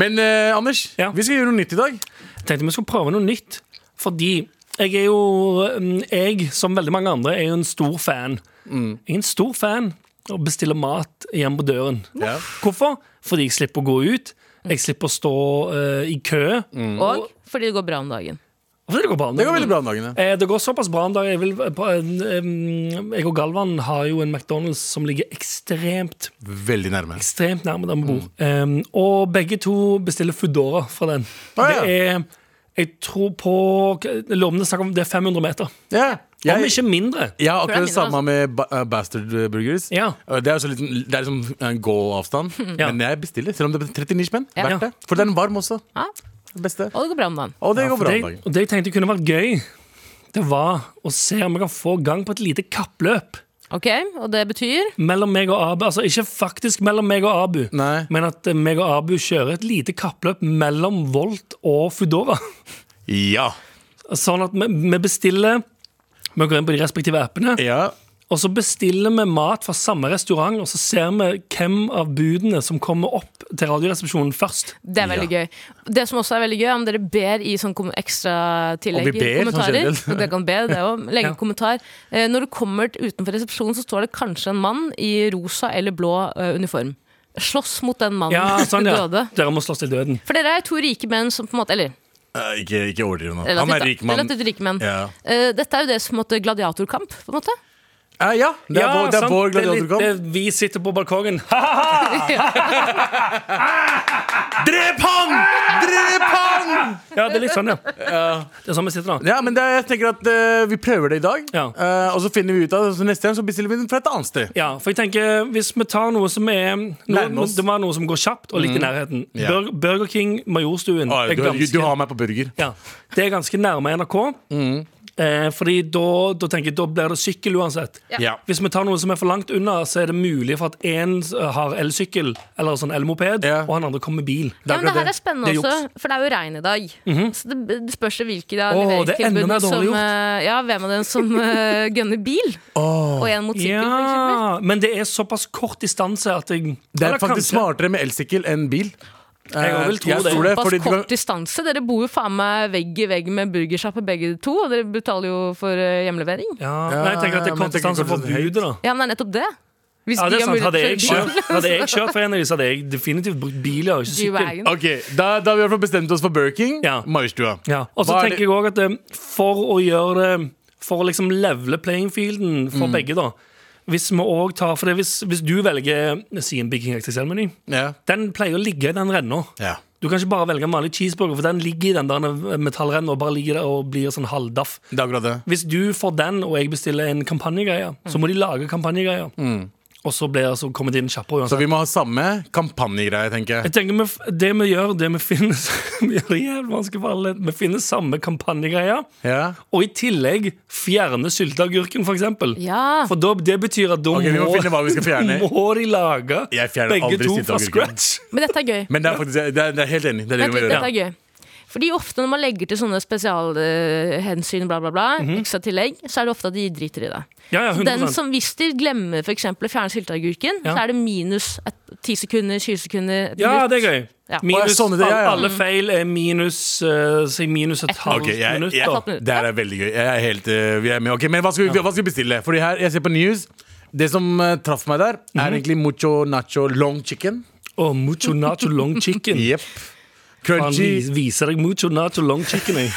[SPEAKER 4] Men eh, Anders,
[SPEAKER 3] Ja.
[SPEAKER 4] vi skal gjøre noe nytt i dag.
[SPEAKER 3] Tenkte vi skulle prøve noe nytt, fordi jeg er jo mm, Jeg, som veldig mange andre, er jo en stor fan.
[SPEAKER 4] Mm.
[SPEAKER 3] Jeg er en stor fan og bestiller mat hjem på døren.
[SPEAKER 4] Ja.
[SPEAKER 3] Hvorfor? Fordi jeg slipper å gå ut. Jeg slipper å stå eh, i kø.
[SPEAKER 5] Og fordi det går bra om dagen.
[SPEAKER 3] Det går bra.
[SPEAKER 4] Mm. Det går veldig bra om dagen. ja.
[SPEAKER 3] Eh, Det går såpass bra en dag. Jeg, vil, på, en- em, jeg og Galvan har jo en McDonald's som ligger ekstremt
[SPEAKER 4] Veldig nærme.
[SPEAKER 3] ekstremt nærme der vi bor.
[SPEAKER 4] Mm.
[SPEAKER 3] Em, og begge to bestiller Foodora fra den.
[SPEAKER 4] Ah, ja.
[SPEAKER 3] Det er jeg tror på Lovende snakk om det er 500 meter.
[SPEAKER 4] Ja. Jeg,
[SPEAKER 3] Om ikke mindre.
[SPEAKER 4] jeg har akkurat
[SPEAKER 5] Tror jeg
[SPEAKER 4] det samme
[SPEAKER 5] mindre,
[SPEAKER 4] med ba eh, Bastard Burgers.
[SPEAKER 3] sånn. Ja.
[SPEAKER 4] Eh, Det er, også litt, det er liksom en gå-avstand.
[SPEAKER 3] [LAUGHS] Ja.
[SPEAKER 4] Men jeg bestiller, selv om det er 39 spenn.
[SPEAKER 5] Ja.
[SPEAKER 4] Verdt det. For den er varm også.
[SPEAKER 5] Ja.
[SPEAKER 4] Det Beste.
[SPEAKER 5] Og det går bra om dagen.
[SPEAKER 4] Og det går
[SPEAKER 3] for
[SPEAKER 4] bra
[SPEAKER 3] det,
[SPEAKER 4] om dagen.
[SPEAKER 3] og det jeg tenkte kunne vært gøy, det var å se om vi kan få gang på et lite kappløp
[SPEAKER 5] Ok, Og det betyr
[SPEAKER 3] mellom meg og Abu. Altså ikke faktisk mellom meg og Abu,
[SPEAKER 4] Nei.
[SPEAKER 3] men at eh, meg og Abu kjører et lite kappløp mellom Volt og Foodora.
[SPEAKER 4] Ja.
[SPEAKER 3] Sånn at vi, vi bestiller Vi går inn på de respektive appene,
[SPEAKER 4] ja.
[SPEAKER 3] og så bestiller vi mat fra samme restaurant, og så ser vi hvem av budene som kommer opp til Radioresepsjonen først.
[SPEAKER 5] Det er veldig gøy. Det som også er veldig gøy, er om dere ber i sånn kom- ekstra tillegg
[SPEAKER 4] Om vi
[SPEAKER 5] i
[SPEAKER 4] ber,
[SPEAKER 5] kommentarer.
[SPEAKER 4] sånn generelt.
[SPEAKER 5] Dere kan be, det
[SPEAKER 4] [LAUGHS]
[SPEAKER 5] også.
[SPEAKER 3] Ja.
[SPEAKER 5] Legge en kommentar. Eh, Når du kommer t- utenfor resepsjonen, så står det kanskje en mann i rosa eller blå eh, uniform. Slåss mot den mannen
[SPEAKER 3] Ja, sånn, ja.
[SPEAKER 5] [LAUGHS] døde.
[SPEAKER 3] Dere må slåss til døden.
[SPEAKER 5] For dere er to rike menn som på en måte Eller
[SPEAKER 4] Eh, ikke, ikke overdriv nå. Han
[SPEAKER 5] relativt,
[SPEAKER 4] er
[SPEAKER 5] da.
[SPEAKER 4] rik mann.
[SPEAKER 5] relativt rike menn.
[SPEAKER 4] Ja.
[SPEAKER 5] Eh, Dette er jo det som måtte gladiatorkamp, på en måte.
[SPEAKER 4] Eh, ja, det er
[SPEAKER 3] Ja,
[SPEAKER 4] vår, det er
[SPEAKER 3] sant.
[SPEAKER 4] vår
[SPEAKER 3] Det er litt
[SPEAKER 4] gladiatorkamp.
[SPEAKER 3] det Vi sitter på balkongen.
[SPEAKER 4] Ah,
[SPEAKER 5] [LAUGHS]
[SPEAKER 4] Drep han! Drep han!
[SPEAKER 3] Ja, det er litt sånn, ja. Det er sånn vi sitter da.
[SPEAKER 4] Ja, men det, er- jeg tenker at eh, vi prøver det i dag.
[SPEAKER 3] Ja.
[SPEAKER 4] Eh, og så finner vi ut av det. Så neste gang så bestiller vi den fra et annet sted.
[SPEAKER 3] Ja, for jeg tenker, Hvis vi tar noe som er
[SPEAKER 4] Nærme
[SPEAKER 3] noe,
[SPEAKER 4] oss. Mm.
[SPEAKER 3] Det må være noe som går kjapt og litt i nærheten.
[SPEAKER 4] Ja.
[SPEAKER 3] Bur Burger King, Majorstuen.
[SPEAKER 4] Å,
[SPEAKER 3] er
[SPEAKER 4] du,
[SPEAKER 3] ganske,
[SPEAKER 4] du har meg på burger.
[SPEAKER 3] ja, det er ganske nærme NRK.
[SPEAKER 4] Mm.
[SPEAKER 3] Eh, fordi da, da tenker jeg, da blir det sykkel uansett.
[SPEAKER 4] Ja.
[SPEAKER 3] Hvis vi tar noe som er for langt unna, så er det mulig for at én har elsykkel eller sånn elmoped,
[SPEAKER 4] Ja.
[SPEAKER 3] og han andre kommer med bil.
[SPEAKER 5] Ja, men det her er spennende
[SPEAKER 3] Det er Mhm.
[SPEAKER 5] også, for det er jo regn i dag. Så det, det spørs jo hvilke da,
[SPEAKER 3] Åh, det er enda mer dårlig
[SPEAKER 5] leveringstilbud som
[SPEAKER 3] gjort.
[SPEAKER 5] eh, Ja, hvem av dem
[SPEAKER 3] [LAUGHS]
[SPEAKER 5] som eh, gønner bil? Og en mot sykkel, for eksempel.
[SPEAKER 3] Ja, men det er såpass kort distanse at jeg
[SPEAKER 4] Det er
[SPEAKER 3] Eller kanskje-
[SPEAKER 4] faktisk smartere med elsykkel enn bil. Eh,
[SPEAKER 3] Jeg vil tro
[SPEAKER 4] Jeg
[SPEAKER 3] det.
[SPEAKER 4] tror det,
[SPEAKER 5] Pass
[SPEAKER 4] fordi du
[SPEAKER 5] kort
[SPEAKER 4] kan,
[SPEAKER 5] distanse. Dere bor jo faen meg vegg i vegg med burgersjappe begge to, og dere betaler jo for eh, hjemlevering.
[SPEAKER 3] Ja, nei, jeg tenker at det
[SPEAKER 4] Ja,
[SPEAKER 3] er
[SPEAKER 4] men
[SPEAKER 3] kort
[SPEAKER 4] jeg tenker
[SPEAKER 3] distanse
[SPEAKER 4] kort
[SPEAKER 3] for
[SPEAKER 4] distanse.
[SPEAKER 3] budet, da.
[SPEAKER 5] Ja, men det er nettopp det. Hvis
[SPEAKER 3] Ja, det
[SPEAKER 5] de
[SPEAKER 3] er
[SPEAKER 5] har
[SPEAKER 3] sant. Hadde jeg
[SPEAKER 5] mulighet til å kjøre [LAUGHS]
[SPEAKER 3] kjørt, hadde jeg kjørt for en av dem, så hadde jeg definitivt brukt bil. Ja, og ikke
[SPEAKER 5] bil,
[SPEAKER 3] sykkel.
[SPEAKER 5] G-Wagon.
[SPEAKER 4] Ok, Da, da har vi i hvert fall bestemt oss for Burger King.
[SPEAKER 3] Ja.
[SPEAKER 4] Majorstua.
[SPEAKER 3] Ja. Og så
[SPEAKER 4] Hva er
[SPEAKER 3] tenker jeg òg at eh, for å gjøre det For å liksom levele playing fielden
[SPEAKER 4] Mm.
[SPEAKER 3] for begge, da Hvis vi også tar For det, hvis, hvis du velger eh, si en Big King XXL-meny,
[SPEAKER 4] Ja.
[SPEAKER 3] den pleier å ligge i den renna.
[SPEAKER 4] Ja.
[SPEAKER 3] Du kan ikke bare velge en vanlig cheeseburger, for den ligger i den der eh, metallrenna og bare ligger der og blir sånn halvdaff.
[SPEAKER 4] Det er akkurat det.
[SPEAKER 3] Hvis du får den, og jeg bestiller en kampanjegreie,
[SPEAKER 4] Mm.
[SPEAKER 3] så må de lage kampanjegreier. Og så, blir, så kommer det altså inn kjappere. uansett.
[SPEAKER 4] Så vi må ha samme kampanjegreie, tenker
[SPEAKER 3] Jeg
[SPEAKER 4] jeg.
[SPEAKER 3] tenker vi, f- Det vi gjør, det vi [LAUGHS] finner Vi gjør det jævlig vanskelig for alle. Vi finner samme kampanjegreia,
[SPEAKER 4] Ja.
[SPEAKER 3] og i tillegg fjerne sylteagurken, for eksempel.
[SPEAKER 5] Ja.
[SPEAKER 3] For da, det betyr at da
[SPEAKER 4] Ok, vi må
[SPEAKER 3] må,
[SPEAKER 4] finne hva vi skal
[SPEAKER 3] [LAUGHS]
[SPEAKER 4] fjerne.
[SPEAKER 3] må de lage
[SPEAKER 4] Jeg fjerner
[SPEAKER 3] begge
[SPEAKER 4] aldri
[SPEAKER 3] to fra
[SPEAKER 4] sylteagurken.
[SPEAKER 3] scratch.
[SPEAKER 5] Men dette
[SPEAKER 3] [LAUGHS]
[SPEAKER 5] er gøy.
[SPEAKER 4] Men det er faktisk, det er, det er helt enig. Det er det
[SPEAKER 5] Vent
[SPEAKER 4] vi må
[SPEAKER 5] litt,
[SPEAKER 4] gjøre.
[SPEAKER 5] dette er gøy. Fordi ofte når man legger til sånne spesialhensyn, bla, bla, bla,
[SPEAKER 3] Mhm.
[SPEAKER 5] ekstra tillegg, så er det ofte at de driter i det.
[SPEAKER 3] Ja, ja,
[SPEAKER 5] Så Den
[SPEAKER 3] 100
[SPEAKER 5] som hvis de glemmer for eksempel å fjerne sylteagurken,
[SPEAKER 3] Ja.
[SPEAKER 5] så er det minus et- 10 sekunder, 20 sekunder, et
[SPEAKER 3] Ja,
[SPEAKER 5] minutt.
[SPEAKER 3] det er gøy.
[SPEAKER 5] Ja.
[SPEAKER 4] Å,
[SPEAKER 3] Minus,
[SPEAKER 4] ja, sånn er det, ja, ja.
[SPEAKER 3] Alle feil er minus eh, Si minus et
[SPEAKER 5] Et
[SPEAKER 3] halvt
[SPEAKER 4] Ok, jeg,
[SPEAKER 3] minutt.
[SPEAKER 4] jeg,
[SPEAKER 3] da.
[SPEAKER 5] Halvt minutt.
[SPEAKER 4] det her er veldig gøy. Jeg er helt, eh, vi er med. Ok, men hva skal, vi, hva skal vi bestille? Fordi her, Jeg ser på news. Det som eh, traff meg der, er
[SPEAKER 3] Mhm.
[SPEAKER 4] egentlig mucho nacho long chicken.
[SPEAKER 3] Og mucho nacho long
[SPEAKER 4] [LAUGHS]
[SPEAKER 3] chicken.
[SPEAKER 4] Jepp.
[SPEAKER 3] Han
[SPEAKER 4] Crunchy.
[SPEAKER 3] vis- viser deg mucho nacho long chicken. Jeg.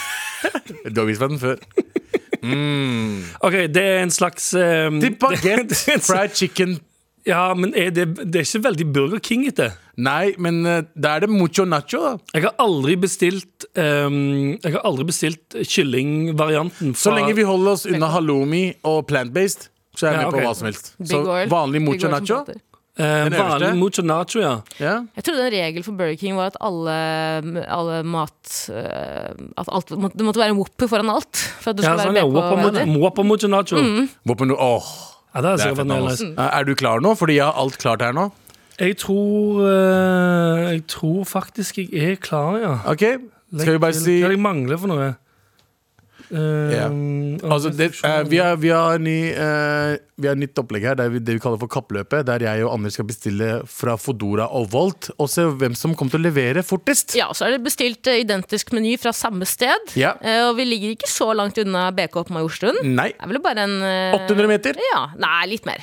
[SPEAKER 4] Du har vist meg
[SPEAKER 3] [LAUGHS]
[SPEAKER 4] den før.
[SPEAKER 3] Ok, Det er en slags eh,
[SPEAKER 4] Til baguette,
[SPEAKER 3] det er en slags-
[SPEAKER 4] fried chicken
[SPEAKER 3] Ja, men er det, det er ikke veldig Burger King etter.
[SPEAKER 4] Nei, men eh, da er det mucho nacho, da.
[SPEAKER 3] Jeg har aldri bestilt ehm, Jeg har aldri bestilt kyllingvarianten.
[SPEAKER 4] Så
[SPEAKER 3] fra-
[SPEAKER 4] lenge vi holder oss unna halloumi og plant-based, så er
[SPEAKER 3] Ja,
[SPEAKER 4] jeg med
[SPEAKER 3] ok.
[SPEAKER 4] på hva som helst.
[SPEAKER 5] Big
[SPEAKER 4] Så
[SPEAKER 5] oil.
[SPEAKER 4] vanlig
[SPEAKER 5] Big
[SPEAKER 4] mucho
[SPEAKER 5] oil som
[SPEAKER 4] nacho.
[SPEAKER 5] prater.
[SPEAKER 3] eh,
[SPEAKER 4] den øverste.
[SPEAKER 3] Vanlig mucho nacho, ja.
[SPEAKER 4] Ja.
[SPEAKER 5] Jeg trodde en regel for Burger King var at alle, alle mat eh, At alt, må- det måtte være en Whopper foran alt. For at du
[SPEAKER 3] ja
[SPEAKER 5] skulle
[SPEAKER 3] sånn, ja.
[SPEAKER 5] være med på
[SPEAKER 3] Whopper
[SPEAKER 5] hva det Mm. er.
[SPEAKER 3] mucho- Whopper mucho nacho.
[SPEAKER 4] Våpen, åh,
[SPEAKER 3] Ja, det er
[SPEAKER 4] det er
[SPEAKER 3] sikkert
[SPEAKER 4] fett,
[SPEAKER 3] vært
[SPEAKER 4] Anders.
[SPEAKER 3] nice.
[SPEAKER 5] Mm.
[SPEAKER 4] Eh, Er du klar nå? Fordi jeg har alt klart her nå.
[SPEAKER 3] Jeg tror eh, Jeg tror faktisk jeg er klar, ja.
[SPEAKER 4] Ok, Skal vi bare
[SPEAKER 3] Legg til-
[SPEAKER 4] si
[SPEAKER 3] Hva er det jeg mangler for noe? Eh,
[SPEAKER 4] Ja. Altså, det, eh, vi, har, vi, har ny, eh, vi har nytt opplegg her, det vi, det vi kaller for Kappløpet. Der jeg og Anders skal bestille fra Fodora og Volt. Og se hvem som kommer til å levere fortest.
[SPEAKER 5] Ja, så er det bestilt eh, identisk meny fra samme sted.
[SPEAKER 4] Ja.
[SPEAKER 5] Eh, Og vi ligger ikke så langt unna BK på Majorstuen.
[SPEAKER 4] Nei.
[SPEAKER 5] Det er vel bare en eh,
[SPEAKER 4] 800 meter? Eh,
[SPEAKER 5] Ja, Nei, litt mer.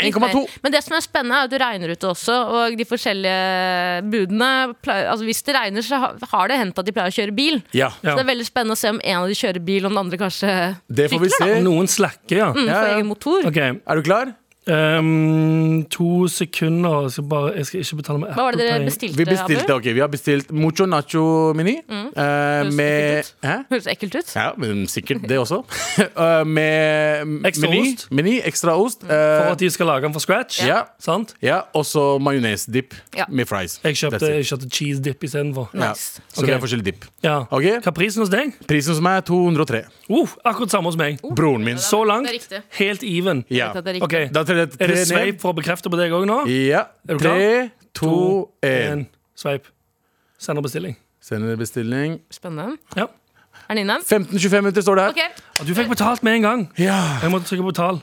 [SPEAKER 5] Litt
[SPEAKER 4] 1,2.
[SPEAKER 5] mer. Men det som er spennende, er at du regner ut det også. Og de forskjellige budene pleier, altså Hvis det regner, så ha- har det hendt at de pleier å kjøre bil.
[SPEAKER 4] Ja.
[SPEAKER 5] Så det er veldig spennende å se om en av de kjører bil, og den andre kanskje
[SPEAKER 4] Det får vi se.
[SPEAKER 3] Noen slakker, ja.
[SPEAKER 5] får
[SPEAKER 4] Ja, ja.
[SPEAKER 5] egen motor.
[SPEAKER 3] OK.
[SPEAKER 4] Er du klar?
[SPEAKER 3] ehm, to sekunder. Jeg skal, bare, jeg skal ikke betale med
[SPEAKER 5] Hva var
[SPEAKER 3] Apple
[SPEAKER 5] det dere
[SPEAKER 3] Pay.
[SPEAKER 5] bestilte,
[SPEAKER 4] Vi bestilte,
[SPEAKER 5] Abu?
[SPEAKER 4] ok, vi har bestilt mucho nacho mini eh,
[SPEAKER 5] Mm. Høres ekkelt
[SPEAKER 4] med
[SPEAKER 5] ut.
[SPEAKER 4] Hæ?
[SPEAKER 5] Høres ekkelt ut.
[SPEAKER 4] Ja, men sikkert det også. [LAUGHS] Eh, med
[SPEAKER 3] Ekstra
[SPEAKER 4] meny,
[SPEAKER 3] ost. Mm.
[SPEAKER 4] meny, ekstra ost. eh,
[SPEAKER 3] For at de skal lage den fra scratch.
[SPEAKER 4] Ja.
[SPEAKER 3] Sant?
[SPEAKER 4] ja, og så majonesdipp
[SPEAKER 5] Ja.
[SPEAKER 4] med fries.
[SPEAKER 3] Jeg
[SPEAKER 4] That's
[SPEAKER 3] kjøpte,
[SPEAKER 4] it.
[SPEAKER 3] jeg kjøpte cheese dip istedenfor.
[SPEAKER 4] ja.
[SPEAKER 5] Nice.
[SPEAKER 4] Så
[SPEAKER 3] Ok.
[SPEAKER 4] vi har forskjellig dipp.
[SPEAKER 3] Ja.
[SPEAKER 4] Ok.
[SPEAKER 3] Hva er prisen hos deg?
[SPEAKER 4] Prisen som er 203.
[SPEAKER 3] Uh, akkurat samme hos meg.
[SPEAKER 5] Oh.
[SPEAKER 4] Broren min.
[SPEAKER 3] Så langt.
[SPEAKER 5] Det er riktig.
[SPEAKER 3] Helt even.
[SPEAKER 4] Ja.
[SPEAKER 5] Det er riktig.
[SPEAKER 3] Ok,
[SPEAKER 4] Da teller jeg
[SPEAKER 3] Er
[SPEAKER 4] tre
[SPEAKER 3] det
[SPEAKER 4] ned.
[SPEAKER 3] sveip for å bekrefte på deg òg nå?
[SPEAKER 4] Ja.
[SPEAKER 3] Er du
[SPEAKER 4] Tre, to, én.
[SPEAKER 3] En sveip. Sender bestilling.
[SPEAKER 4] Sender bestilling.
[SPEAKER 5] Spennende.
[SPEAKER 3] Ja.
[SPEAKER 5] Er den inne?
[SPEAKER 4] 15-25 minutter står det her.
[SPEAKER 5] Ok,
[SPEAKER 3] Og du fikk betalt med en gang.
[SPEAKER 4] Ja,
[SPEAKER 3] Jeg måtte trykke på betal.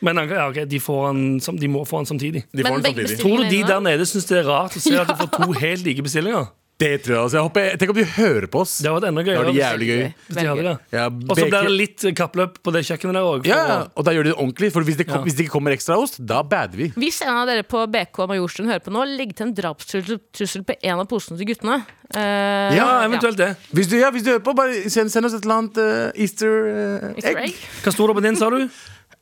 [SPEAKER 3] Men ja, ok, de, får han, sam- de må få han samtidig.
[SPEAKER 4] de får
[SPEAKER 5] Men
[SPEAKER 4] den
[SPEAKER 5] begge
[SPEAKER 4] samtidig.
[SPEAKER 3] Tror du de
[SPEAKER 5] bestillingene
[SPEAKER 3] der
[SPEAKER 5] er inne?
[SPEAKER 3] nede syns det er rart å se at du får
[SPEAKER 5] [LAUGHS]
[SPEAKER 3] to helt like bestillinger?
[SPEAKER 4] Det tror jeg. Altså. jeg håper, tenk om de hører på oss.
[SPEAKER 3] Det hadde vært enda
[SPEAKER 4] Det var
[SPEAKER 3] gøyere.
[SPEAKER 4] det jævlig gøy.
[SPEAKER 3] hvis de hadde
[SPEAKER 5] Veldig gøy.
[SPEAKER 3] det.
[SPEAKER 4] Ja,
[SPEAKER 3] Og så blir
[SPEAKER 4] bacon-
[SPEAKER 3] det litt kappløp på det kjøkkenet der òg.
[SPEAKER 4] Ja, ja, og da gjør de det ordentlig. For hvis det, kom,
[SPEAKER 3] Ja.
[SPEAKER 4] hvis det ikke kommer ekstra ost, da bader vi.
[SPEAKER 5] Hvis en av dere på BK Majorstuen hører på nå, legg til en drapstrussel trussel på en av posene til guttene. Eh,
[SPEAKER 3] ja, eventuelt det.
[SPEAKER 4] Hvis du, ja, hvis du hører på, bare send, send oss et eller annet eh, Easter eh,
[SPEAKER 5] Mr.
[SPEAKER 4] egg.
[SPEAKER 5] Egg.
[SPEAKER 3] Hva sto det på din, sa du?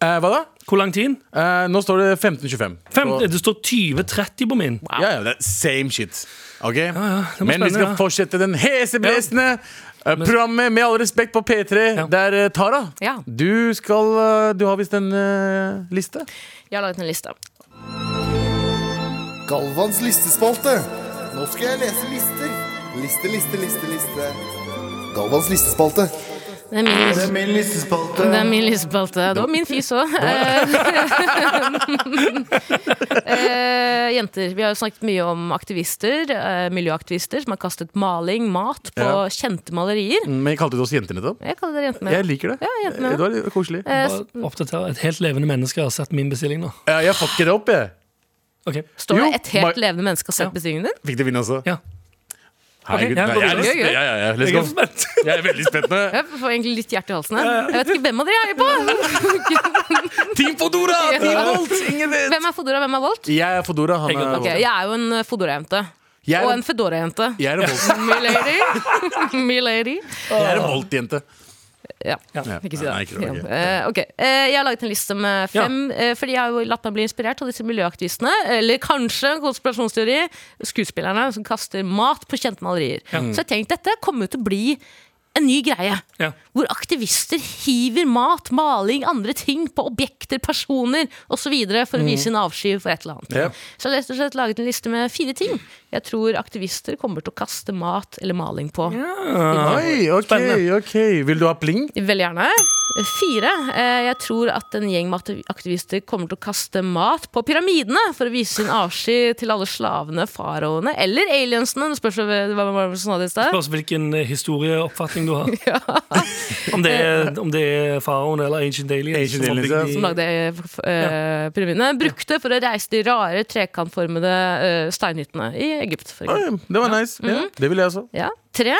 [SPEAKER 4] Eh, hva da?
[SPEAKER 3] Hvor lang tid?
[SPEAKER 4] Eh, nå står det 15.25.
[SPEAKER 3] Fem,
[SPEAKER 4] Så-
[SPEAKER 3] det står 20.30 på min.
[SPEAKER 4] Ja, ja, det er same shit. Ok?
[SPEAKER 3] det var
[SPEAKER 4] Men vi
[SPEAKER 3] spennende,
[SPEAKER 4] skal
[SPEAKER 3] ja.
[SPEAKER 4] fortsette den heseblesende eh, programmet Med all respekt på P3,
[SPEAKER 3] Ja.
[SPEAKER 4] der eh, Tara,
[SPEAKER 5] Ja.
[SPEAKER 4] du skal eh, Du har visst en eh, liste?
[SPEAKER 5] Jeg har laget en liste.
[SPEAKER 9] Galvans listespalte. Nå skal jeg lese lister. Liste, liste, liste, liste. Galvans listespalte.
[SPEAKER 5] Det er min liste.
[SPEAKER 2] Min listespalte.
[SPEAKER 5] Det er min lysespalte. Det var min fis òg. [LAUGHS] Eh, jenter. Vi har jo snakket mye om aktivister, eh, miljøaktivister, som har kastet maling, mat, på
[SPEAKER 4] Ja.
[SPEAKER 5] kjente malerier.
[SPEAKER 4] Mm, Men jeg kalte det oss jenter nettopp.
[SPEAKER 5] Jeg kaller dere jenter.
[SPEAKER 4] Jeg liker det.
[SPEAKER 5] Ja, jenter med.
[SPEAKER 4] det var litt koselig.
[SPEAKER 5] Eh, s-
[SPEAKER 3] Bare oppdatere. Et helt levende menneske har sett min bestilling nå.
[SPEAKER 4] Ja, jeg fucker det opp, jeg.
[SPEAKER 3] Ok,
[SPEAKER 5] Står
[SPEAKER 4] Jo,
[SPEAKER 5] det et helt
[SPEAKER 4] ma-
[SPEAKER 5] levende menneske og har sett
[SPEAKER 3] Ja.
[SPEAKER 5] bestillingen din?
[SPEAKER 4] Fikk det vinne også?
[SPEAKER 3] Ja.
[SPEAKER 4] Herregud,
[SPEAKER 3] ja,
[SPEAKER 4] nei,
[SPEAKER 3] gå
[SPEAKER 4] jeg er
[SPEAKER 3] videre.
[SPEAKER 4] litt-
[SPEAKER 5] Gøy, gøy.
[SPEAKER 4] ja, ja, ja, let's
[SPEAKER 3] Jeg
[SPEAKER 4] go.
[SPEAKER 3] er spent.
[SPEAKER 4] Jeg er veldig spent nå.
[SPEAKER 5] Jeg får egentlig litt hjerte i halsen. Jeg, jeg vet ikke hvem av dere jeg er på!
[SPEAKER 4] [LAUGHS] Team Fodora!
[SPEAKER 5] Ja.
[SPEAKER 4] Team Volt! Ingen vet!
[SPEAKER 5] Hvem er Fodora, hvem er Volt?
[SPEAKER 4] Jeg er Fodora. Han
[SPEAKER 3] Jeg
[SPEAKER 4] er
[SPEAKER 3] går
[SPEAKER 5] Ok,
[SPEAKER 4] Volt.
[SPEAKER 5] jeg er jo en eh, Fodora-jente.
[SPEAKER 4] Jeg
[SPEAKER 5] Og
[SPEAKER 4] er,
[SPEAKER 5] en Fedora-jente. [LAUGHS]
[SPEAKER 4] jeg er en Volt-
[SPEAKER 5] Milady. [LAUGHS] Milady.
[SPEAKER 4] jeg er en Volt-jente.
[SPEAKER 5] Ja.
[SPEAKER 4] Ja.
[SPEAKER 5] Ikke si det.
[SPEAKER 4] Nei, ikke det, ok.
[SPEAKER 5] Eh, ok. Eh, jeg har laget en liste med fem, eh, fordi jeg har jo latt meg bli inspirert av disse miljøaktivistene. Eller kanskje en konspirasjonsteori. Skuespillerne som kaster mat på kjente malerier. Så jeg tenkte dette kommer jo til å bli en ny greie.
[SPEAKER 3] [LAUGHS] Ja.
[SPEAKER 5] Hvor aktivister hiver mat, maling, andre ting på objekter, personer osv. for å vise sin avsky for et eller annet.
[SPEAKER 4] Ja.
[SPEAKER 5] Så jeg har rett og slett laget en liste med fire ting jeg tror aktivister kommer til å kaste mat eller maling på.
[SPEAKER 4] Oi, ok,
[SPEAKER 3] Spennende.
[SPEAKER 4] ok Vil du ha pling?
[SPEAKER 5] Veldig gjerne. Fire. eh, Jeg tror at en gjeng med aktiv- aktivister kommer til å kaste mat på pyramidene for å vise sin avsky til alle slavene, faraoene eller aliensene. Det spørs jo hva- hva var det som sa det i sted.
[SPEAKER 3] Spørs hvilken eh, historieoppfatning
[SPEAKER 5] [LAUGHS]
[SPEAKER 3] du har. Om, det er, om det er faraoen eller Ancient Aliens.
[SPEAKER 4] Ancient
[SPEAKER 3] som har
[SPEAKER 4] Aliens,
[SPEAKER 3] bygd
[SPEAKER 4] ja.
[SPEAKER 3] de-
[SPEAKER 5] Som lagde eh, f- eh, pyramidene. Brukte for å reise de rare, trekantformede eh, steinhyttene i Egypt. For eksempel.
[SPEAKER 4] Oi, det var nice. Ja, det vil jeg også.
[SPEAKER 5] Ja. Tre.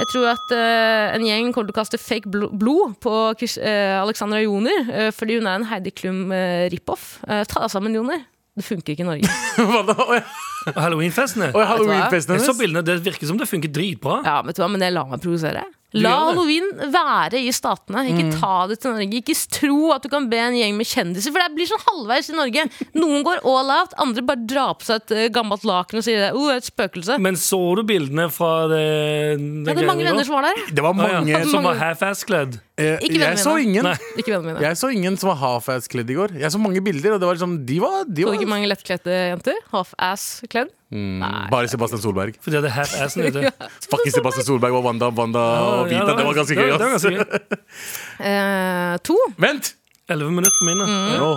[SPEAKER 5] Jeg tror at eh, en gjeng kommer til å kaste fake bl blod på Kris eh, Alexandra Joner, eh, fordi hun er en Heidi Klum eh, rip-off. Eh, ta deg sammen, Joner. Det funker ikke i Norge.
[SPEAKER 4] Hva da? Oi,
[SPEAKER 3] Og [LAUGHS] Halloweenfestene.
[SPEAKER 4] oi, Halloween-festen
[SPEAKER 3] Jeg så
[SPEAKER 4] hennes?
[SPEAKER 3] bildene, Det virker som det funker dritbra.
[SPEAKER 5] Ja, vet du hva, men jeg lar meg provosere. La
[SPEAKER 3] gjør det. Mm.
[SPEAKER 5] halloween være i statene. Ikke ta det til Norge. Ikke tro at du kan be en gjeng med kjendiser, for det blir sånn halvveis i Norge. Noen går all out, andre bare drar på seg et eh, gammelt laken og sier det. Oh, et spøkelse.
[SPEAKER 3] Men så du bildene fra det, den
[SPEAKER 5] Ja, det er mange
[SPEAKER 3] greia
[SPEAKER 5] venner
[SPEAKER 3] da?
[SPEAKER 5] som var der.
[SPEAKER 4] Det var
[SPEAKER 3] Ah,
[SPEAKER 4] mange
[SPEAKER 3] ja. Som var
[SPEAKER 5] [LAUGHS] mange-
[SPEAKER 3] half-ass-kledd.
[SPEAKER 4] eh,
[SPEAKER 5] Ikke vennene
[SPEAKER 4] Jeg så
[SPEAKER 5] mine.
[SPEAKER 4] ingen.
[SPEAKER 3] Nei.
[SPEAKER 5] Ikke vennene mine.
[SPEAKER 4] Jeg så ingen som var half-ass-kledd i går. Jeg så mange bilder, og det var liksom De var, de
[SPEAKER 5] Så
[SPEAKER 4] var Mm,
[SPEAKER 5] du ikke mange lettkledte jenter? Half-ass-kledd?
[SPEAKER 4] Bare Sebastian Solberg.
[SPEAKER 3] Fordi det er half-assen
[SPEAKER 5] [LAUGHS]
[SPEAKER 3] ute.
[SPEAKER 4] Fucking Sebastian Solberg og Wanda, Wanda og Vita. det var ganske gøy.
[SPEAKER 3] det var
[SPEAKER 4] ass.
[SPEAKER 3] ganske gøy.
[SPEAKER 5] Eh, to.
[SPEAKER 4] Vent!
[SPEAKER 3] 11 minutter på minnet.
[SPEAKER 5] Mm.
[SPEAKER 4] Nå.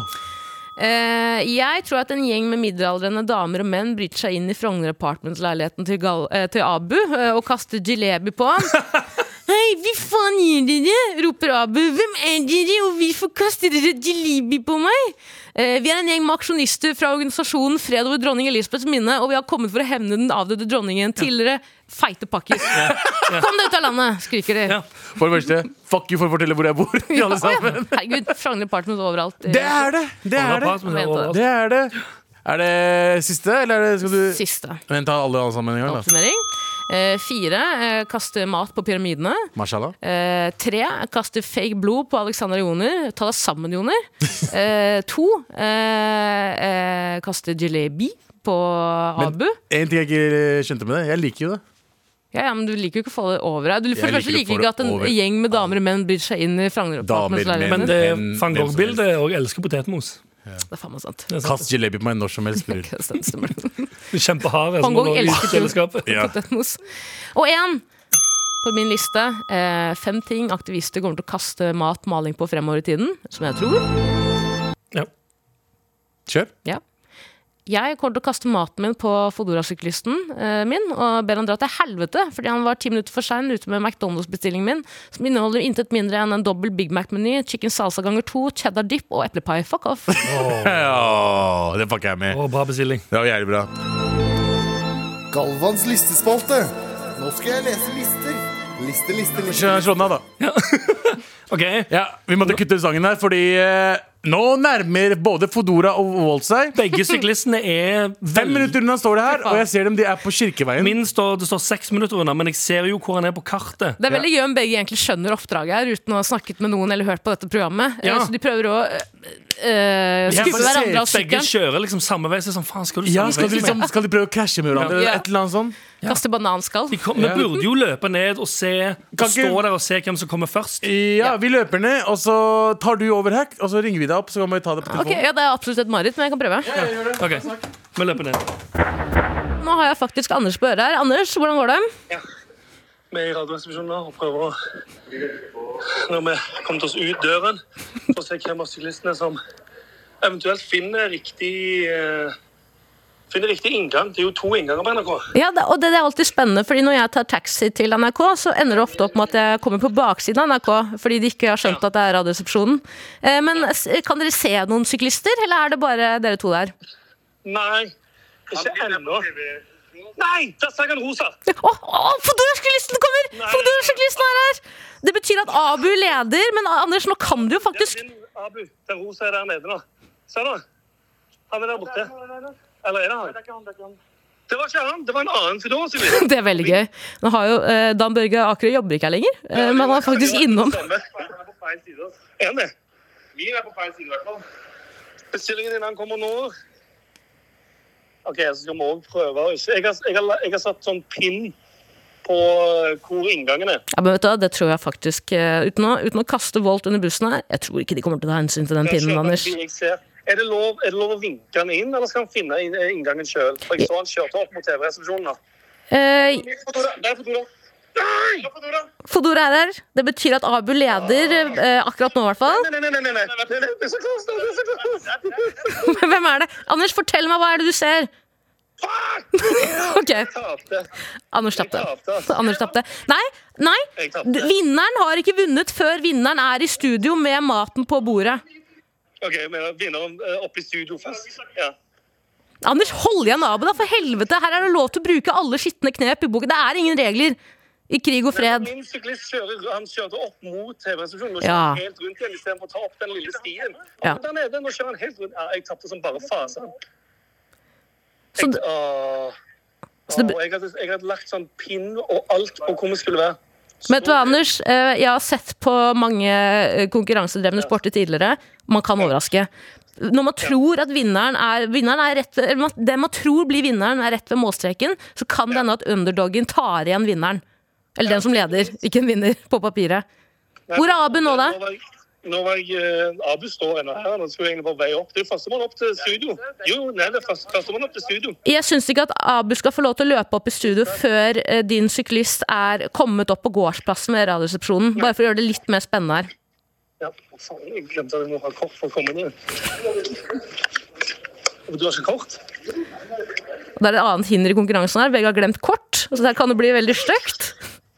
[SPEAKER 5] Eh, jeg tror at en gjeng med middelaldrende damer og menn bryter seg inn
[SPEAKER 4] [LAUGHS]
[SPEAKER 5] i Frogner Apartments-leiligheten til, Gal eh, til Abu eh, og kaster jalebi på ham. Hei, hva faen gjør dere? roper Abu. Hvem er dere, og hvorfor kaster dere jalebi på meg? Eh, vi er en gjeng med aksjonister fra organisasjonen Fred over dronning Elisabeths minne, og vi har kommet for å hevne den avdøde dronningen. Tidligere feite pakkis. Kom deg ut av landet, skriker de.
[SPEAKER 3] Ja.
[SPEAKER 4] For det første, fuck you for å fortelle hvor jeg bor. i
[SPEAKER 5] Å,
[SPEAKER 4] alle
[SPEAKER 5] ja.
[SPEAKER 4] sammen
[SPEAKER 5] Herregud, Frogner Partners overalt.
[SPEAKER 4] [LAUGHS] Det er det! Det
[SPEAKER 3] Alle
[SPEAKER 4] er det.
[SPEAKER 3] apartments er overalt.
[SPEAKER 4] det er det. Er det siste, eller er det, skal du
[SPEAKER 5] Siste
[SPEAKER 4] Men ta alle, alle sammen en gang, da.
[SPEAKER 5] oppsummering. Eh, fire eh, kaste mat på pyramidene.
[SPEAKER 4] Mashallah.
[SPEAKER 5] Eh, tre kaste fake blod på Alexander Joner. Ta deg sammen,
[SPEAKER 4] [LAUGHS]
[SPEAKER 5] Joner. Eh, to eh, eh, kaste jalebi på Abu.
[SPEAKER 4] En ting jeg ikke skjønte med det. Jeg liker jo det.
[SPEAKER 5] ja, ja, men Du liker jo ikke å få det over deg. Du for
[SPEAKER 4] Jeg
[SPEAKER 5] det første
[SPEAKER 4] liker å
[SPEAKER 5] liker
[SPEAKER 4] få
[SPEAKER 5] ikke
[SPEAKER 4] det
[SPEAKER 5] at en
[SPEAKER 4] over.
[SPEAKER 5] gjeng med damer og menn bryr seg inn i Frogner
[SPEAKER 4] Damer,
[SPEAKER 5] Apartments.
[SPEAKER 3] Men
[SPEAKER 5] leiligheten.
[SPEAKER 3] det er van
[SPEAKER 4] Hvem- hvem som
[SPEAKER 3] Gogh-bildet, og jeg elsker potetmos.
[SPEAKER 5] Det er faen meg
[SPEAKER 4] [LAUGHS]
[SPEAKER 5] sant.
[SPEAKER 3] Det er sånn sant.
[SPEAKER 4] Kast jalebi på meg når som helst, bror.
[SPEAKER 5] Det stemmer.
[SPEAKER 3] Kjempeharde.
[SPEAKER 5] Van
[SPEAKER 3] som
[SPEAKER 5] Gogh
[SPEAKER 3] lå i
[SPEAKER 5] elsket jo-
[SPEAKER 3] kjøleskapet.
[SPEAKER 4] Ja.
[SPEAKER 5] Potetmos. Og én på min liste. Eh, fem ting aktivister kommer til å kaste mat, maling på fremover i tiden. Som jeg tror.
[SPEAKER 3] Ja.
[SPEAKER 4] Kjør.
[SPEAKER 5] Ja. Jeg kommer til å kaste maten min på Fodora-syklisten eh, min og ber han dra til helvete fordi han var ti minutter for sein ute med McDonald's-bestillingen min, som inneholder intet mindre enn en dobbel Big Mac-meny, chicken salsa ganger to, cheddar dip og eplepai. Fuck
[SPEAKER 3] [LAUGHS]
[SPEAKER 5] off.
[SPEAKER 4] Ja, det fucker jeg med.
[SPEAKER 3] Og bra bestilling.
[SPEAKER 4] Det var jævlig bra.
[SPEAKER 9] Galvans listespalte. Nå skal jeg lese lister. Liste, liste, liste.
[SPEAKER 4] Slå slå den av, da.
[SPEAKER 3] OK.
[SPEAKER 4] Ja, Vi måtte kutte ut sangen her, fordi eh, nå nærmer både Fodora og Wolt seg.
[SPEAKER 3] Begge syklistene er
[SPEAKER 4] Fem
[SPEAKER 3] veldig
[SPEAKER 4] minutter unna står det her, og jeg ser dem de er på Kirkeveien.
[SPEAKER 3] Min står, det står seks minutter unna, men jeg ser jo hvor han er på kartet.
[SPEAKER 5] Det er veldig gøy om begge egentlig skjønner oppdraget her uten å ha snakket med noen eller hørt på dette programmet. Eh,
[SPEAKER 3] Ja.
[SPEAKER 5] Så de prøver å eh, eh,
[SPEAKER 3] Ja,
[SPEAKER 5] skubbe
[SPEAKER 3] for jeg ser
[SPEAKER 5] hverandre av
[SPEAKER 3] at Begge
[SPEAKER 5] sykkelen.
[SPEAKER 3] kjører liksom samme vei. Så jeg er sånn, faen, skal du
[SPEAKER 4] Ja,
[SPEAKER 3] samme
[SPEAKER 4] skal de,
[SPEAKER 3] vei som
[SPEAKER 4] liksom,
[SPEAKER 3] meg?
[SPEAKER 4] skal de prøve å krasje med hverandre?
[SPEAKER 5] Ja.
[SPEAKER 4] Eller et eller annet sånt?
[SPEAKER 5] Kaste bananskall.
[SPEAKER 3] De kom, vi burde jo løpe ned og se
[SPEAKER 4] Kan
[SPEAKER 3] stå
[SPEAKER 4] ikke-
[SPEAKER 3] der og se hvem som kommer først.
[SPEAKER 4] Ja, vi løper ned, og så tar du over her, og så ringer vi deg opp. Så kan vi ta det på
[SPEAKER 5] Ok,
[SPEAKER 4] telefonen.
[SPEAKER 5] ja, Det er absolutt et mareritt, men jeg kan prøve.
[SPEAKER 3] Ok, Vi løper ned.
[SPEAKER 5] Nå har jeg faktisk Anders på øret her. Anders, hvordan går det?
[SPEAKER 10] Vi er i Radioresepsjonen nå og prøver å Når vi har kommet oss ut døren, for å se hvem av syklistene som eventuelt finner riktig eh, Finner riktig inngang. Det er jo to innganger på NRK.
[SPEAKER 5] Ja, det, og det, det er alltid spennende, fordi når jeg tar taxi til NRK, så ender det ofte opp med at jeg kommer på baksiden av NRK, fordi de ikke har skjønt at det er Radioresepsjonen. Eh, men s- kan dere se noen syklister, eller er det bare dere to der?
[SPEAKER 10] Nei, ikke ennå. Nei, der sa han rosa!
[SPEAKER 5] Å, å, Fodora-syklisten kommer! Fodora-syklisten er her! Det betyr at Abu leder, men Anders, nå kan du jo
[SPEAKER 10] Den,
[SPEAKER 5] faktisk
[SPEAKER 10] den, Abu, den rosa er der nede nå. Se nå. Han er der borte. Eller er det han? Det var ikke han, det var en annen Fedora-syklist.
[SPEAKER 5] [LAUGHS] Det er veldig gøy. Nå har jo eh, Dan Børge Akerø jobber ikke her lenger, eh, men han er faktisk innom.
[SPEAKER 10] Er han det? Min altså. er på feil side, i hvert fall. Bestillingen din han kommer nå. OK, så skal vi òg prøve å ikke jeg har, jeg, har, jeg har satt sånn pinn på eh, hvor inngangen er.
[SPEAKER 5] Ja, men vet du, hva, det tror jeg faktisk eh, uten, å, uten å kaste Volt under bussen her, jeg tror ikke de kommer til å ta hensyn til den
[SPEAKER 10] Jeg
[SPEAKER 5] pinnen,
[SPEAKER 10] kjøper
[SPEAKER 5] Anders.
[SPEAKER 10] en bil jeg ser. Er det, lov, er det lov å vinke han inn, eller skal han finne inn- eh, inngangen sjøl? Jeg så han kjørte opp mot TV-resepsjonen. nå.
[SPEAKER 5] Eh,
[SPEAKER 10] Der er Fedora. Der er Fedora. Nei! Der er Fedora.
[SPEAKER 5] Fodora er her. Det betyr at Abu leder,
[SPEAKER 10] Ah.
[SPEAKER 5] eh, akkurat nå i hvert fall.
[SPEAKER 10] [LAUGHS] Nei, nei, nei, nei, nei, nei. nei, nei, nei. Det er så close, det er så close.
[SPEAKER 5] Hvem er det? Anders, fortell meg, hva er det du ser? [LAUGHS] OK.
[SPEAKER 10] Tapte.
[SPEAKER 5] Anders tapte.
[SPEAKER 10] Jeg tapte, altså.
[SPEAKER 5] Anders tapte. Nei, nei!
[SPEAKER 10] Jeg
[SPEAKER 5] d-
[SPEAKER 10] tapte.
[SPEAKER 5] Vinneren har ikke vunnet før vinneren er i studio med maten på bordet.
[SPEAKER 10] OK, jeg mener vinneren eh, oppe i studio først. Ja.
[SPEAKER 5] Anders, hold igjen Abu, da, for helvete! Her er det lov til å bruke alle skitne knep i boken. Det er ingen regler i krig og fred.
[SPEAKER 10] Min syklist kjører, han kjørte opp mot TV-resepsjonen og kjørte
[SPEAKER 5] Ja.
[SPEAKER 10] helt rundt igjen istedenfor å ta opp den lille stien.
[SPEAKER 5] Ja.
[SPEAKER 10] Ja. Der nede, nå kjører han helt rundt. Ja, jeg tapte som bare fasen.
[SPEAKER 5] Så
[SPEAKER 10] Jeg,
[SPEAKER 5] det-
[SPEAKER 10] åh,
[SPEAKER 5] Så det-
[SPEAKER 10] Åh, jeg, hadde, jeg hadde lagt sånn pinn og alt på hvor vi skulle være.
[SPEAKER 5] Men vet du hva, Anders? Eh, Jeg har sett på mange eh, konkurransedrevne sporter tidligere. Man kan overraske. Når man tror at vinneren er, vinneren er rett ved, eller man- Det man tror blir vinneren, er rett ved målstreken, så kan det hende at underdogen tar igjen vinneren. Eller den som leder, ikke en vinner, på papiret. Hvor er Abu nå, da?
[SPEAKER 10] Nå var jeg, nå var jeg, eh, Abu står ennå her. Han skulle egentlig bare veie opp. Det er jo førstemann opp til studio. Jo, nei, det er første- førstemann opp til studio.
[SPEAKER 5] Jeg syns ikke at Abu skal få lov til å løpe opp i studio før eh, din syklist er kommet opp på gårdsplassen ved Radioresepsjonen. Bare for å gjøre det litt mer spennende her.
[SPEAKER 10] Ja, faen, jeg glemte at jeg må ha kort for å komme inn igjen. Du har ikke kort?
[SPEAKER 5] Og det er et annet hinder i konkurransen her. Begge har glemt kort, så det her kan det bli veldig stygt.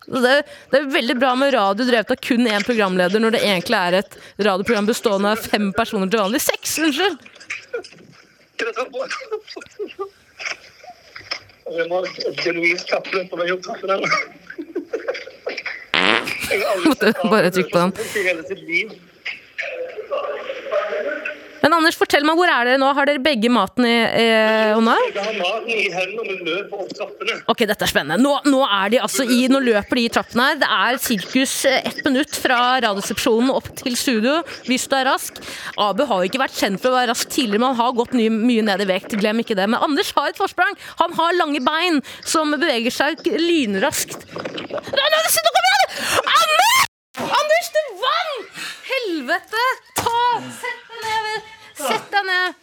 [SPEAKER 5] Så Det, det er veldig bra med radio drevet av kun én programleder, når det egentlig er et radioprogram bestående av fem personer til vanlig. Seks, unnskyld!
[SPEAKER 10] Jeg må ha et genuint kappløp på vei opp trappen her. Jeg har aldri
[SPEAKER 5] Måtte
[SPEAKER 10] sett
[SPEAKER 5] bare trykke på den.
[SPEAKER 10] i hele sitt liv.
[SPEAKER 5] Men Anders, fortell meg, hvor er dere nå? Har dere begge maten i eh, hånda?
[SPEAKER 10] Jeg har maten i hendene og vi løper opp trappene.
[SPEAKER 5] Ok, dette er spennende. Nå, nå, er de, altså, i, nå løper de i trappen her. Det er sirkus eh, ett minutt fra radioresepsjonen opp til studio, hvis du er rask. Abu har jo ikke vært kjent for å være rask tidligere, men han har gått ny, mye ned i vekt. Glem ikke det. Men Anders har et forsprang. Han har lange bein som beveger seg k- lynraskt. Nei, nei, se, nå kommer jeg! Anders! Anders, du vant! Helvete! Ta! Sett deg ned. Sett deg ned.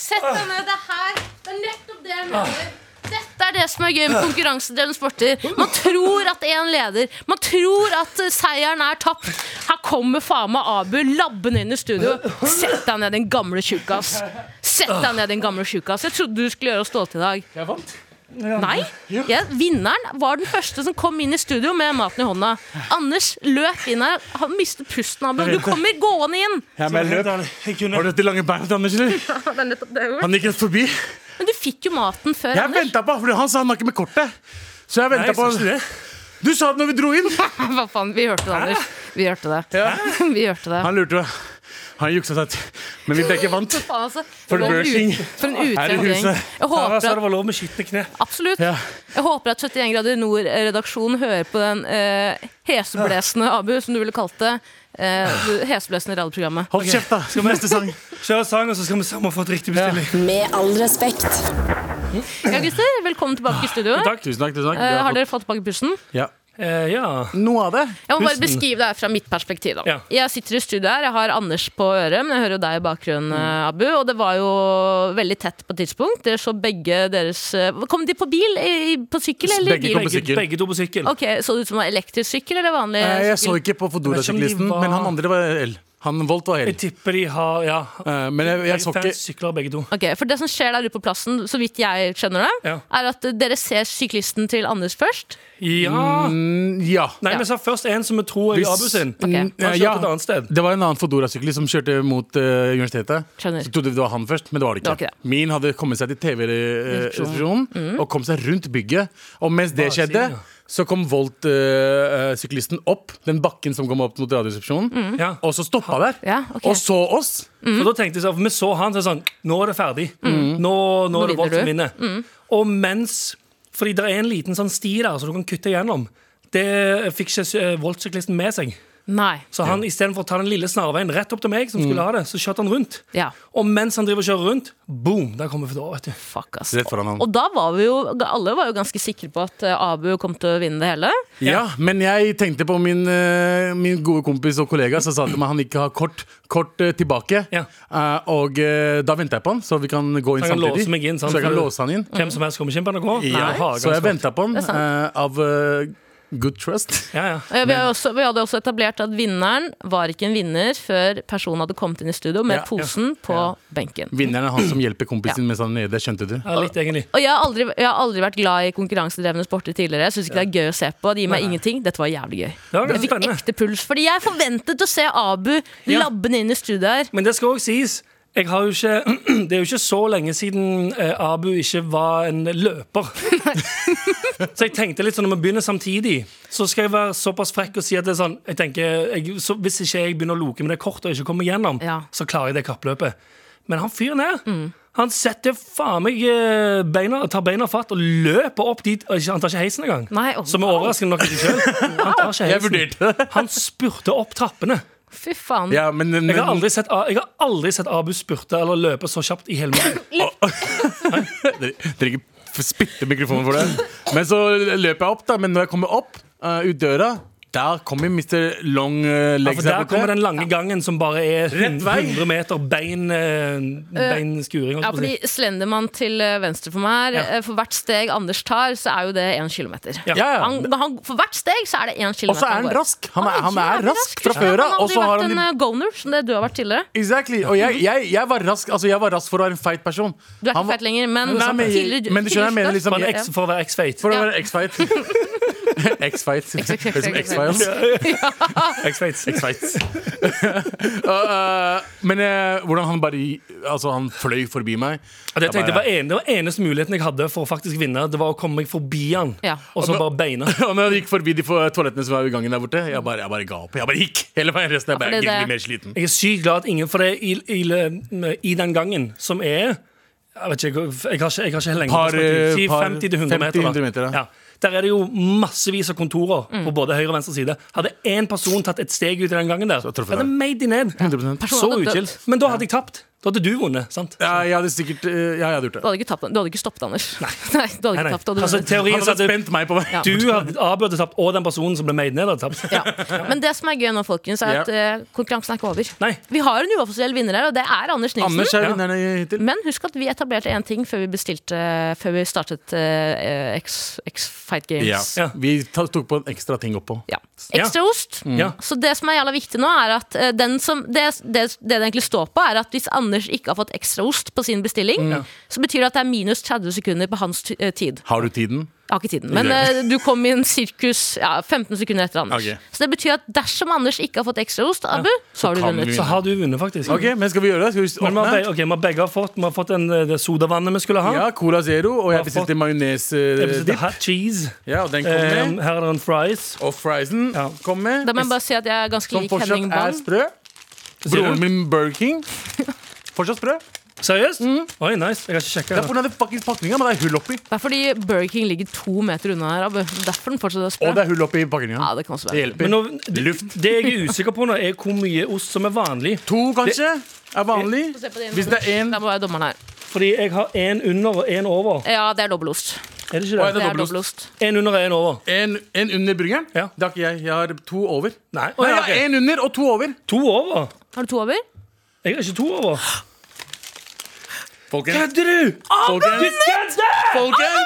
[SPEAKER 5] Sett deg ned. Det er her. Det er nettopp det jeg mener. Dette er det som er gøy med konkurransedrevne sporter. Man tror at én leder. Man tror at eh, seieren er tapt. Her kommer faen meg Abu labbende inn i studio. Sett deg ned, din gamle tjukkas. Sett deg ned, din gamle tjukkas. Jeg trodde du skulle gjøre oss stolte i dag.
[SPEAKER 11] Jeg vant.
[SPEAKER 5] Nei. Ja, vinneren var den første som kom inn i studio med maten i hånda. Anders løp inn her. Han mistet pusten. Abu. Du kommer gående inn!
[SPEAKER 4] Ja, men jeg løp. Har du dette lange beina til Anders, eller? Han gikk rett forbi.
[SPEAKER 5] Men du fikk jo maten før,
[SPEAKER 4] Jeg
[SPEAKER 5] Anders.
[SPEAKER 4] venta på fordi han sa han har ikke med kortet. Så jeg
[SPEAKER 5] Nei,
[SPEAKER 4] ventet på
[SPEAKER 5] sa ikke
[SPEAKER 4] Du sa det når vi dro inn!
[SPEAKER 5] Hva faen? Vi hørte det, Anders. Vi hørte det. [LAUGHS] Vi hørte det.
[SPEAKER 4] Han lurte jo. Han juksa seg til. Men vi begge vant.
[SPEAKER 5] For faen, altså.
[SPEAKER 4] For
[SPEAKER 5] en ut-
[SPEAKER 4] børsing.
[SPEAKER 5] For en
[SPEAKER 4] Her i
[SPEAKER 5] utlending.
[SPEAKER 4] huset.
[SPEAKER 5] Jeg håper
[SPEAKER 3] sa
[SPEAKER 5] at
[SPEAKER 3] det var lov med skitne kne.
[SPEAKER 5] Absolutt.
[SPEAKER 4] Ja.
[SPEAKER 5] Jeg håper at 71 grader nord-redaksjonen hører på den eh, heseblesende Abu, som du ville kalt det. Eh, det heseblesende radioprogrammet.
[SPEAKER 4] Hold kjeft, da. Skal vi neste sang?
[SPEAKER 3] Kjør sang, og så skal vi sammen få et riktig bestilling.
[SPEAKER 1] Med all respekt.
[SPEAKER 5] Ja, Christer, velkommen tilbake i studio.
[SPEAKER 4] Tusen takk.
[SPEAKER 5] Eh, har dere fått tilbake pusten?
[SPEAKER 4] Ja. Eh,
[SPEAKER 11] Noe av det.
[SPEAKER 5] Jeg må bare beskrive det her fra mitt perspektiv. Da. Jeg sitter i studio her, jeg har Anders på øret, men jeg hører jo deg i
[SPEAKER 4] Mm.
[SPEAKER 5] bakgrunnen, eh, Abu. Og det var jo veldig tett på et tidspunkt. Dere så begge deres eh, Kom de på bil? I, på sykkel eller i bil?
[SPEAKER 3] Begge to på sykkel.
[SPEAKER 5] Ok, Så det ut som det var elektrisk sykkel eller vanlig?
[SPEAKER 4] Eh, Jeg så
[SPEAKER 5] sykkel?
[SPEAKER 4] ikke
[SPEAKER 3] Jeg vet
[SPEAKER 4] på
[SPEAKER 3] ikke om
[SPEAKER 4] Fodora-syklisten,
[SPEAKER 3] de var-
[SPEAKER 4] men han andre var el. Han Volt var el.
[SPEAKER 3] Jeg tipper de har Ja.
[SPEAKER 4] Eh, Men jeg, jeg så
[SPEAKER 3] Fans
[SPEAKER 4] ikke Mm.
[SPEAKER 3] sykler begge to.
[SPEAKER 5] Ok, For det som skjer der ute på plassen, så vidt jeg skjønner det,
[SPEAKER 3] Ja.
[SPEAKER 5] er at dere ser syklisten til Anders først.
[SPEAKER 3] Ja.
[SPEAKER 4] Mm, Ja.
[SPEAKER 3] Nei, vi sa først en som vi tror er
[SPEAKER 4] Hvis-
[SPEAKER 3] Abu sin.
[SPEAKER 5] Ok.
[SPEAKER 4] Mm,
[SPEAKER 3] Han
[SPEAKER 4] ja,
[SPEAKER 3] kjørte et annet sted.
[SPEAKER 4] Det var en annen Fodora-sykler som kjørte mot eh, universitetet.
[SPEAKER 5] Skjønner.
[SPEAKER 4] Så trodde vi det var han først, men det var det
[SPEAKER 5] Det var
[SPEAKER 4] ikke.
[SPEAKER 5] ikke det. Mm.
[SPEAKER 4] Min hadde kommet seg til TV-resepsjonen og kom seg rundt bygget. Og mens det
[SPEAKER 3] Baksiden,
[SPEAKER 4] skjedde,
[SPEAKER 3] ja.
[SPEAKER 4] så kom Volt-syklisten opp den bakken som kom opp mot Radioresepsjonen,
[SPEAKER 3] Ja.
[SPEAKER 4] og så stoppa der.
[SPEAKER 5] Mm. Ja, ok.
[SPEAKER 4] Og så oss.
[SPEAKER 3] For da tenkte jeg sånn, for Vi så han så sånn Nå er det ferdig. Nå, nå er det
[SPEAKER 5] vinner
[SPEAKER 3] Volt som
[SPEAKER 5] du.
[SPEAKER 3] vinner. Og mens Fordi det er en liten sånn sti der, så du kan kutte igjennom. Det fikk ikke eh, Volt-syklisten med seg.
[SPEAKER 5] Nei.
[SPEAKER 3] Så han istedenfor å ta den lille snarveien rett opp til meg, som skulle ha det, så kjørte han rundt.
[SPEAKER 5] Ja.
[SPEAKER 3] Og mens han driver og kjører rundt, boom! Der kommer Foodora, vet du.
[SPEAKER 5] Fuck, ass.
[SPEAKER 4] Rett foran han.
[SPEAKER 5] Og da var vi jo Alle var jo ganske sikre på at eh, Abu kom til å vinne det hele.
[SPEAKER 4] Ja, men jeg tenkte på min, eh, min gode kompis og kollega som sa til meg han ikke har kort, kort eh, tilbake.
[SPEAKER 3] Ja.
[SPEAKER 4] Eh, og eh, da venta jeg på han, så vi kan gå inn
[SPEAKER 3] Så han kan
[SPEAKER 4] samtidig.
[SPEAKER 3] låse meg inn, sant?
[SPEAKER 4] Så jeg kan
[SPEAKER 3] For-
[SPEAKER 4] låse han inn.
[SPEAKER 3] Hvem som helst kommer ikke inn på NRK.
[SPEAKER 4] Ja,
[SPEAKER 3] Nei, hagen
[SPEAKER 4] så jeg
[SPEAKER 3] skal-
[SPEAKER 4] venta på den
[SPEAKER 5] Det er sant.
[SPEAKER 4] eh, av eh, good trust.
[SPEAKER 3] Ja, ja.
[SPEAKER 5] Og ja, Eh, vi, har jo også, vi hadde også etablert at vinneren var ikke en vinner før personen hadde kommet inn i studio med
[SPEAKER 4] Ja, ja.
[SPEAKER 5] posen på benken.
[SPEAKER 4] Vinneren er han som hjelper kompisen mens han er nede. Skjønte du?
[SPEAKER 3] ja, litt egentlig.
[SPEAKER 5] Og jeg har, aldri, jeg har aldri vært glad i konkurransedrevne sporter tidligere. Jeg synes ikke det er gøy å se på. Det gir meg ingenting. Dette var jævlig gøy.
[SPEAKER 3] Det var
[SPEAKER 5] Jeg
[SPEAKER 3] ganske
[SPEAKER 5] fikk
[SPEAKER 3] spennende.
[SPEAKER 5] ekte puls. Fordi jeg forventet å se Abu
[SPEAKER 3] Ja.
[SPEAKER 5] labbende inn i studio her.
[SPEAKER 3] Men det skal òg sies. Jeg har jo ikke, [CLEARS THROAT] det er jo ikke så lenge siden eh, Abu ikke var en løper.
[SPEAKER 4] [LAUGHS]
[SPEAKER 3] [LAUGHS] så jeg tenkte litt sånn når vi begynner samtidig, så skal jeg være såpass frekk og si at det er sånn jeg tenker, jeg, så Hvis ikke jeg begynner å loke med det kortet og ikke kommer gjennom,
[SPEAKER 5] Ja.
[SPEAKER 3] så klarer jeg det kappløpet. Men han fyren her,
[SPEAKER 4] Mm.
[SPEAKER 3] han setter faen meg eh, beina, tar beina fatt og løper opp dit. og ikke- Han tar ikke heisen engang.
[SPEAKER 5] Nei, å,
[SPEAKER 3] Som er overraskende nok i seg selv. Han tar ikke
[SPEAKER 4] [LAUGHS] Jeg
[SPEAKER 3] heisen.
[SPEAKER 4] vurderte det.
[SPEAKER 3] Han spurte opp trappene.
[SPEAKER 5] Fy faen.
[SPEAKER 4] Ja, men, men,
[SPEAKER 3] Jeg har aldri sett, jeg har aldri sett Abu spurte eller løpe så kjapt i hele mitt liv. Altså,
[SPEAKER 4] Dere dere ikke f- spytte mikrofonen for det. Men så løper jeg opp, da. Men når jeg kommer opp eh, ut døra, der kommer Mr. Long eh,
[SPEAKER 3] Ja,
[SPEAKER 4] Legs
[SPEAKER 3] for
[SPEAKER 4] her
[SPEAKER 3] der
[SPEAKER 4] borte.
[SPEAKER 3] kommer den lange gangen som bare er
[SPEAKER 4] Rett vei.
[SPEAKER 3] 100 meter bein, eh, beinskuring. holdt
[SPEAKER 5] Ja,
[SPEAKER 3] jeg på å si.
[SPEAKER 5] fordi Slendermann til eh, venstre for meg her
[SPEAKER 3] Ja.
[SPEAKER 5] eh, For hvert steg Anders tar, så er jo det én kilometer.
[SPEAKER 3] Ja.
[SPEAKER 4] Ja, ja.
[SPEAKER 5] Han, han, for hvert steg så er det én kilometer.
[SPEAKER 4] Og så er han
[SPEAKER 5] går.
[SPEAKER 4] rask. Han er, han er
[SPEAKER 5] jævlig
[SPEAKER 4] rask fra
[SPEAKER 5] Ja,
[SPEAKER 4] før
[SPEAKER 5] Han
[SPEAKER 4] av.
[SPEAKER 5] har
[SPEAKER 4] Og
[SPEAKER 5] aldri
[SPEAKER 4] så har
[SPEAKER 5] vært
[SPEAKER 4] han
[SPEAKER 5] en eh, goner, som det du har vært tidligere.
[SPEAKER 4] Exactly. Og jeg, jeg, jeg, var rask, altså jeg var rask for å være en feit person.
[SPEAKER 5] Du er
[SPEAKER 4] Han
[SPEAKER 5] ikke
[SPEAKER 4] var-
[SPEAKER 5] feit lenger, men,
[SPEAKER 4] Nei, men,
[SPEAKER 5] tidligere-
[SPEAKER 4] men du skjønner, jeg mener
[SPEAKER 5] tidligere-
[SPEAKER 4] liksom
[SPEAKER 3] For en
[SPEAKER 4] jeg,
[SPEAKER 3] ex- For å være X-fate.
[SPEAKER 4] For å
[SPEAKER 5] Ja.
[SPEAKER 4] være X-feit. [LAUGHS] X-Fight.
[SPEAKER 5] XXX.
[SPEAKER 4] Høres ut som X-Files.
[SPEAKER 3] X-Fights.
[SPEAKER 4] X-Fights. Uh, uh, men eh, hvordan han bare Altså, han fløy forbi meg.
[SPEAKER 3] [LAUGHS] Og det,
[SPEAKER 4] Jeg
[SPEAKER 3] tenkte, jeg var en, det var eneste muligheten jeg hadde for å faktisk vinne. Det var å komme meg forbi han,
[SPEAKER 5] Ja.
[SPEAKER 3] og så bare beina.
[SPEAKER 4] [LAUGHS] Og når jeg gikk forbi de for- toalettene som var i gangen der borte, jeg bare, jeg bare ga opp. Jeg bare gikk hele veien. Resten er
[SPEAKER 5] Ja, for
[SPEAKER 4] bare,
[SPEAKER 5] det
[SPEAKER 4] jeg
[SPEAKER 5] er
[SPEAKER 4] blir mer sliten.
[SPEAKER 3] Jeg er sykt glad at ingen For det i, i, i den gangen som er Jeg vet ikke, jeg har ikke, jeg har ikke lenge
[SPEAKER 4] Par, eh,
[SPEAKER 3] 10,
[SPEAKER 4] par-
[SPEAKER 3] 50 til 100 meter,
[SPEAKER 4] 50 meter, ja.
[SPEAKER 3] ja. Der er det jo massevis av kontorer på både høyre og venstre side. Hadde én person tatt et steg ut i den gangen der,
[SPEAKER 4] truffet
[SPEAKER 3] hadde
[SPEAKER 4] deg.
[SPEAKER 3] made it ned. Så
[SPEAKER 5] Personen hadde
[SPEAKER 3] utkilt. Men da hadde jeg tapt. Da hadde du vunnet, sant?
[SPEAKER 4] Ja, jeg hadde sikkert eh, Ja, jeg hadde gjort
[SPEAKER 5] Du
[SPEAKER 4] det.
[SPEAKER 5] hadde ikke, tapt, du hadde ikke stoppet, Anders. [LAUGHS] Nei, du hadde
[SPEAKER 3] Nei,
[SPEAKER 5] ikke
[SPEAKER 3] nei.
[SPEAKER 5] tapt. du hadde
[SPEAKER 3] Altså,
[SPEAKER 5] vunnet.
[SPEAKER 3] teorien
[SPEAKER 4] Han
[SPEAKER 3] sa
[SPEAKER 4] hadde
[SPEAKER 3] at du,
[SPEAKER 4] spent meg på vei.
[SPEAKER 5] Ja.
[SPEAKER 3] du hadde, Abu hadde tapt, og den personen som ble made ned, hadde tapt.
[SPEAKER 5] Ja. Men det som er gøy nå, folkens, er at eh, konkurransen er ikke over.
[SPEAKER 3] Nei.
[SPEAKER 5] Vi har en uoffisiell vinner her, og det er Anders Nilsen.
[SPEAKER 4] Anders er
[SPEAKER 3] Ja.
[SPEAKER 4] vinneren hittil.
[SPEAKER 5] Men husk at vi etablerte én ting før vi bestilte Før vi startet eh, X, X Fight Games.
[SPEAKER 3] Ja.
[SPEAKER 4] Vi ta- tok på en ekstra ting oppå.
[SPEAKER 5] Ja. Ekstra ost.
[SPEAKER 4] Mm.
[SPEAKER 3] Ja.
[SPEAKER 5] Så det som er jævla viktig nå, er at eh, den som, det, det, det det egentlig står på, er at hvis Anders ikke har fått ekstra ost på sin bestilling,
[SPEAKER 4] Mm.
[SPEAKER 5] så betyr det at det er minus 30 sekunder på hans t eh, tid.
[SPEAKER 4] Har du tiden?
[SPEAKER 5] Jeg har ikke tiden, men eh, du kom inn cirkus ja, 15 sekunder etter Anders.
[SPEAKER 4] Ok.
[SPEAKER 5] Så det betyr at dersom Anders ikke har fått ekstra ost, Abu, så har du
[SPEAKER 4] kan
[SPEAKER 5] vunnet.
[SPEAKER 4] vi
[SPEAKER 3] Så har du vunnet, faktisk.
[SPEAKER 4] Ok, men skal vi gjøre det? Skal vi
[SPEAKER 3] Men vi har,
[SPEAKER 4] åpne?
[SPEAKER 3] be- ok, vi har begge har fått, vi har fått den, eh, det sodavannet vi skulle ha.
[SPEAKER 4] Ja, Cola Zero, og jeg
[SPEAKER 3] Har fått-
[SPEAKER 4] bestilte eh,
[SPEAKER 3] Jeg bestilte
[SPEAKER 4] majones-dipp.
[SPEAKER 3] hot cheese.
[SPEAKER 4] Ja, og den kom
[SPEAKER 3] Um,
[SPEAKER 4] med.
[SPEAKER 3] her er det en fries.
[SPEAKER 4] Og friesen
[SPEAKER 3] Ja.
[SPEAKER 4] kom med.
[SPEAKER 5] Da må jeg bare si at jeg er ganske
[SPEAKER 4] Som
[SPEAKER 5] lik
[SPEAKER 4] fortsatt
[SPEAKER 5] Henning
[SPEAKER 4] er
[SPEAKER 5] Bang.
[SPEAKER 4] sprø.
[SPEAKER 3] du?
[SPEAKER 4] Broren min Burger King. [LAUGHS] Fortsatt sprø.
[SPEAKER 3] Seriøst?
[SPEAKER 5] Mm.
[SPEAKER 3] Oi, nice. Jeg har ikke
[SPEAKER 4] Det
[SPEAKER 3] sjekka.
[SPEAKER 4] er pga. fuckings pakninga, men det er hull oppi.
[SPEAKER 5] Det er fordi Burger King ligger to meter unna her, Abu. Derfor den fortsatt er sprø.
[SPEAKER 4] Og det er hull oppi pakninga.
[SPEAKER 5] Ja, det kan også
[SPEAKER 4] Det
[SPEAKER 5] være.
[SPEAKER 4] hjelper.
[SPEAKER 3] Men nå, det, det jeg er usikker på nå, er hvor mye ost som er vanlig.
[SPEAKER 4] To, kanskje, er vanlig.
[SPEAKER 5] Få se på din.
[SPEAKER 4] Hvis det er én
[SPEAKER 5] Da må være dommeren her.
[SPEAKER 3] Fordi jeg har én under og én over.
[SPEAKER 5] Ja, det er dobbeltost.
[SPEAKER 3] Er det ikke
[SPEAKER 4] Oi,
[SPEAKER 3] det?
[SPEAKER 5] Det er
[SPEAKER 4] dobbeltost.
[SPEAKER 5] dobbeltost.
[SPEAKER 3] Én under og én over.
[SPEAKER 4] en, en under burgeren
[SPEAKER 3] Ja.
[SPEAKER 4] Det har ikke jeg. Jeg har to over.
[SPEAKER 3] Nei, Å,
[SPEAKER 4] Nei,
[SPEAKER 3] ja,
[SPEAKER 4] jeg har
[SPEAKER 3] ok.
[SPEAKER 4] én under og to over.
[SPEAKER 3] to over.
[SPEAKER 5] Har du to over?
[SPEAKER 3] Jeg har ikke to over.
[SPEAKER 4] Folkens,
[SPEAKER 3] Kødder du?!
[SPEAKER 4] folkens, folkens!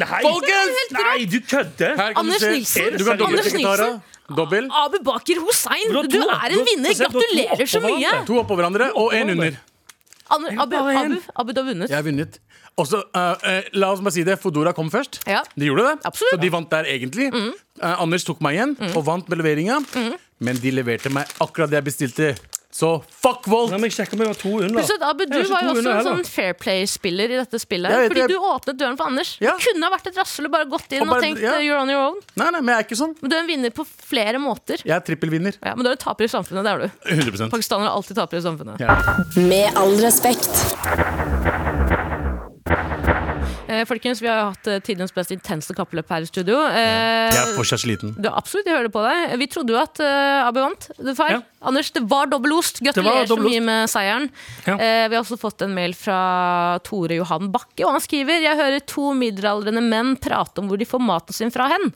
[SPEAKER 3] Nei,
[SPEAKER 4] Folkens!
[SPEAKER 3] Nei du kødder!
[SPEAKER 4] Her kan du
[SPEAKER 5] Anders
[SPEAKER 4] se.
[SPEAKER 5] Nilsen.
[SPEAKER 4] Du kan doble
[SPEAKER 5] Anders
[SPEAKER 4] sekretara.
[SPEAKER 5] Nilsen.
[SPEAKER 4] Dobbel.
[SPEAKER 5] Abu Baker Hussein,
[SPEAKER 3] Du har to-
[SPEAKER 5] du er
[SPEAKER 3] du
[SPEAKER 5] en
[SPEAKER 3] har-
[SPEAKER 5] vinner!
[SPEAKER 3] se, du har to
[SPEAKER 5] Gratulerer så
[SPEAKER 3] oppå
[SPEAKER 5] mye!
[SPEAKER 3] hverandre.
[SPEAKER 4] To oppå hverandre og én under.
[SPEAKER 5] Abu, Abu,
[SPEAKER 3] bare en.
[SPEAKER 5] Abu, Abu, du har vunnet.
[SPEAKER 4] Jeg har vunnet. Også, eh, eh, la oss bare si det, Fodora kom først.
[SPEAKER 5] Ja.
[SPEAKER 4] De gjorde det,
[SPEAKER 5] Absolutt. Mm.
[SPEAKER 4] så de vant der egentlig. Eh, Anders tok meg igjen og vant med leveringa, men de leverte meg akkurat det jeg bestilte. Så fuck Volt!
[SPEAKER 3] Nei, men jeg sjekker om jeg har to under.
[SPEAKER 5] Plutsett, Abu, du
[SPEAKER 3] Jeg har
[SPEAKER 5] var
[SPEAKER 3] ikke to
[SPEAKER 5] jo også
[SPEAKER 3] under
[SPEAKER 5] en
[SPEAKER 3] heller.
[SPEAKER 5] sånn fair play-spiller i dette spillet.
[SPEAKER 4] Jeg vet
[SPEAKER 5] Fordi
[SPEAKER 4] det.
[SPEAKER 5] du åpnet døren for Anders.
[SPEAKER 4] Ja.
[SPEAKER 5] Du kunne ha vært et rasshøl og bare gått inn
[SPEAKER 4] Og
[SPEAKER 5] og,
[SPEAKER 4] bare-
[SPEAKER 5] tenkt
[SPEAKER 4] ja.
[SPEAKER 5] eh, you're on your own.
[SPEAKER 4] Nei, nei, men jeg er ikke sånn.
[SPEAKER 5] Men du er en vinner på flere måter.
[SPEAKER 4] Jeg er trippelvinner.
[SPEAKER 5] Ja, men du er en taper i samfunnet, det er du.
[SPEAKER 4] 100
[SPEAKER 5] Pakistanere er alltid tapere i samfunnet.
[SPEAKER 1] Med all respekt.
[SPEAKER 5] Eh, folkens, vi har jo hatt eh, tidens mest intense kappløp her i studio. Eh,
[SPEAKER 4] Jeg er fortsatt sliten.
[SPEAKER 5] Du, absolutt, jeg hører på deg. Vi trodde jo at eh, Abu vant. Det er feil.
[SPEAKER 3] Ja.
[SPEAKER 5] Anders, det var dobbel ost.
[SPEAKER 3] var
[SPEAKER 5] Gratulerer så
[SPEAKER 3] dobbel ost.
[SPEAKER 5] mye med seieren.
[SPEAKER 3] Ja.
[SPEAKER 5] Eh, vi har også fått en mail fra Tore Johan Bakke, og han skriver Jeg hører to middelaldrende menn prate om hvor de får maten sin fra hen.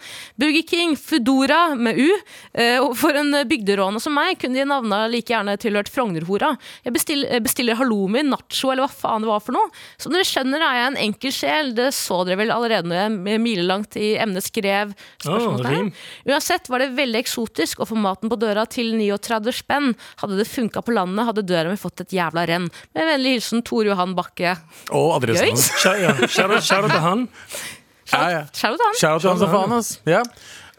[SPEAKER 5] Burger King, Foodora med U. Eh, og for en bygderåne som meg kunne de navna like gjerne tilhørt Frognerhora. Jeg bestill, eh, bestiller halloumi, nacho eller hva faen det var for noe. Som dere skjønner er jeg en enkel sjel. Det så dere vel allerede når jeg milelangt i emnet skrev spørsmålstegn.
[SPEAKER 3] rim.
[SPEAKER 5] Uansett var det veldig eksotisk å få maten på døra til 39 spenn. Hadde det funka på landet, hadde døra mi fått et jævla renn. Med vennlig hilsen Tore Johan Bakke.
[SPEAKER 4] Og adressen
[SPEAKER 5] Gøy.
[SPEAKER 4] hans.
[SPEAKER 3] Shout- ja,
[SPEAKER 5] [LAUGHS]
[SPEAKER 3] shout out- shout out til han.
[SPEAKER 4] Ja, ja.
[SPEAKER 5] Shout out han.
[SPEAKER 4] Shout out til han som faen, ass. Ja.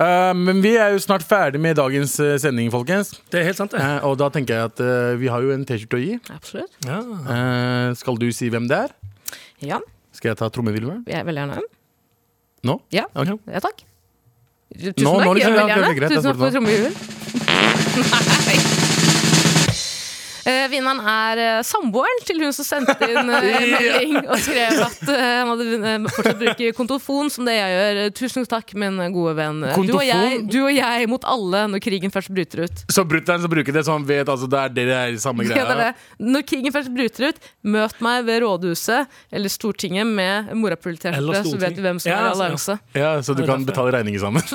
[SPEAKER 4] Eh, men vi er jo snart ferdig med dagens eh, sending, folkens.
[SPEAKER 3] Det er helt sant, det.
[SPEAKER 4] Eh, og da tenker jeg at eh, vi har jo en T-skjorte å gi.
[SPEAKER 5] Absolutt.
[SPEAKER 3] Ja.
[SPEAKER 4] Eh, skal du si hvem det er?
[SPEAKER 5] Ja,
[SPEAKER 4] Skal jeg ta trommevirvelen?
[SPEAKER 5] jeg veldig gjerne.
[SPEAKER 4] Nå?
[SPEAKER 5] Ja,
[SPEAKER 4] Ok.
[SPEAKER 5] ja takk. Tusen
[SPEAKER 4] Nå-
[SPEAKER 5] takk.
[SPEAKER 4] nå liksom,
[SPEAKER 5] jeg
[SPEAKER 4] ja,
[SPEAKER 5] vil gjerne.
[SPEAKER 4] det er greit,
[SPEAKER 5] Tusen
[SPEAKER 4] jeg
[SPEAKER 5] takk for
[SPEAKER 4] spurte
[SPEAKER 5] trommehjulet. [LAUGHS] Eh, vinneren er eh, samboeren til hun som sendte inn
[SPEAKER 4] [LAUGHS]
[SPEAKER 5] eh, en melding og skrev at eh, han hadde vunnet- fortsatt bruke kontofon, som det jeg gjør. Eh, Tusen takk, min gode venn. Eh, Du og,
[SPEAKER 4] Kontofon?
[SPEAKER 5] jeg, du og jeg mot alle når krigen først bryter ut.
[SPEAKER 4] Så brutter'n som bruker det, så han vet altså det er det det er
[SPEAKER 5] [LAUGHS]
[SPEAKER 4] samme
[SPEAKER 5] Det er det.
[SPEAKER 4] greia.
[SPEAKER 5] Når krigen først bryter ut, møt meg ved rådhuset eller Stortinget med
[SPEAKER 3] Eller
[SPEAKER 5] morapuliterte, så
[SPEAKER 3] Stortinget.
[SPEAKER 5] vet vi hvem som
[SPEAKER 3] Ja,
[SPEAKER 5] er i
[SPEAKER 3] altså, ja.
[SPEAKER 5] allianse.
[SPEAKER 4] Ja, Så du kan betale regninger sammen. [LAUGHS]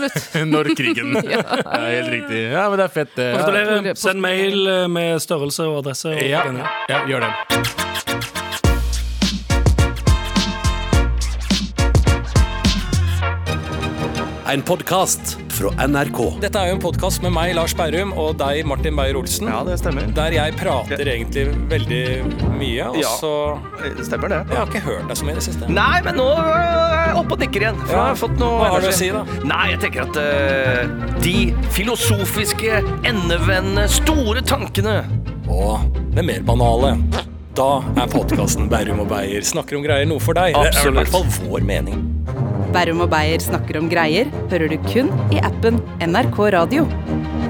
[SPEAKER 4] Når krigen ja. Helt riktig. Ja, men det er fett. det. Ja.
[SPEAKER 3] Gratulerer. Send mail eh, med størrelse og adresse. Og sånn.
[SPEAKER 4] Ja.
[SPEAKER 3] denne.
[SPEAKER 4] ja, gjør det.
[SPEAKER 12] En podkast
[SPEAKER 13] fra NRK.
[SPEAKER 3] Dette er jo en podkast med meg, Lars Berrum, og deg, Martin Beyer-Olsen.
[SPEAKER 14] Ja, det stemmer.
[SPEAKER 3] Der jeg prater egentlig veldig mye, og
[SPEAKER 14] Ja,
[SPEAKER 3] så
[SPEAKER 14] Stemmer det.
[SPEAKER 3] Jeg har ikke hørt deg så mye i det siste.
[SPEAKER 14] Nei, men nå er jeg oppe og nikker igjen. For
[SPEAKER 3] Ja.
[SPEAKER 14] jeg har fått noe
[SPEAKER 3] Hva har du å
[SPEAKER 14] energi.
[SPEAKER 3] si, da?
[SPEAKER 14] Nei, jeg tenker at eh, de filosofiske, endevendende, store tankene
[SPEAKER 3] Og det mer banale. Da er podkasten Berrum og Beyer snakker om greier noe for deg. Det er i
[SPEAKER 14] Absolutt.
[SPEAKER 3] hvert fall vår mening.
[SPEAKER 1] Berrum og Beyer snakker om greier hører du kun i appen NRK Radio.